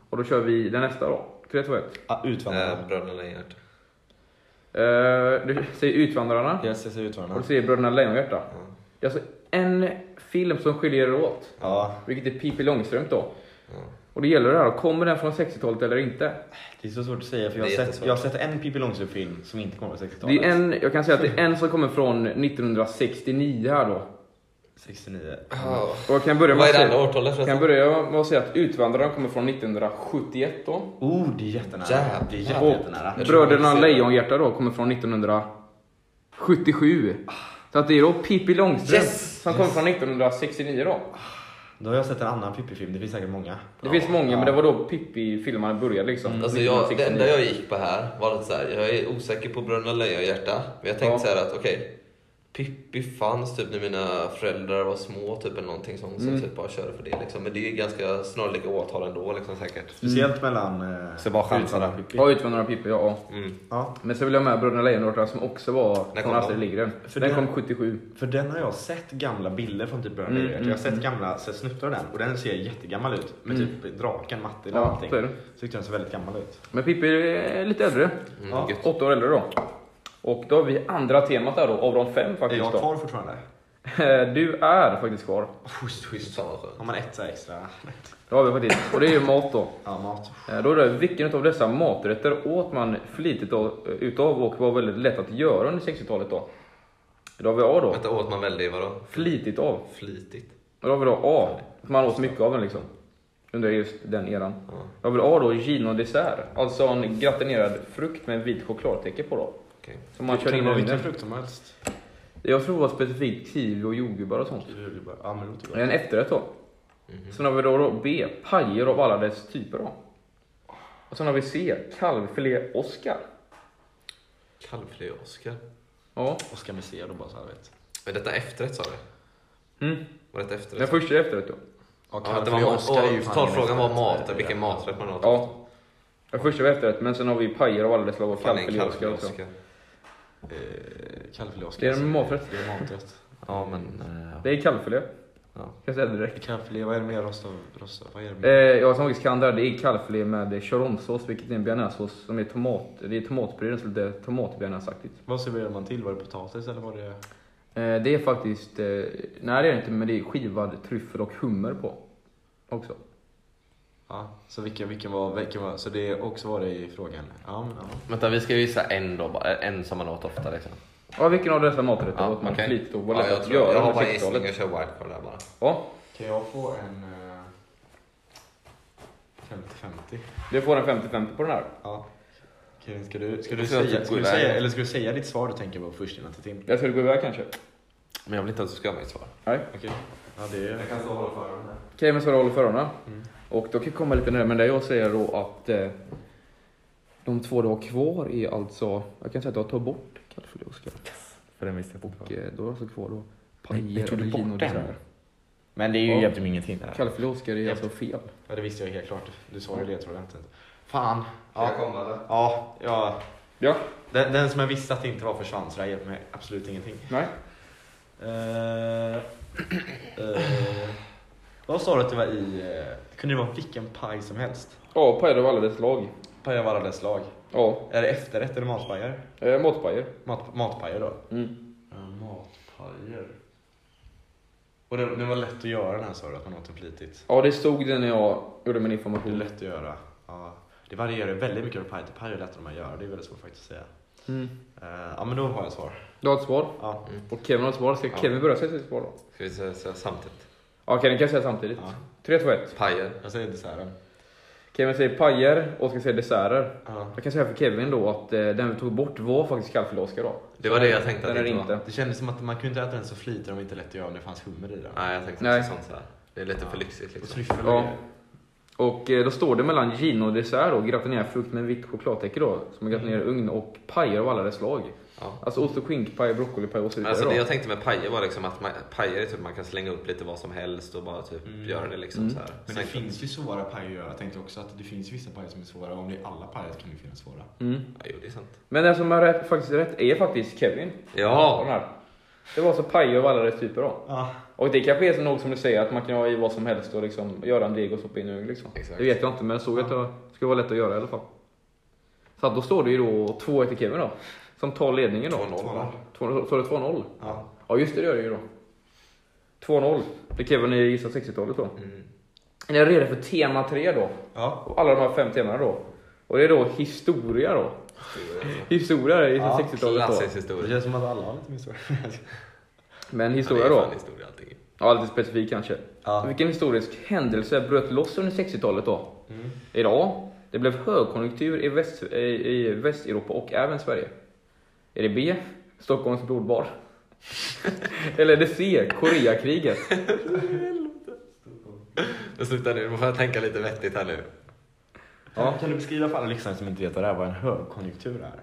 Och då kör vi den nästa då. 3, 2, 1.
Ah, utvandrarna.
Eh, Bröderna Lejonhjärta.
Eh, du säger
Eh.
Utvandrarna.
Jag ser
Och du
utvandrarna.
säger Bröderna Lejonhjärta. Det är alltså en film som skiljer er åt.
Ja.
Vilket är Pippi Långstrump
Mm.
då.
Ja.
Och det gäller det här, kommer den från 60-talet eller inte?
Det är så svårt att säga för jag
Det är
har, sett,
jättesvårt.
jag har sett en Pippi Långstrump-film som inte kommer från
Det
60-talet.
är en, jag kan säga att det är en som kommer från 1969 här då.
69.
Ja.
Och jag kan börja med
Vad är
att
det andra
säga,
årtalet
jag kan
förresten?
börja med att säga att Utvandrarna kommer från 1971 då.
Oh, det är jättenära.
Jävlar.
Det är
Och
jättenära.
Jag tror
Bröderna
jag ser det.
Lejonhjärta då kommer från 1977. Så att det är då Pippi Långstrump
Yes!
som kommer från 1969 då.
Då har jag sett en annan Pippi-film, det finns säkert många.
Det finns många, men det var då Pippi-filmerna började liksom.
Alltså jag, det enda jag gick på här var lite så här. jag är osäker på Bröderna Lejonhjärta. Men jag tänkte
Ja.
så här att okej, Pippi fanns typ när mina föräldrar var små typ eller någonting sånt. Så jag typ bara körde för det liksom. Men det är ju ganska snarlika årtal ändå liksom säkert.
Speciellt mellan... Eh,
Så bara chansa
Utvandrarna
där.
och Pippi.
Ja, Utvandrarna Pippi, ja. ja.
Mm.
Ja,
Men så vill jag med Bröderna Lejonhjärta som också var
När
från
kom
Astrid
de?
Lindgren.
För
Den
det-
kom 77.
För den har jag sett gamla bilder från typ Bröderna
Mm, Mm.
Lejonhjärta. Jag har sett gamla så snuttar av den och den ser jättegammal ut. Med typ draken, Matilda
Ja,
och allting.
så är det.
Så tyckte den såg väldigt gammal ut.
Men Pippi är lite äldre.
Mm,
Ja.
gött.
Åtta år äldre då. Och då har vi andra temat där då, av de fem
Är
faktiskt.
jag
då.
kvar fortfarande?
Du är faktiskt kvar.
Schysst, schysst. Fan vad skönt.
Har man ett så här extra?
Det har vi faktiskt. Och det är ju mat då.
Ja, mat.
Eh, Då är det, vilken av dessa maträtter åt man flitigt av- utav och var väldigt lätt att göra under 60-talet då? Då har vi A då.
Vänta, åt man väldigt vadå?
Flitigt av.
Flitigt?
Och då har vi då A. Att man åt mycket av den liksom. Under just den eran.
Ja.
Då har vi A då, ginodessert. Alltså en gratinerad frukt med en vit chokladtäcke på då.
Okej.
Som man kör
Kan
in
vara
i ugnen.
vilken frukt som helst.
Jag tror det var specifikt kiwi och jordgubbar och sånt.
Ja, men det låter
Det
bra.
är en efterrätt då. Sen har vi då, då B, pajer av alla dess typer då. Och sen har vi C, kalvfilé Oscar.
Kalvfilé Oscar.
Ja.
Oskar Messiah då bara så här vet.
Är detta efterrätt sa du?
Mm.
Var det ett efterrätt?
Den första är efterrätt då.
Ja,
Ja, det
för
var
jag
mat,
Oscar är ju
och
fan
talfrågan
mest
var mat,
rätt.
vilken maträtt man åt.
Ja. Den första var efterrätt, men sen har vi ju pajer av alla dess slag och
Fan, en
kallfiléer också.
kalvfilé.
Eh, Kalvfilé
Det
Oscar.
är en
alltså.
maträtt.
Det är en maträtt.
Ja men... eh,
Det är kallfilé.
Ja.
Kan jag säga direkt.
Kalvfilé, vad är det mer? Rosta, rosta, vad är det
Eh,
mer?
jag som faktiskt kan det här, det är kallfilé med choronsås, vilket är en bearnaisesås som är tomat, det är tomatbröd, så lite tomatbearnaisesaktigt.
Vad serverar man till? Var det potatis eller var det...
Eh, det är faktiskt, eh, nej det är det inte, men det är skivad tryffel och hummer på. Också.
Ja, så vilken, vilken, var, vilken var... Så det också var det i frågan? Ja, men ja.
Vänta vi ska gissa en då, bara. eh, en som man åt ofta liksom.
Ja, vilken av dessa maträtter åt man
okej.
flitigt och var
ja,
lätt
jag,
att
tror, jag
göra
har bara
under
en gissning,
60-talet?
jag kör wildcard där bara.
Ja,
Kan jag få en... eh, 50-50?
du får en 50-50 på den här.
Ja. Okej, ska du, ska
Jag tror
du,
att
säga,
jag
ska
går
du
iväg.
säga, eller ska du säga ditt svar du tänker på först innan till Tim?
Jag skulle gå iväg kanske?
Men jag vill inte att du ska ha mitt svar.
Nej.
Okej. Ja, det är...
kan stå och hålla för öronen.
Okej, men så håller för öronen.
Mm.
Och då kan jag komma lite närmare, men det jag säger då att eh, de två du har kvar är alltså, jag kan säga att jag tar bort kallfilé och skatt.
För den visste jag
Och eh, då har jag alltså kvar då
Nej,
pajer,
tog du bort
aubergine och
den?
desserter.
Men det är ju
Ja.
egentligen ingenting. Där.
Kallfilé och Oscar är alltså fel.
Ja, det visste jag helt klart. Du sa ju det, tror jag inte. Fan.
Ska jag
Ja,
komma eller?
ja, ja.
Ja,
Den, den som jag visste att det inte var försvann, så det här hjälper mig absolut ingenting.
nej.
Eh, eh, vad sa du att det var i? eh, kunde det vara vilken paj som helst?
Ja, pajer av alla dess lag.
Paj av alla dess lag.
Ja,
Är det efterrätt eller matpajer?
eh, matpajer.
Mat, matpajer då?
Mm.
matpajer. Och det, det var lätt att göra den här sa du, att man åt den flitigt.
Ja, det stod det när jag gjorde min
Det är
information.
lätt att göra. Ja. Det varierar väldigt mycket från paj till paj hur lätt de gör. Det är väldigt svårt faktiskt att säga.
Mm.
Eh, ja men då har jag svar.
Du har ett svar.
Ja.
Och Kevin har ett svar. Ska
Ja.
Kevin börja säga sitt svar då?
Ska vi säga säga samtidigt?
Ja, Kevin kan jag säga samtidigt.
Ja.
3, 2, 1.
Pajer.
Jag säger desserten.
Kevin säger pajer, Oskar säger desserter.
Ja.
Jag kan säga för Kevin då att eh, den vi tog bort var faktiskt kallfiléoskar då.
Det var det jag tänkte att
Den är
det inte
inte.
var.
Det kändes som att man kunde inte äta den så flitigt om det inte lätt att göra om det fanns hummer i den.
Nej jag tänkte
Nej.
också sånt sådär. Det är lite för lyxigt
Och
liksom.
tryffel
Ja. Och eh, då står det mellan ginodessert och gratinerad frukt med vitt chokladtäcke då, som är gratinerad i ugn och pajer av alla dess slag.
Mm. Ja.
Alltså ost och skinkpaj, broccolipaj och så
Men
vidare.
Alltså, det
då.
jag tänkte med pajer var liksom att man, pajer är typ man kan slänga upp lite vad som helst och bara typ göra det liksom så här.
Men det finns ju svåra pajer att göra. Jag tänkte också att det finns vissa pajer som är svåra. Om det är alla pajer så kan det ju finnas svåra.
mm.
Ja, jo, det är sant.
Men den som har rätt, faktiskt rätt är faktiskt Kevin. På den
Ja!
här. Det var alltså pajer av alla dess typer då.
Ja.
Och det kanske är så något som du säger, att man kan ha i vad som helst och liksom göra en deg och stoppa in i ugn liksom.
Exakt.
Det vet jag inte, men jag såg att det skulle vara lätt att göra i alla fall. Så att då står det ju då 2-1 till Kevin då, som tar ledningen då.
2-0 va?
Två- Står det 2-0?
Ja.
Ja just det, det gör det ju då. 2-0. Det Kevin ni gissar 60-talet då.
Mm.
Ni är redo för tema 3 då.
Ja.
Och alla de här fem temana då. Och det är då historia då. Historia är
Ja,
60-talet då.
Klassisk
Det
historia.
känns som att alla har lite mer svåra.
Men
Ja, det
historia
är
då.
fan historia allting.
Ja, lite specifik kanske.
Ja.
Vilken historisk händelse bröt loss under 60-talet då? Idag. Det blev högkonjunktur i, väst, i, i Västeuropa och även Sverige. Är det B. Stockholms blodbad? Eller är det C. Koreakriget?
Men sluta nu, nu får jag tänka lite vettigt här nu.
Ja. Kan du beskriva för alla lyssnare som inte vet vad det är, vad en högkonjunktur är?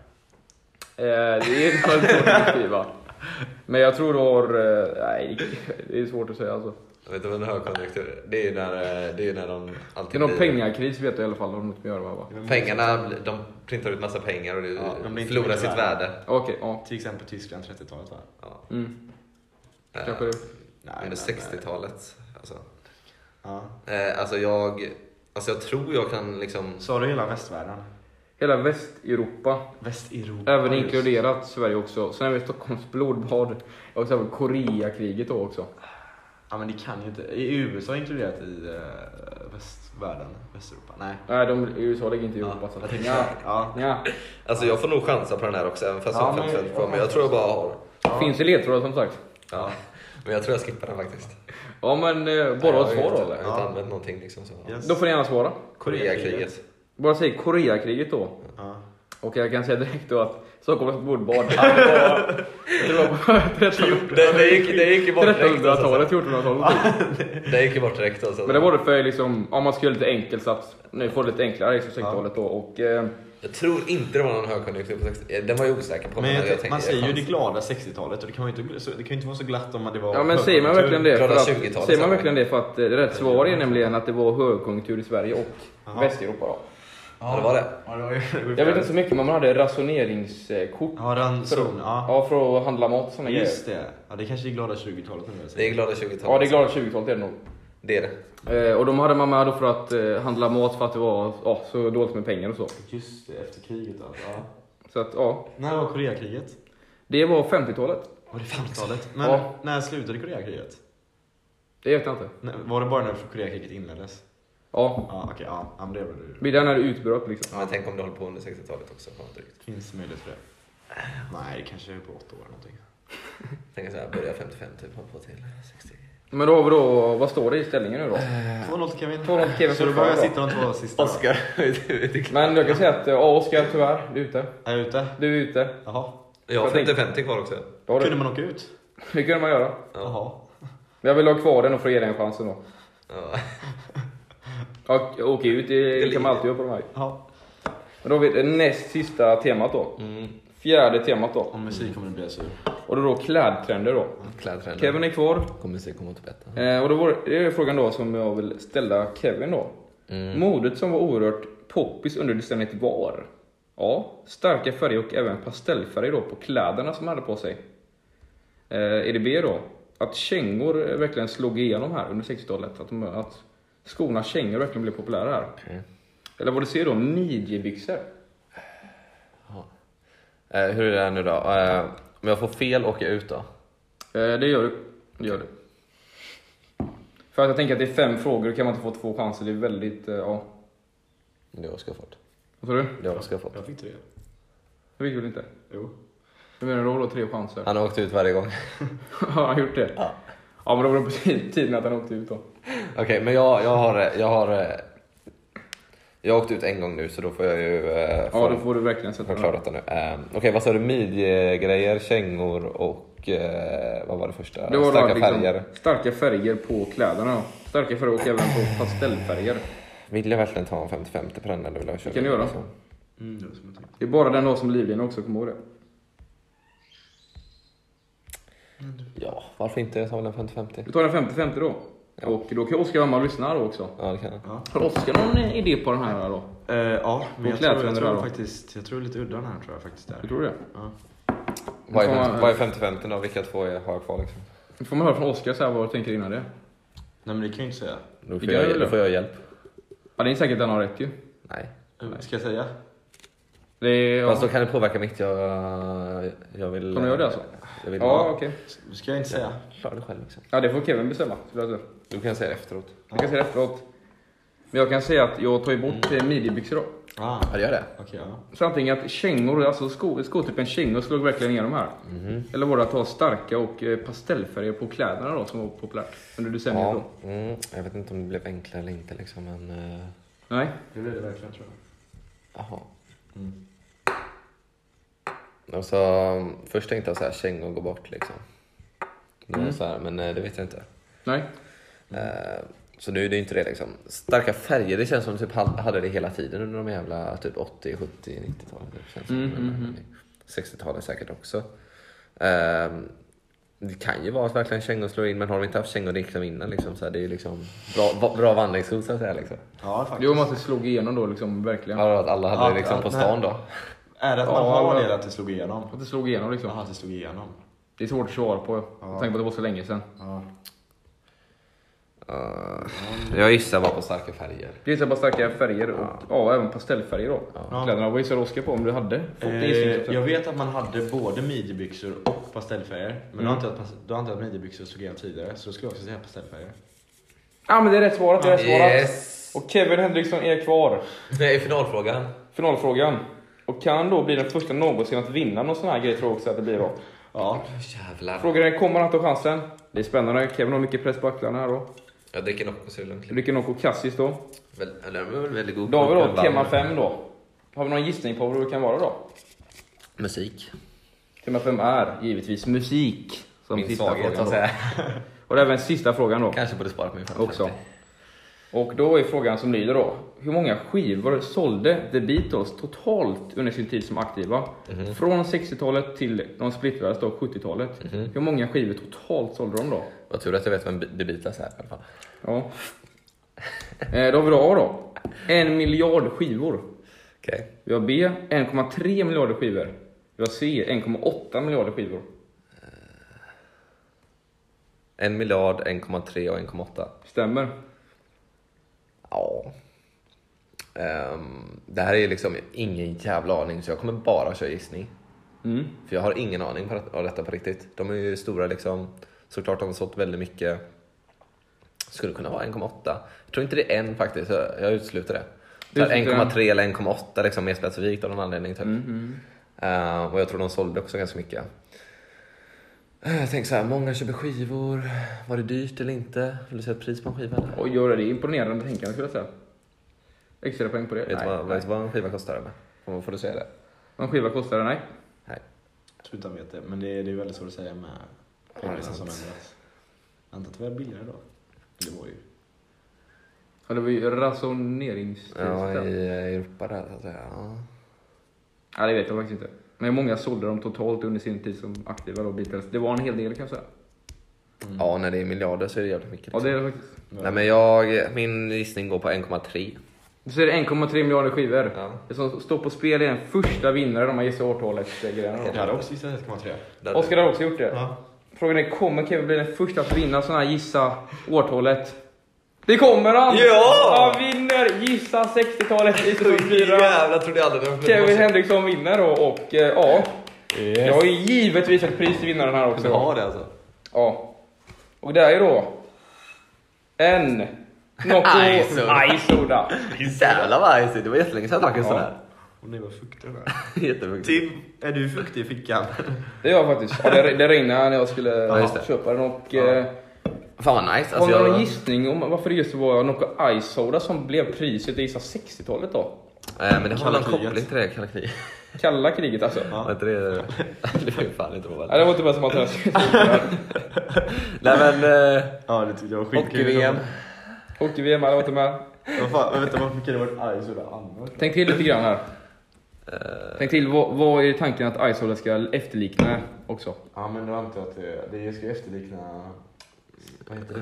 Eh, det är inte väldigt svårt att beskriva. Men jag tror du har... eh, Nej, det är svårt att säga alltså.
Jag vet inte vad en högkonjunktur är. Det är ju när, eh, det är ju när de
Det är
alltid
någon
blir-
pengakris vet jag i alla fall har något med att göra va?
Pengarna, blir- de printar ut massa pengar och det
Ja, de blir inte
förlorar
mycket
sitt
värda.
värde.
Okej, ja.
Till exempel Tyskland 30-talet va?
Ja.
Mm,
Eh,
kanske det.
men- eh,
Under 60-talet. Alltså.
Ja.
Eh, alltså jag, alltså jag tror jag kan liksom...
Sa du hela västvärlden?
Hela Västeuropa,
Västeuropa.
även
just.
inkluderat Sverige också. Sen har vi Stockholms blodbad och sen har vi Koreakriget då också.
Ja men det kan ju inte. Är USA inkluderat i eh, västvärlden? Västeuropa? Nej.
Nej, de, USA ligger inte i Europa. så att-
jag
Ja,
tänkte- ja.
ja.
Alltså jag får nog chansa på den här också, även fast
Ja,
jag
men-
inte men, på mig. Jag tror jag bara har...
Finns det ledtrådar som sagt?
Ja. Men jag tror jag skippar den faktiskt.
Ja men eh, bara ett
Jag har
svar då
inte- Jag
eller?
har
Ja.
inte använt någonting liksom. Så. Ja.
Yes.
Då får ni gärna svara.
Koreakriget.
Bara säg Koreakriget då.
Ja.
Och jag kan säga direkt då att Stockholms blodbad, det var, det var på 1300-talet,
Det, det, gick, det gick ju bort direkt. Alltså.
1400-talet. typ.
Det gick ju bort direkt alltså.
Men det var det för liksom, om man skulle göra lite enkelt så att nu får det lite enklare i 60-talet då. Och eh,
Jag tror inte det var någon högkonjunktur på 60 Den var jag osäker på.
Men jag,
tänkte-
man säger ju det
chans-
glada 60-talet och det kan, man ju inte, så, det kan ju inte vara så glatt om det var
Ja men säger man verkligen det? För
Glada
att,
20-talet,
säger man
så.
verkligen det för att eh, rätt svar är nämligen att det var högkonjunktur i Sverige och
Jaha.
Västeuropa då.
Ja, det var det.
Ja, det var ju,
Jag vet inte så mycket men man hade ransoneringskort.
Ja,
för,
ranson. Ja,
ja, för att handla mat och såna grejer.
just det. Ja, det kanske är glada 20-talet nu.
Det är glada 20-talet.
Ja det är glada 20-talet är det nog.
Det är det.
Eh, och de hade man med då för att eh, handla mat för att det var ja, så dåligt med pengar och så.
Just det, efter kriget alltså. Ja.
Så att ja,
När var Koreakriget?
det var 50-talet.
Var det 50-talet? Men
Ja.
när slutade Koreakriget?
Det vet jag inte.
När- Var det bara när Koreakriget inleddes?
Ja,
Ja, okej. ja, ja, men det var det.
vid den här utbrott liksom.
Ja, men tänk om det håller på under 60-talet också. Fan, drygt.
Finns det möjlighet för det? Nej, det kanske är på åtta år eller någonting.
Tänk så här, börja 55 typ, hoppa till 60.
Men då har vi då, vad står det i ställningen nu då?
2-0 Eh, till Kevin.
2-0 till Kevin
Så då
fortfarande
behöver jag
då.
sitta de två sista. då.
Oskar, ute i klass.
Men jag kan säga att eh, ja, Oskar tyvärr, du är ute.
Är jag ute?
Du är ute.
Jaha.
Jag har
Jag tänkte-
50 kvar också.
Då har du.
Kunde man åka ut?
Det kunde man göra.
Jaha.
Men jag vill ha kvar den och få ge dig en chans ändå.
Ja.
Ja, Åka ut det kan man alltid göra på de här.
Ja.
Men då har vi det näst sista temat då.
Mm.
Fjärde temat då.
Om musik kommer du bli sur.
Och då, då klädtrender då.
Klädtrender.
Kevin är kvar.
Kommer se komma till bättre.
Eh, och då var, det är frågan då som jag vill ställa Kevin då. Modet som var oerhört poppis under decenniet var? Ja, starka färger och även pastellfärger då på kläderna som man hade på sig. Eh, är det B då? Att kängor verkligen slog igenom här under 60-talet. Att, de, att skorna kängor verkligen blev populära här. Eller vad du ser då, midjebyxor.
Eh, hur är det här nu då? Eh, om jag får fel åker jag ut då?
Eh, det gör du. Det gör du. För att jag tänker att det är fem frågor, då kan man inte få två chanser. Det är väldigt, eh, ja.
Det har Oskar fått.
Vad sa du?
Det har Oskar fått.
Jag fick tre.
Det fick väl inte?
Jo.
Du menar då var det tre chanser?
Han har åkt ut varje gång.
Har han gjort det?
Ja.
Ja men då var det på tid- tiden att han åkte ut då.
Okej, men jag, jag har... eh, Jag har eh, jag har åkt ut en gång nu så då får jag ju... Eh,
Ja
få-
då får du verkligen sätta
förklara detta nu. Eh, Okej, vad sa du? Midjegrejer, kängor och... Eh, vad var det första?
Det var
Starka
då liksom
färger.
Starka färger på kläderna då. Starka färger och även på pastellfärger.
Vill jag verkligen ta en 50-50 på den eller vill jag köra? liksom?
kan du
den
göra.
också?
Mm, det var som jag tänkte.
Det är bara den dag som livlina också, kom ihåg det.
Ja, varför inte? Jag tar väl en 50-50.
Vi tar den 50-50 då. Och då kan Oskar Hammar lyssna då också.
Ja, det kan jag.
Har Oskar någon idé på den här då?
Eh, ja, men jag
kläder
tror, jag
under
tror
då.
faktiskt, jag tror lite udda den här tror jag faktiskt
Jag
där.
tror det.
Ja.
Vad är
Då tar
50
man-
vad är 50-50 då? Vilka två är- har jag kvar liksom?
Nu får man höra från Oskar så här vad du tänker innan det.
Nej men det kan jag inte säga.
Då
Vilka är det då?
jag hjälp.
Ja det är säkert den har rätt ju.
Nej.
Eh, Ska jag säga?
Det är, ja.
Fast då kan det påverka mitt. Jag, jag vill...
Kan du göra det alltså?
Jag vill
Ja okej.
Ska jag inte säga?
Klara det själv liksom.
Ja det får Kevin bestämma. skulle jag säga.
Du kan säga det efteråt.
Jag kan säga det efteråt. Men jag kan säga att jag tar ju bort mm. midjebyxor då.
Ah,
Ja, det gör det.
okej ja.
Så antingen att kängor, alltså sko, skotypen kängor slog verkligen igenom här.
Mhm.
Eller var det att ha starka och eh, pastellfärger på kläderna då som var populärt under decenniet
Ja,
då?
mm, jag vet inte om det blev enklare eller inte liksom, men... eh,
Nej,
Det blir det verkligen tror jag.
Jaha.
Mm.
Och så, först tänkte jag så här, kängor går bort liksom. Det var Så här, men eh, det vet jag inte.
nej.
Eh, Så nu är det inte det liksom. Starka färger, det känns som typ han hade det hela tiden under de jävla typ 80, 70, 90-talet. typ, känns det som.
Mm, mm, mm.
60-talet säkert också. Ehm, Det kan ju vara att verkligen kängor slår in, men har de inte haft kängor liksom innan liksom, så här, det är ju liksom bra, va- bra vandringshot så att säga. Liksom.
Ja faktiskt.
Jo men att det slog igenom då liksom verkligen.
Ja, att alla hade
Ja,
det liksom
ja,
på
nej.
stan då.
Är det att man
Ja,
har
men-
det att det slog igenom?
Att det slog igenom liksom.
Jaha, att det slog igenom.
Det är svårt att svara på. Med tanke på att det var så länge sedan.
Ja.
Eh, Jag gissar bara på starka färger.
Det är så bara starka färger och ja. även pastellfärger då.
Ja.
Kläderna, vad gissar Oskar på om du hade fått en gissning?
Eh, jag vet att man hade både midjebyxor och pastellfärger. Men då antar jag att pas- då antar jag att midjebyxor slog igenom tidigare. Så då skulle jag också säga pastellfärger.
Ja ah, men det är rätt svarat, det är rätt svarat.
Yes!
Och Kevin Henriksson är kvar.
Nej, finalfrågan.
Finalfrågan. Och kan då bli den första någonsin att vinna någon sån här grej tror jag också att det blir då.
Ja.
Jävlar.
Frågan är, kommer han ta chansen? Det är spännande. Kevin har mycket press på axlarna här då.
Jag dricker Nocco så är det lugnt.
Dricker Nocco Cassis då.
Väl- eller Den var väl väldigt god.
Då har vi
Den
då
vann.
tema 5 då. Har vi någon gissning på vad det kan vara då?
Musik.
Tema 5 är givetvis musik. Som
Min
sista
svaghet, så
frågan
att
då.
säga.
Och det är även sista frågan då.
Kanske borde sparat mig för
Också. Och då är frågan som lyder då. Hur många skivor sålde The Beatles totalt under sin tid som aktiva?
Mhm.
Från 60-talet till de splittrades då 70-talet.
Mhm.
Hur många skivor totalt sålde de då?
Vad tur att jag vet vem The Beatles är i alla fall.
Ja. Eh, Då har vi då A då. En miljard skivor.
Okej.
Vi har B 1,3 miljarder skivor. Vi har C 1,8 miljarder skivor.
En miljard, 1,3 och 1,8.
Stämmer?
Ja. Ehm, det här är liksom ingen jävla aning så jag kommer bara köra gissning.
Mm.
För jag har ingen aning på- om detta på riktigt. De är ju stora liksom. Såklart har de sålt väldigt mycket. Skulle kunna vara 1,8. Jag tror inte det är en faktiskt. Jag jag utesluter det.
Du
Så här
utesluter Mm,
1,3 eller 1,8 liksom mer specifikt av någon anledning. Typ. Ehm, och jag tror de sålde också ganska mycket. Eh, Jag tänker så här, många köper skivor. Var det dyrt eller inte? Vill du säga ett pris på en skiva? Eller?
Och gör det är imponerande tänkande skulle jag säga. Extra poäng på det?
Vet du vad,
nej.
vet du vad en skiva kostar eller? Får- Får du säga det?
Någon skiva kostar det? Nej.
Nej.
Jag tror inte han vet det, men det är, det är väldigt svårt att säga med pengarna som
sant.
ändras. Jag antar att det var billigare då. Det var ju.
Ja, det var ju rasoneringstillstånd.
Ja,
Ja,
i eh, Europa där så att säga. Ja.
det vet jag faktiskt inte. Men hur många sålde de totalt under sin tid som aktiva då, Beatles? Det var en hel del kan jag säga.
ja, när det är miljarder så är det jävligt mycket.
Ja,
liksom.
det är det faktiskt.
Nej men jag, min gissning går på 1,3.
Så är det 1,3 miljarder skivor.
Ja.
Det som står på spel är den första vinnaren om man gissar årtalet. eh, grejerna då.
Jag hade också gissat 1,3.
Där-
Oskar har också gjort det.
Ja.
Frågan är, kommer Kevin bli den första att vinna sån här gissa årtalet? Det kommer han!
Ja!
Han vinner! Gissa 60-talet i säsong
Så
4.
jävla trodde jag aldrig
Kevin Henriksson vinner då och eh, ja,
Eh.
jag har ju givetvis ett pris till vinnaren här också.
Du har det alltså?
Ja. Och det är ju då en Nocco
Isoda.
Isoda.
Jävlar vad icy, det var jättelänge sedan jag drack en sån här.
Och ni var fuktiga där.
Jättefuktigt.
Tim, är du fuktig i fickan?
Det gör jag faktiskt. Ja, det, det regnade när jag skulle
just det.
köpa den och eh,
Fan vad nice.
har
Alltså,
ni någon
jag,
gissning om varför det just var Nocco Isoda som blev priset i gissa 60-talet då?
eh, men det har
Kalla
någon
kriget.
koppling till det kalla kriget.
Kalla kriget alltså.
Var inte det... Det var ju fan inte roligt.
Nej, det var inte bara som att jag skulle
Nej men... eh,
ja, det tyckte jag var skitkul.
Hockey-VM.
Hockey-VM, alla var inte med.
Vad fan, vänta varför kan det varit arg så där annars?
Tänk till lite grann här.
Eh.
Tänk till, vad, vad är tanken att Isoda ska efterlikna också?
Ja men då antar jag att det, det ska efterlikna... Vad heter det?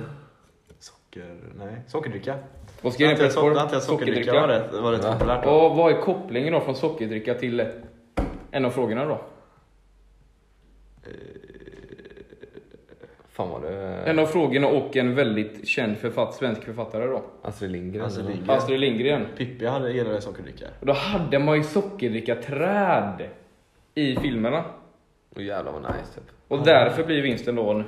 Socker... Nej, sockerdricka.
Vad ska jag göra på
Antar jag sockerdricka var rätt, var rätt populärt då.
Och vad är kopplingen då från sockerdricka till eh, en av frågorna då?
Fan vad du...
En
eh,
av frågorna och en väldigt känd författ, svensk författare då.
Astrid Lindgren.
Astrid
eller?
Lindgren.
Astrid Lindgren.
Pippi hade gillade sockerdricka.
Och då hade man ju sockerdricka-träd i filmerna.
Åh, Jävlar vad nice typ.
Och därför blir vinsten då en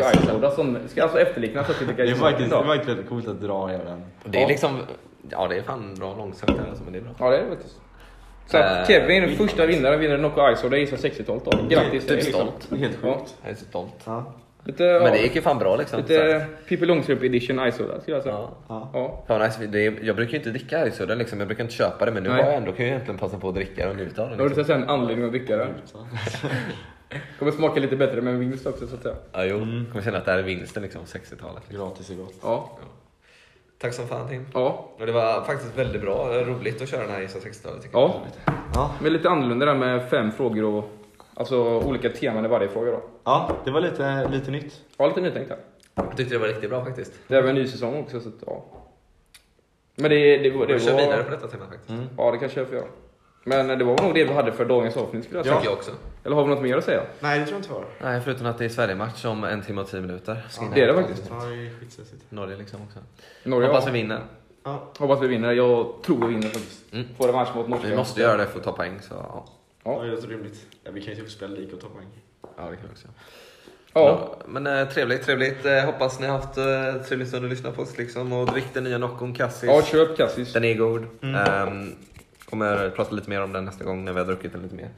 Isoda.
och Isoda som ska alltså efterlikna sockerdricka.
Det är faktiskt, det
Ja.
är faktiskt väldigt coolt att dra hela den.
Det är liksom... Ja det är fan bra långsamt här alltså men det är bra.
Ja, det är det faktiskt. Så att
Eh,
Kevin är den första vinnaren, vinner Nocco Ice och det är gissar 60-talet då. Grattis!
Typ
liksom.
stolt.
Det är helt
Ja.
sjukt.
Jag är så stolt.
Ja.
Lite, ja,
Men det gick ju fan bra liksom.
lite Pippi Långstrump edition Isoda skulle jag säga.
Ja.
Ja.
Ja.
Fan, nice. det är, jag brukar ju inte dricka Isoda liksom, jag brukar inte köpa det men nu
Nej.
har jag ändå, kan jag egentligen passa på att dricka och njuta av det.
Då har du
Liksom.
så att säga en anledning att dricka det. Kommer smaka lite bättre med en vinst också så att säga.
Ja, jo. Kommer känna att det här är vinsten liksom, 60-talet. Liksom.
Gratis är gott.
Ja.
Tack som fan Tim.
Ja.
Och det var faktiskt väldigt bra, roligt att köra den här Isa 60-talet tycker
Ja.
Ja.
Men lite annorlunda där med fem frågor och alltså olika teman i varje fråga då.
ja, det var lite, lite nytt.
Ja, lite nytänkt här.
jag. Jag tyckte det var riktigt bra faktiskt.
Det är även en ny säsong också så att ja. Men det, det, det,
Vi kör vidare på
var...
detta tema faktiskt.
Ja, det kanske jag får göra. Men det var nog det vi hade för dagens avsnitt skulle jag säga.
Tycker jag också.
Eller har vi något mer att säga?
Nej, det tror jag inte var.
Nej, förutom att det är Sverige-match om en timme och tio minuter. Ska in
Det är det
här.
faktiskt.
Ja, det är skitstressigt.
Norge liksom också.
Norge,
Hoppas vi
ja.
vinner.
Ja.
Hoppas vi vinner. Jag tror vi vinner faktiskt.
Mm.
Får en match mot Norge.
Vi måste göra det för att ta poäng så ja.
Ja, det låter rimligt. Ja, vi kan ju typ spela lik och ta poäng.
Ja, det kan vi också göra.
Ja.
Men eh, trevligt, trevligt. Eh, hoppas ni har haft eh, trevligt stund att lyssna på oss liksom. Och drick den nya Noccon Cassis.
Ja, Mm. köp Cassis.
Den är god. Ehm, kommer prata lite mer om den nästa gång när vi har druckit den lite mer.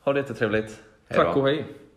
Ha det jättetrevligt. Hej
Tack
då.
och hej.